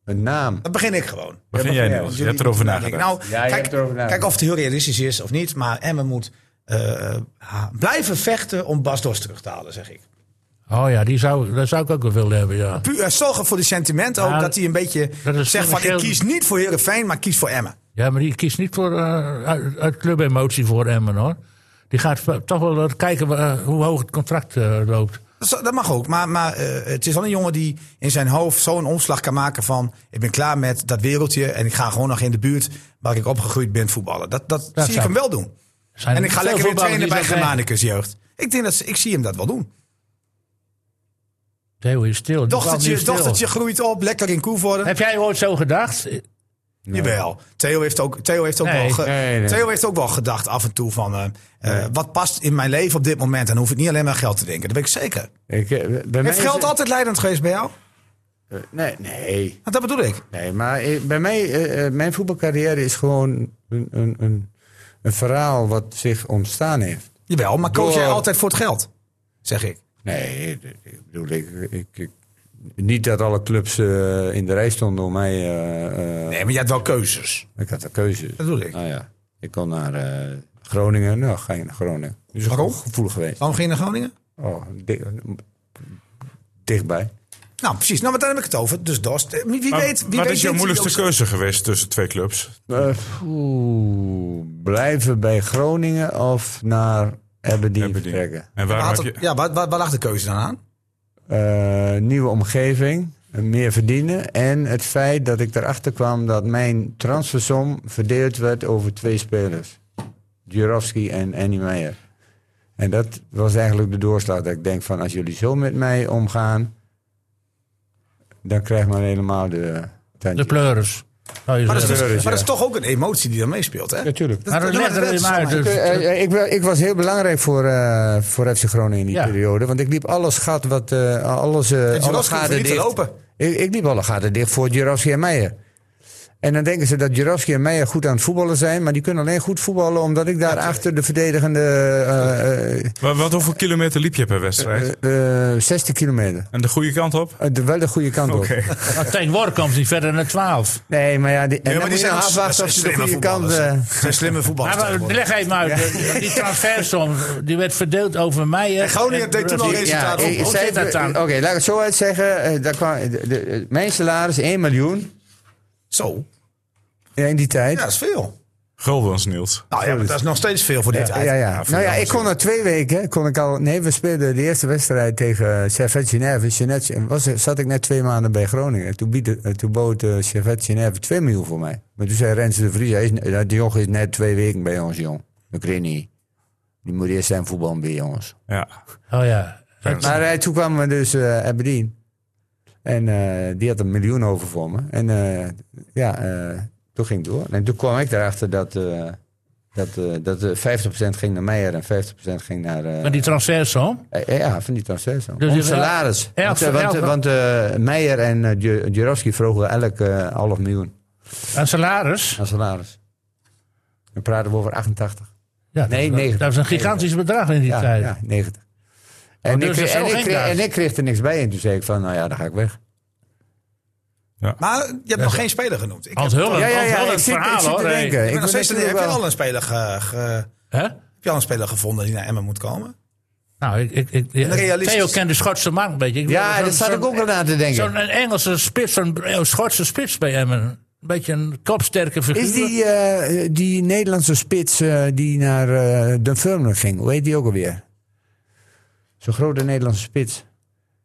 Speaker 1: Een naam.
Speaker 3: Dan begin ik gewoon.
Speaker 5: Begin jij nu.
Speaker 3: Want
Speaker 5: Je
Speaker 3: jullie
Speaker 5: hebt erover
Speaker 3: moeten nadenken.
Speaker 5: nagedacht.
Speaker 1: Ja, je
Speaker 3: Nou, kijk,
Speaker 1: hebt erover nagedacht.
Speaker 3: kijk of het heel realistisch is of niet. Maar Emmen moet eh, ha- blijven vechten om Bas Dost terug te halen, zeg ik.
Speaker 2: Oh ja, die zou, dat zou ik ook wel willen hebben, ja.
Speaker 3: Puur eh, zorgen voor die sentimenten ook.
Speaker 2: Ja,
Speaker 3: dat hij een beetje
Speaker 2: dat is
Speaker 3: zegt van ik
Speaker 2: financieel-
Speaker 3: kies niet voor Heerenveen, maar kies voor Emmen.
Speaker 2: Ja, maar die kiest niet voor eh, uit, uit clubemotie voor Emmen, hoor. Die gaat wel- toch wel wat kijken eh, hoe hoog het contract eh, loopt.
Speaker 3: Dat is- Dat mag ook, maar, maar eh, het is wel een jongen die in zijn hoofd zo'n omslag kan maken van... ik ben klaar met dat wereldje en ik ga gewoon nog in de buurt waar ik opgegroeid ben voetballen. Dat, dat, zie ik
Speaker 2: zou-
Speaker 3: hem wel doen.
Speaker 2: Zijn
Speaker 3: en
Speaker 2: er
Speaker 3: ik ga
Speaker 2: veel
Speaker 3: lekker weer
Speaker 2: voetballers
Speaker 3: trainen
Speaker 2: die
Speaker 3: bij
Speaker 2: dat denken.
Speaker 3: Germanicus jeugd. Ik denk dat ze- ik zie hem dat wel doen.
Speaker 2: Theo is stil. die valt nu
Speaker 3: Dochtertje,
Speaker 2: stil.
Speaker 3: dochtertje groeit op, lekker in Koevoorden.
Speaker 2: Heb jij ooit zo gedacht?
Speaker 3: Jawel. Theo heeft ook, Theo heeft ook,
Speaker 2: Nee,
Speaker 3: wel, ge-
Speaker 1: nee, nee.
Speaker 3: Theo heeft ook wel gedacht af en toe van... eh, eh, wat past in mijn leven op dit moment? En dan hoef ik niet alleen maar aan geld te denken. Dat weet ik zeker.
Speaker 1: Ik, eh, bij mij
Speaker 3: Heeft
Speaker 1: is
Speaker 3: geld
Speaker 1: het- Eh,
Speaker 3: altijd leidend geweest bij jou?
Speaker 1: Nee, nee.
Speaker 3: Nou, dat bedoel ik.
Speaker 1: Nee, maar eh, bij mij, eh, eh, mijn voetbalcarrière is gewoon een, een, een, een verhaal wat zich ontstaan heeft.
Speaker 3: Jawel, maar koos
Speaker 1: Door-
Speaker 3: jij altijd voor het geld? Zeg ik.
Speaker 1: Nee, eh, ik bedoel, ik, ik, ik- niet dat alle clubs eh, in de rij stonden om mij. eh, eh,
Speaker 3: Nee, maar jij had wel keuzes.
Speaker 1: Ik had een keuze. Dat
Speaker 3: bedoel ik.
Speaker 1: Nou ja, ik kon naar eh, Groningen. Nou, ga je naar Groningen. Dus
Speaker 3: Waarom?
Speaker 1: Gevoelig geweest.
Speaker 3: Waarom ging je naar Groningen?
Speaker 1: Oh, di- dichtbij.
Speaker 3: Nou, precies. Nou, maar daar heb ik het over. Dus Dost. eh, Wie, wie
Speaker 5: Maar
Speaker 3: weet... Wie
Speaker 5: wat
Speaker 3: weet
Speaker 5: is jouw
Speaker 3: dit-
Speaker 5: moeilijkste keuze geweest tussen twee clubs?
Speaker 1: Eh, oeh, blijven bij Groningen of naar Aberdeen,
Speaker 5: Aberdeen.
Speaker 1: vertrekken?
Speaker 5: En waarom
Speaker 3: Waar
Speaker 5: heb
Speaker 3: had-
Speaker 5: je...
Speaker 3: Ja, waar, waar, waar lag de keuze dan aan?
Speaker 1: Eh, nieuwe omgeving, meer verdienen. En het feit dat ik erachter kwam dat mijn transfersom verdeeld werd over twee spelers. Jurovski en Annie Meijer. En dat was eigenlijk de doorslag. Dat ik denk van als jullie zo met mij omgaan, dan krijg maar helemaal de
Speaker 2: De
Speaker 1: tandje.
Speaker 2: pleuris. zou je
Speaker 3: Maar dat, is,
Speaker 2: zeggen.
Speaker 3: dus-
Speaker 1: pleuris,
Speaker 3: maar dat
Speaker 1: ja.
Speaker 3: is toch ook een emotie die dan meespeelt, hè?
Speaker 1: Natuurlijk.
Speaker 2: Maar dat
Speaker 3: dat-
Speaker 2: legt
Speaker 3: dat-
Speaker 2: er
Speaker 3: dat-
Speaker 2: in uit.
Speaker 1: Ik,
Speaker 2: Dus-
Speaker 1: eh, ik, wa- ik was heel belangrijk voor, eh, voor FC Groningen in die
Speaker 2: Ja.
Speaker 1: periode. Want ik liep alles gat wat. eh, alles, eh
Speaker 2: Oh,
Speaker 3: Jurovski
Speaker 1: alle
Speaker 3: hoeft
Speaker 1: gaten
Speaker 3: niet te
Speaker 1: dicht.
Speaker 3: lopen.
Speaker 1: Ik, ik liep alle gaten dicht voor Jurovski en Meijer. En dan denken ze dat Jurovski en Meijer goed aan het voetballen zijn. Maar die kunnen alleen goed voetballen omdat ik daar achter de verdedigende. eh, eh,
Speaker 5: Wa- Wat hoeveel kilometer liep je per wedstrijd?
Speaker 1: eh, eh, 16 kilometer.
Speaker 5: en de goede kant op?
Speaker 1: Eh, de- wel de goede kant op.
Speaker 5: Oké.
Speaker 2: Maar Tegenwoordig Oh, komt hij verder naar 12.
Speaker 1: Nee, maar ja, die, en
Speaker 3: Ja,
Speaker 1: dan
Speaker 3: maar die
Speaker 1: moet je
Speaker 3: zijn dus-
Speaker 1: nog
Speaker 3: nog
Speaker 1: afwachten of ze de goede kant. eh,
Speaker 3: Ze zijn slimme voetballers.
Speaker 2: Maar, maar
Speaker 3: tegenwoordig.
Speaker 2: leg even uit. Die- Die transfersom die werd verdeeld over mij.
Speaker 3: En Groningen deed toen al resultaat
Speaker 1: ik-
Speaker 3: op.
Speaker 1: eh, ik
Speaker 2: Hoe
Speaker 1: zei-
Speaker 2: zit dat dan?
Speaker 1: eh, Oké, laat ik het zo uitzeggen. Eh, daar kwam, de, de- mijn salaris 1 miljoen.
Speaker 3: Zo.
Speaker 1: Ja, in die tijd.
Speaker 3: Ja, dat is veel.
Speaker 5: Guldens, Niels.
Speaker 3: Nou ja, maar dat is nog steeds veel voor dit
Speaker 1: Ja, ja, ja. Nou ja, ik kon na twee weken, kon ik al... Nee, we speelden de eerste wedstrijd tegen Servet Genève in Genève. En was, zat ik net twee maanden bij Groningen. En Toen, bied, eh, toen bood eh, Servet Genève 2 miljoen voor mij. Maar toen zei Rens de Vries, hij is, eh, die jongen is net twee weken bij ons, jong. Dat kreeg niet. Die moet eerst zijn voetbal bij jongens.
Speaker 5: Ja.
Speaker 2: Oh ja.
Speaker 1: Maar eh, toen kwam we dus eh Aberdeen. En eh, die had een miljoen over voor me. En eh, ja, eh, toen ging het door. En toen kwam ik erachter dat, eh, dat, eh, dat eh, 50% ging naar Meijer en 50% ging naar... eh,
Speaker 2: Maar die transfers, hoor.
Speaker 1: eh, Ja, van die transfers. Dus
Speaker 2: Dus
Speaker 1: Om
Speaker 2: je-
Speaker 1: salaris.
Speaker 2: Ja,
Speaker 1: want eh,
Speaker 2: ja,
Speaker 1: want,
Speaker 2: ja.
Speaker 1: want, eh, Meijer en eh, Dje- Djerovski vroegen elk eh, half miljoen
Speaker 2: Aan salaris.
Speaker 1: aan salaris. Dan praten we over 88.
Speaker 2: Ja,
Speaker 1: Nee,
Speaker 2: dat,
Speaker 1: negentig.
Speaker 2: dat was een gigantisch bedrag in die
Speaker 1: Ja,
Speaker 2: tijd.
Speaker 1: ja 90. En,
Speaker 2: dus
Speaker 1: ik,
Speaker 2: dat
Speaker 1: kreeg,
Speaker 2: is wel
Speaker 1: en, ik
Speaker 2: geen
Speaker 1: kreeg-
Speaker 2: kaas.
Speaker 1: en ik kreeg er niks bij. En toen zei ik van, nou ja, dan ga ik weg.
Speaker 3: Maar je hebt nog geen speler genoemd. Ik
Speaker 2: Hans
Speaker 3: heb,
Speaker 2: Hullen,
Speaker 1: Ja, ja,
Speaker 2: Hans
Speaker 1: ja,
Speaker 2: Hullen,
Speaker 1: ik zit, ik
Speaker 2: verhaal,
Speaker 1: zit
Speaker 2: hoor.
Speaker 1: te
Speaker 2: hey.
Speaker 1: denken.
Speaker 3: ik
Speaker 1: Ik
Speaker 3: ben nog
Speaker 1: wil
Speaker 3: steeds,
Speaker 1: net
Speaker 3: heb je
Speaker 1: wel-
Speaker 3: al een speler, ge- ge-
Speaker 2: Hè?
Speaker 3: heb je al een speler gevonden die naar Emmen moet komen?
Speaker 2: Nou, ik, ik, ik,
Speaker 3: realistisch.
Speaker 2: Theo kent de Schotse markt een beetje. Ik wil
Speaker 1: Ja,
Speaker 2: zo'n-
Speaker 1: dat zat ik
Speaker 2: zo'n-
Speaker 1: ook al aan te denken.
Speaker 2: Zo'n Engelse spits, zo'n een Schotse spits bij Emmen. Een beetje een kopsterke figuur.
Speaker 1: Is die, eh, die Nederlandse spits eh, die naar eh Dunfermline ging, hoe heet die ook alweer? Zo'n grote Nederlandse spits.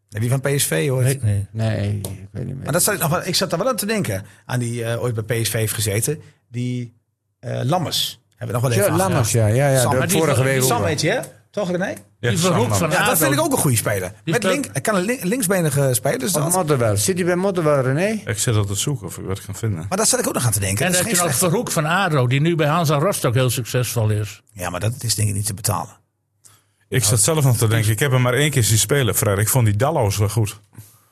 Speaker 3: Nee, die van PSV hoor.
Speaker 2: Weet ik niet.
Speaker 1: Nee, ik weet niet meer.
Speaker 3: Maar dat zat ik, nog wel, ik zat daar wel aan te denken. Aan die eh, ooit bij PSV heeft gezeten. Die eh, Lammers. Hebben we nog wel even
Speaker 1: ja,
Speaker 3: aangeraakt.
Speaker 1: Lammers, ja. ja, ja
Speaker 3: Sam,
Speaker 1: dat
Speaker 3: maar
Speaker 2: die-
Speaker 1: vorige
Speaker 2: die
Speaker 1: week ook
Speaker 3: Sam
Speaker 1: wel.
Speaker 3: weet je, hè? Toch René?
Speaker 2: Die verhoek van
Speaker 3: Ja, dat
Speaker 2: Ado.
Speaker 3: vind ik ook een goede speler. Met
Speaker 2: speelt-
Speaker 3: link, hij kan een link- linksbenige speler. Dus
Speaker 1: Van
Speaker 3: dat.
Speaker 1: Motterwell. Zit hij bij Motterwell, René?
Speaker 5: Ik zit altijd zoeken of ik wat kan vinden.
Speaker 3: Maar dat zat ik ook nog aan te denken.
Speaker 2: En
Speaker 3: dat
Speaker 2: dan
Speaker 3: is
Speaker 2: heb je
Speaker 3: geen
Speaker 2: nog
Speaker 3: slechte-
Speaker 2: Verhoek van Ado, die nu bij Hansa Rostock heel succesvol is.
Speaker 3: Ja, maar dat is denk ik niet te betalen.
Speaker 5: Ik zat zelf nog te denken, ik heb hem maar één keer zien spelen, Fred. Ik vond die Dallo's wel goed.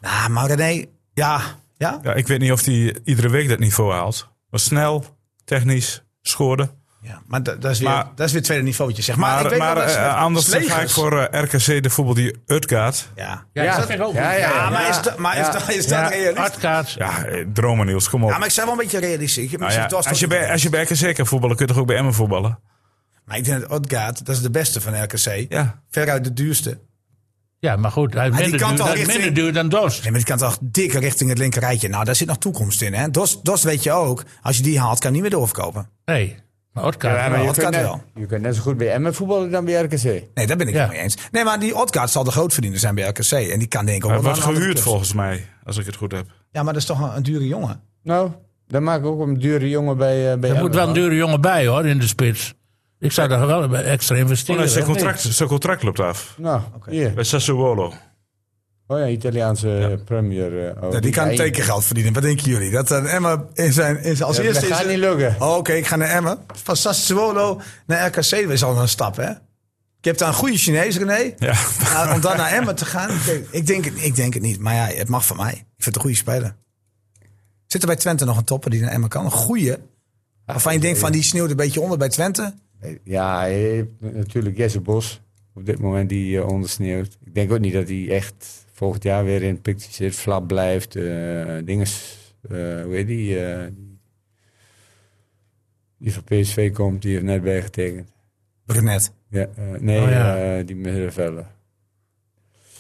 Speaker 3: Nou, maar René, ja. Ja?
Speaker 5: Ja, ik weet niet of hij iedere week dat niveau haalt. Was snel, technisch, scoorde.
Speaker 3: ja maar dat, dat, is weer,
Speaker 5: Maar-
Speaker 3: dat is weer het tweede niveautje, zeg maar.
Speaker 5: Maar,
Speaker 3: ik
Speaker 5: maar,
Speaker 3: weet wel, dat is-
Speaker 5: eh, anders dan ga ik
Speaker 3: Slegers.
Speaker 5: voor eh, RKC de voetbal die Utgaard.
Speaker 3: Ja.
Speaker 2: Ja, dat vind ik ook
Speaker 1: Ja,
Speaker 2: goed.
Speaker 1: ja,
Speaker 3: Ja, maar is
Speaker 1: ja.
Speaker 3: dat, maar is dat, is dat realistisch?
Speaker 2: Adkaart.
Speaker 5: Ja, eh, dromen Niels, kom op.
Speaker 3: Ja, maar ik zijn wel een beetje realistisch. Ik heb
Speaker 5: Nou
Speaker 3: misschien
Speaker 5: ja,
Speaker 3: toch-
Speaker 5: als, je bij, als je bij RKC kan voetballen, kun je toch ook bij Emmen voetballen?
Speaker 3: Maar ik denk dat Odgaard, dat is de beste van RKC.
Speaker 5: Ja.
Speaker 3: Veruit de duurste. Nee,
Speaker 2: Ja, maar goed, hij is
Speaker 3: die
Speaker 2: minder,
Speaker 3: kan
Speaker 2: duur,
Speaker 3: toch
Speaker 2: hij is
Speaker 3: richting-
Speaker 2: minder duur dan Dost.
Speaker 3: maar die kan toch dik richting het linkerrijtje. Nou, daar zit nog toekomst in. Hè? Dos, Dos weet je ook, als je die haalt, kan je niet meer doorverkopen.
Speaker 2: Nee, maar nou, Adkaart.
Speaker 1: Ja, maar
Speaker 2: wel.
Speaker 1: je,
Speaker 3: dat kan
Speaker 1: kunt net,
Speaker 3: wel.
Speaker 1: je kunt net zo goed bij Emmen voetballen dan bij RKC.
Speaker 3: Nee, daar ben ik
Speaker 2: Ja.
Speaker 3: het mee eens. Nee, maar die Odgaard zal de grootverdiener zijn bij RKC. En die kan denk ik ook
Speaker 5: Hij
Speaker 3: wel
Speaker 5: wordt
Speaker 3: naar een andere
Speaker 5: gehuurd
Speaker 3: club.
Speaker 5: volgens mij, als ik het goed heb.
Speaker 3: Ja, maar dat is toch een, een dure jongen.
Speaker 1: Nou, dan maak ik ook een dure jongen bij, eh, bij
Speaker 2: Er moet
Speaker 1: Emmen,
Speaker 2: wel een
Speaker 1: hoor.
Speaker 2: dure jongen bij, hoor, in de spits. Ik zou daar wel bij extra
Speaker 5: Oh,
Speaker 2: investeren.
Speaker 5: nee, zijn,
Speaker 2: of niet?
Speaker 5: contract, zijn contract loopt af.
Speaker 1: Nou, hier.
Speaker 5: Bij Sassuolo.
Speaker 1: Oh ja, Italiaanse premier. eh, oh,
Speaker 3: Nou, die kan
Speaker 1: ja,
Speaker 3: tekengeld verdienen. Wat denken jullie? Dat een Emma in zijn, in zijn, als
Speaker 1: Dat
Speaker 3: eerste...
Speaker 1: gaat
Speaker 3: is-
Speaker 1: niet lukken.
Speaker 3: Oh, Oké, ik ga naar Emmen. Van Sassuolo naar RKC is al een stap, hè? Ik heb daar een goede Chinees, René.
Speaker 5: Ja.
Speaker 3: Nou, om dan naar Emmen te gaan, ik denk, ik, denk het, ik denk het niet. Maar ja, het mag van mij. Ik vind het een goede speler. Zit er bij Twente nog een topper die naar Emmen kan? Een goeie. Waarvan je denkt van, die sneeuwt een beetje onder bij Twente.
Speaker 1: Eh, Ja, je hebt natuurlijk Jesse Bos. Op dit moment die eh, ondersneeuwt. Ik denk ook niet dat hij echt volgend jaar weer in het picture zit. Flap blijft. eh dinges. eh, hoe heet die? eh, die van PSV komt. Die heeft net bijgetekend.
Speaker 3: Brunet.
Speaker 1: Ja, eh, nee,
Speaker 2: Oh ja.
Speaker 1: eh, die middenvelder.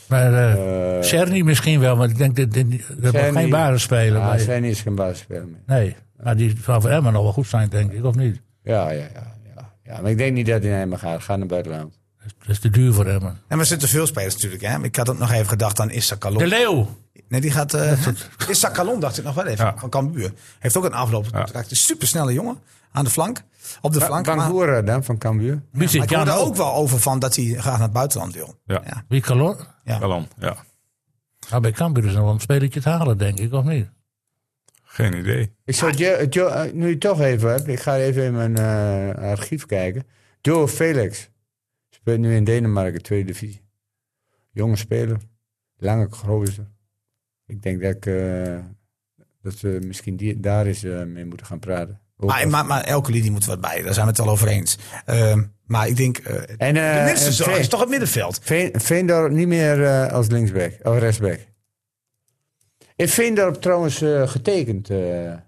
Speaker 2: Maar eh,
Speaker 1: Eh,
Speaker 2: Cerny misschien wel, want ik denk dat dit, niet- dat mag
Speaker 1: Cerny.
Speaker 2: geen basis spelen.
Speaker 1: Ja,
Speaker 2: bij-
Speaker 1: zijn is geen basisspeler meer.
Speaker 2: nee, maar die zou voor Emma nog wel goed zijn, denk ik, of niet?
Speaker 1: Ja, ja, ja, ja. ja, maar ik denk niet dat hij naar Emmen gaat. Ga naar buitenland.
Speaker 2: Dat is te duur voor Emma.
Speaker 3: En er zitten veel spelers natuurlijk, hè? Maar Ik had ook nog even gedacht aan Issa Kalon.
Speaker 2: De Leeuw.
Speaker 3: Nee, die gaat. eh Issa Kalon dacht ik nog wel even.
Speaker 5: Ja.
Speaker 3: Van Cambuur. Heeft ook een afloop. Een supersnelle jongen aan de flank. Op de flank. Maar, maar
Speaker 1: Bangura dan van Cambuur.
Speaker 2: Music
Speaker 3: ik hoorde
Speaker 2: Jan
Speaker 3: ook
Speaker 2: ook.
Speaker 3: wel over van dat hij graag naar het buitenland wil.
Speaker 5: Ja.
Speaker 2: Wie kan lo-
Speaker 5: Kalon, ja.
Speaker 2: Nou, bij Cambuur is nog wel een spelletje te halen, denk ik, of
Speaker 3: Ah,
Speaker 2: niet?
Speaker 5: Geen idee.
Speaker 1: Ik zou Jo- Jo- eh, nu je het toch even hebt, ik ga even in mijn eh, archief kijken. Joe Felix speelt nu in Denemarken, tweede divisie. Jonge speler, lange grote. Ik denk dat, ik, eh, dat we misschien die, daar eens eh, mee moeten gaan praten. Ook
Speaker 3: Maar,
Speaker 1: als-
Speaker 3: maar, maar elke linie moet wat bij. Daar zijn we het wel over eens. Ehm, maar ik denk. eh de
Speaker 1: en, eh,
Speaker 3: minste
Speaker 1: en
Speaker 3: zorg is
Speaker 1: Veen-
Speaker 3: toch het middenveld.
Speaker 1: Veen- Veendorp niet meer eh, als linksback, of rechtsback. Is Veendorp trouwens eh, getekend? eh,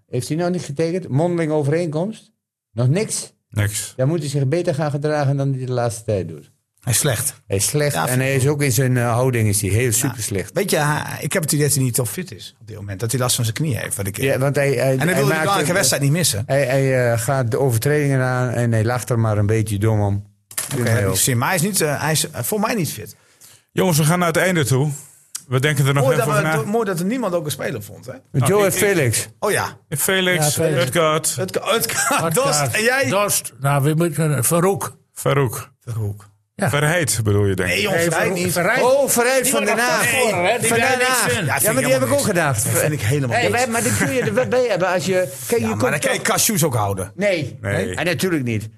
Speaker 1: heeft hij nou niet getekend? Mondeling overeenkomst? Nog niks?
Speaker 5: Niks.
Speaker 1: Dan moet hij zich beter gaan gedragen dan hij de laatste tijd doet.
Speaker 3: Hij is slecht.
Speaker 1: Hij is slecht.
Speaker 3: Ja,
Speaker 1: en hij is ook in zijn eh, houding is hij heel super slecht.
Speaker 3: Weet je, hij- ik heb het idee dat hij niet top fit is op dit moment. Dat hij last van zijn knie heeft. Wat ik,
Speaker 1: Ja, want hij, hij,
Speaker 3: en hij wil die
Speaker 1: maakt
Speaker 3: belangrijke
Speaker 1: een-
Speaker 3: wedstrijd niet missen.
Speaker 1: Hij, hij eh, gaat de overtredingen aan en hij lacht er maar een beetje dom om. Doe
Speaker 3: Oké,
Speaker 1: mij
Speaker 3: heb
Speaker 1: ook.
Speaker 3: ik gezien. Maar hij is, niet, eh, hij is eh, voor mij niet fit.
Speaker 5: Jongens, we gaan naar het einde toe. We denken er nog
Speaker 3: Mooi
Speaker 5: even
Speaker 3: dat,
Speaker 5: over
Speaker 3: we,
Speaker 5: na.
Speaker 3: do- mooi dat er niemand ook een speler vond. Hè?
Speaker 1: Joe en
Speaker 5: ik- ik-
Speaker 1: Felix.
Speaker 3: Oh ja,
Speaker 5: Felix,
Speaker 2: Ja, Felix.
Speaker 5: Utgaard,
Speaker 3: het, kan- het kan- Dost
Speaker 2: Hartkaart,
Speaker 3: en jij.
Speaker 2: Dost. Nou, we moeten... Verroek.
Speaker 5: Farouk.
Speaker 3: Verhoek.
Speaker 2: Ja.
Speaker 5: Verheid bedoel je denk ik.
Speaker 3: Nee jongens, hij niet.
Speaker 2: Verrij-
Speaker 1: Oh, vooruit van
Speaker 2: Die
Speaker 1: Den
Speaker 2: wordt nog
Speaker 1: Haag.
Speaker 2: van voren, hè? Die
Speaker 1: Van
Speaker 2: daar
Speaker 1: Den
Speaker 2: niks
Speaker 1: Haag.
Speaker 2: in.
Speaker 1: Ja,
Speaker 3: Ja, vind ik
Speaker 1: maar die heb ik
Speaker 3: helemaal
Speaker 1: ook gedacht.
Speaker 3: Dat vind ik helemaal
Speaker 1: Ja,
Speaker 3: niet.
Speaker 1: maar- maar dit kun je er wel bij hebben als je... Kijk, je
Speaker 3: Ja, maar
Speaker 1: komt
Speaker 3: dan kan je
Speaker 1: toch-
Speaker 3: Cassius ook houden.
Speaker 1: Nee.
Speaker 5: Nee.
Speaker 1: En natuurlijk niet.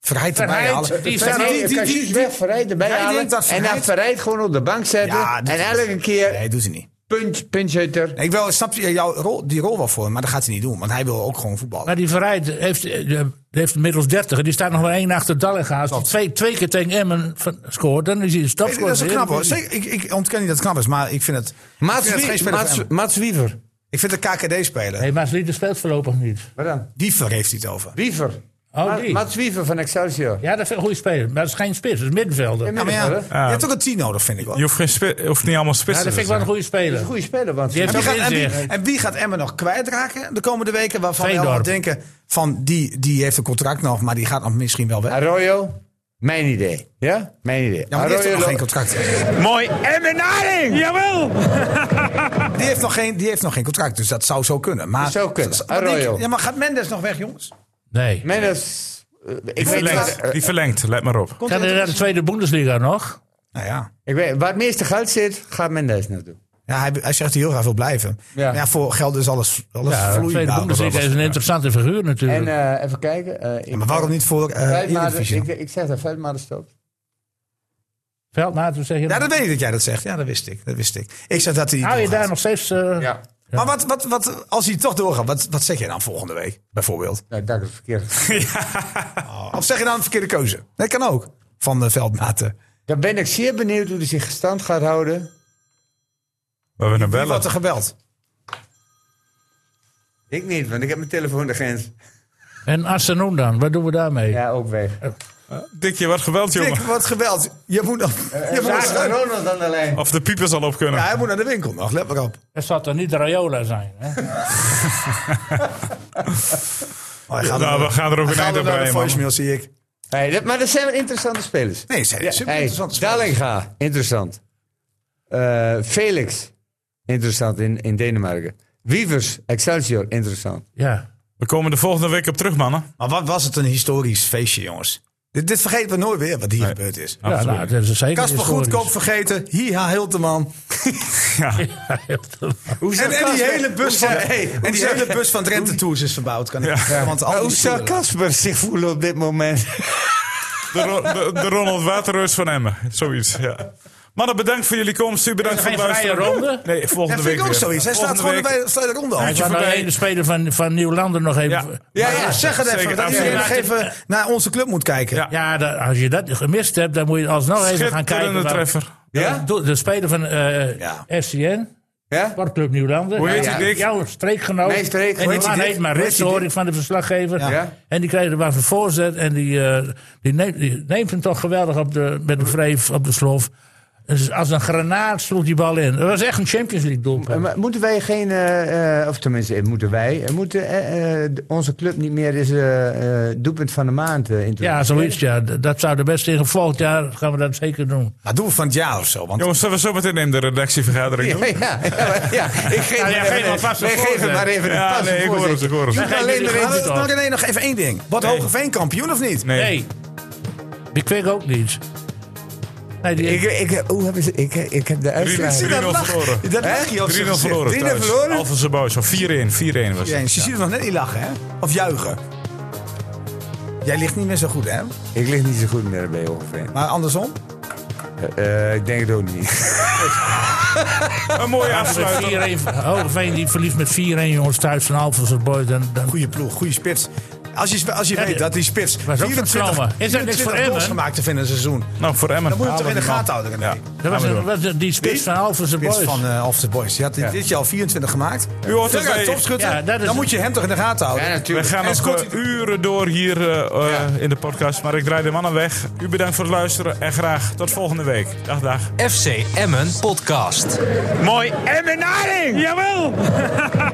Speaker 3: Verheid erbij
Speaker 2: Verheid,
Speaker 3: halen.
Speaker 2: die is
Speaker 3: Ja,
Speaker 2: er
Speaker 3: die-
Speaker 2: niet.
Speaker 1: Verheid,
Speaker 3: die- die-
Speaker 1: Cassius weg, Verheid erbij
Speaker 3: Jij
Speaker 1: halen.
Speaker 3: denkt dat
Speaker 1: En dan
Speaker 3: Verheid-
Speaker 1: Verheid gewoon op de bank zetten.
Speaker 3: Ja, dat
Speaker 1: en
Speaker 3: is-
Speaker 1: elke keer
Speaker 3: Nee, doet hij niet.
Speaker 1: punch, punchuiter.
Speaker 3: Nee, Ik wel, snap je jouw rol, die rol wel voor hem, maar dat gaat hij niet doen. Want hij wil ook gewoon voetballen.
Speaker 2: Maar die Verheid heeft, eh, die heeft inmiddels 30. En die staat nog maar één achter Dallinga. Als hij twee, twee keer tegen Emmen van- scoort, dan is hij een
Speaker 3: Nee, dat
Speaker 2: stopscorer.
Speaker 3: is wel knap hoor. Zeker, ik, ik ontken niet dat het knap is, maar ik vind het... ik
Speaker 1: Mats,
Speaker 3: vind het geen
Speaker 1: Wie-
Speaker 3: speler
Speaker 1: Mats,
Speaker 3: van hem.
Speaker 1: Mats Wiever.
Speaker 3: Ik vind de KKD-speler.
Speaker 2: Nee, maar Slieter speelt voorlopig niet.
Speaker 1: Wat dan?
Speaker 3: Diever heeft hij het over.
Speaker 1: Wiever.
Speaker 2: Oh,
Speaker 1: Ma-
Speaker 2: die.
Speaker 1: Mats Wiever van Excelsior.
Speaker 2: Ja, dat is een goede speler. Maar dat is geen spits, dat is middenvelder.
Speaker 1: Ja,
Speaker 2: Ja,
Speaker 3: Ja, maar ja,
Speaker 1: middenvelder.
Speaker 3: je hebt ook een 10 nodig, vind ik wel.
Speaker 5: Je hoeft, geen spi- je hoeft niet allemaal spitsen
Speaker 2: dat vind ik wel een goede speler.
Speaker 1: Goeie speler, want...
Speaker 2: Die heeft
Speaker 3: En wie,
Speaker 2: ook
Speaker 3: gaat, en, wie,
Speaker 2: inzicht.
Speaker 3: en wie gaat Emmen nog kwijtraken de komende weken? Waarvan we
Speaker 2: Veendorp.
Speaker 3: allemaal denken van die, die heeft een contract nog, maar die gaat nog misschien wel weg.
Speaker 1: Arroyo, mijn idee. Ja? Mijn idee.
Speaker 3: Ja, maar die heeft ook nog geen
Speaker 1: Arroyo,
Speaker 3: contract.
Speaker 6: Mooi. Jawel!
Speaker 3: Die heeft nog geen, die heeft nog geen contract, dus dat zou zo kunnen. Maar,
Speaker 1: Dat zou kunnen.
Speaker 3: maar denk je-
Speaker 1: Arroyo.
Speaker 3: ja, maar gaat Mendes nog weg, jongens?
Speaker 2: Nee.
Speaker 1: Mendes... eh, Ik
Speaker 5: Die
Speaker 1: weet,
Speaker 5: verlengt,
Speaker 1: waar,
Speaker 5: die verlengt, let maar op.
Speaker 2: Kan hij naar de tweede Bundesliga nog?
Speaker 3: Nou ja.
Speaker 1: ik weet waar het meeste geld zit, gaat Mendes naartoe.
Speaker 3: Ja, hij, hij zegt dat hij heel graag wil blijven.
Speaker 1: Ja.
Speaker 3: Maar Ja, voor geld is alles, alles
Speaker 2: Ja, de tweede
Speaker 3: vloeibaar.
Speaker 2: Bundesliga is een interessante figuur
Speaker 1: En
Speaker 2: natuurlijk.
Speaker 1: eh, even kijken. eh, ik-
Speaker 3: Ja, maar waarom niet voor eh
Speaker 1: Veldmaten-
Speaker 3: Eredivisie?
Speaker 1: ik, ik zeg dat Veldmaten stopt.
Speaker 2: Veldmaat, hoe zeg je
Speaker 3: Ja,
Speaker 2: dat?
Speaker 3: dat weet ik dat jij dat zegt. Ja, dat wist ik. Dat wist ik. Ik zeg dat hij niet
Speaker 2: Hou je
Speaker 3: doorgaat.
Speaker 2: daar nog steeds... eh,
Speaker 3: Maar wat, wat, wat, als hij toch doorgaat, wat, wat zeg je dan volgende week bijvoorbeeld?
Speaker 1: Nou, dat is verkeerd.
Speaker 5: Oh.
Speaker 3: Of zeg je dan een verkeerde keuze? Dat kan ook. Van de veldmaten.
Speaker 1: Dan ben ik zeer benieuwd hoe hij zich gestand gaat houden.
Speaker 5: We hebben een
Speaker 3: Wie
Speaker 5: bellen.
Speaker 3: wordt er gebeld?
Speaker 1: Ik niet, want ik heb mijn telefoon de grens.
Speaker 2: En Arsenal dan, wat doen we daarmee?
Speaker 1: Ja, ook weg.
Speaker 5: Dikje, wat geweld, jongen.
Speaker 3: Dick wordt gebeld. Je moet, nog,
Speaker 1: Eh,
Speaker 3: je moet,
Speaker 1: Daar
Speaker 3: nog-
Speaker 1: Ronald aan de lijn.
Speaker 5: Of de piepers al op kunnen.
Speaker 3: ja, hij moet naar de winkel nog. Let maar op.
Speaker 2: Het zal toch niet de Rayola zijn? Hè?
Speaker 3: Oh, hij gaat
Speaker 5: nou,
Speaker 3: hem-
Speaker 5: we gaan er
Speaker 3: hij
Speaker 5: ook een
Speaker 3: gaat hem
Speaker 5: eind
Speaker 3: naar de
Speaker 5: op breien, man.
Speaker 3: voicemail, zie ik.
Speaker 1: Hey, dat, maar dat zijn wel interessante spelers.
Speaker 3: Nee, ze- super
Speaker 1: hey,
Speaker 3: interessant.
Speaker 1: Dallinga, interessant. Eh, Felix, interessant in, in Denemarken. Wievers, Excelsior, interessant.
Speaker 2: Ja.
Speaker 5: We komen de volgende week op terug, mannen.
Speaker 3: Maar wat was het een historisch feestje, jongens. Dit, dit vergeten we nooit weer, wat hier gebeurd is.
Speaker 2: ja, nou, dat is zeker
Speaker 3: Kasper
Speaker 2: historisch.
Speaker 3: Goedkoop vergeten. Hiha Hilteman.
Speaker 2: Ja, heel-
Speaker 3: En, en die hele bus van, hey, en die
Speaker 1: zou-
Speaker 3: hele bus van Drenthe Tours is verbouwd. Kan ik zeggen, want al die
Speaker 1: Hoe zou
Speaker 3: spullen.
Speaker 1: Casper zich voelen op dit moment?
Speaker 5: De, Ro- de, de Ronald Waterreus van Emmen. Zoiets, ja. Mannen, bedankt voor jullie komst. U bedankt
Speaker 2: Is
Speaker 5: voor
Speaker 2: er geen
Speaker 5: het
Speaker 2: vrije
Speaker 5: luisteren.
Speaker 2: ronde?
Speaker 5: Nee, volgende
Speaker 3: Dat
Speaker 5: week
Speaker 3: vind ik ook
Speaker 5: weer.
Speaker 3: zoiets. Hij staat
Speaker 5: Volgende
Speaker 3: gewoon
Speaker 5: week.
Speaker 3: bij staat de ronde al.
Speaker 2: Ik wou nog
Speaker 5: voorbij.
Speaker 2: één speler van, van Nieuwlander nog even...
Speaker 5: Ja.
Speaker 3: Ja, ja,
Speaker 5: Ja,
Speaker 3: zeg het
Speaker 5: zeker,
Speaker 3: even. Dat je
Speaker 5: absoluut.
Speaker 3: nog even naar onze club moet kijken.
Speaker 5: Ja.
Speaker 2: Ja, dat- als je dat gemist hebt, dan moet je alsnog even gaan kijken.
Speaker 5: Schitterende
Speaker 2: waar-
Speaker 5: treffer.
Speaker 2: Ja?
Speaker 1: Ja?
Speaker 2: De speler van eh
Speaker 3: Ja.
Speaker 2: FCN,
Speaker 1: Ja?
Speaker 2: Sportclub Nieuwlander.
Speaker 5: Hoe heet
Speaker 2: Ja,
Speaker 5: die
Speaker 2: ja.
Speaker 5: dik?
Speaker 2: Jouw streekgenoot.
Speaker 1: Mijn streek-
Speaker 2: en die
Speaker 1: hoe heet
Speaker 2: man
Speaker 1: die
Speaker 2: heet
Speaker 1: dik?
Speaker 2: maar
Speaker 1: Hoe heet
Speaker 2: Rits,
Speaker 1: die
Speaker 2: hoor
Speaker 1: dik?
Speaker 2: ik van de verslaggever.
Speaker 1: Ja.
Speaker 2: En die kreeg er maar voor voorzet. En die, eh, die, neemt, die neemt hem toch geweldig op de, met een vreef op de slof. Dus als een granaat sloeg die bal in. Dat was echt een Champions League
Speaker 1: Eh,
Speaker 2: doelpunt.
Speaker 1: maar moeten wij geen, eh, eh, of tenminste, eh, moeten wij, eh, moeten eh, eh, d- onze club niet meer eens eh, eh, doelpunt van de maand eh introduceren?
Speaker 2: Ja, zoiets. Ja. D- Dat zou de beste tegen volgend jaar gaan we dat zeker doen.
Speaker 3: Maar doen we van het jaar of zo. Want
Speaker 5: Jongens, zullen we zo meteen in de redactievergadering doen?
Speaker 1: Ja, ja, ja, maar- ja, ik geef,
Speaker 2: Ja, ja,
Speaker 1: maar
Speaker 2: geef
Speaker 1: even-
Speaker 2: maar vast een
Speaker 1: wij geven
Speaker 2: voorzet.
Speaker 1: maar even een
Speaker 5: Ja,
Speaker 1: pas.
Speaker 5: nee, ik hoor het, ik hoor het.
Speaker 1: Je kan
Speaker 2: Geen
Speaker 1: alleen maar
Speaker 2: jullie
Speaker 1: even-
Speaker 3: maar
Speaker 2: goed,
Speaker 3: dat- nog,
Speaker 2: hoor.
Speaker 3: nee, nog even één ding. Wordt Hogeveen kampioen of niet?
Speaker 5: Nee.
Speaker 2: Nee. Die kwik ook niet. Nee, die,
Speaker 1: ik, ik, eh, hoe hebben ze, ik, eh, ik heb de
Speaker 5: Drie-
Speaker 1: uitslag.
Speaker 3: zie
Speaker 5: drie-
Speaker 3: dat
Speaker 5: 3-0
Speaker 3: lachen.
Speaker 5: verloren.
Speaker 3: Dat lag je op zijn
Speaker 5: 3-0
Speaker 3: gezicht.
Speaker 5: verloren
Speaker 1: 3-0
Speaker 5: thuis.
Speaker 1: verloren?
Speaker 5: Alphonse Boys, of 4-1. 4-1 was
Speaker 3: Jens,
Speaker 5: het.
Speaker 3: je ziet het nog net niet lachen, hè? Of juichen. Jij ligt niet meer zo goed, hè?
Speaker 1: Ik lig niet zo goed meer bij ongeveer.
Speaker 3: Maar andersom?
Speaker 1: Eh, eh, ik denk het ook niet.
Speaker 5: Een mooie
Speaker 2: Als we
Speaker 5: afsluiting.
Speaker 2: Oh, 4-1 Hogeveen die verliest met 4-1 jongens thuis van Alphen's Boys. Dan, dan,
Speaker 3: Goeie ploeg, goede spits. Als je, als je weet
Speaker 2: dit-
Speaker 3: dat die spits
Speaker 2: was ook zo'n trauma. Is dat niks
Speaker 3: 24
Speaker 2: voor
Speaker 3: goals
Speaker 2: Emmen?
Speaker 3: gemaakt te vinden in een seizoen.
Speaker 5: Nou, voor Emmen.
Speaker 3: Dan moet je het toch in de
Speaker 5: Halen
Speaker 3: gaten houden.
Speaker 5: Ja.
Speaker 3: René.
Speaker 2: Dat was,
Speaker 5: Gaan we
Speaker 2: een- was een- die spits van Alphense
Speaker 3: Spits
Speaker 2: Boys.
Speaker 3: van eh of the Boys. Die had dit- dit jaar al 24 gemaakt.
Speaker 5: U hoort het
Speaker 3: Verre
Speaker 5: bij-
Speaker 3: topschutter.
Speaker 2: Ja, dat is
Speaker 3: dan
Speaker 2: het.
Speaker 3: moet je hem toch in de gaten houden.
Speaker 5: We gaan
Speaker 3: En
Speaker 5: nog
Speaker 3: scoort
Speaker 5: eh,
Speaker 3: hij-
Speaker 5: uren door hier eh, eh, in de podcast. Maar ik draai de mannen weg. U bedankt voor het luisteren. En graag tot volgende week. Dag, dag.
Speaker 4: FC Emmen Podcast.
Speaker 6: Mooi. En benadering! Jawel!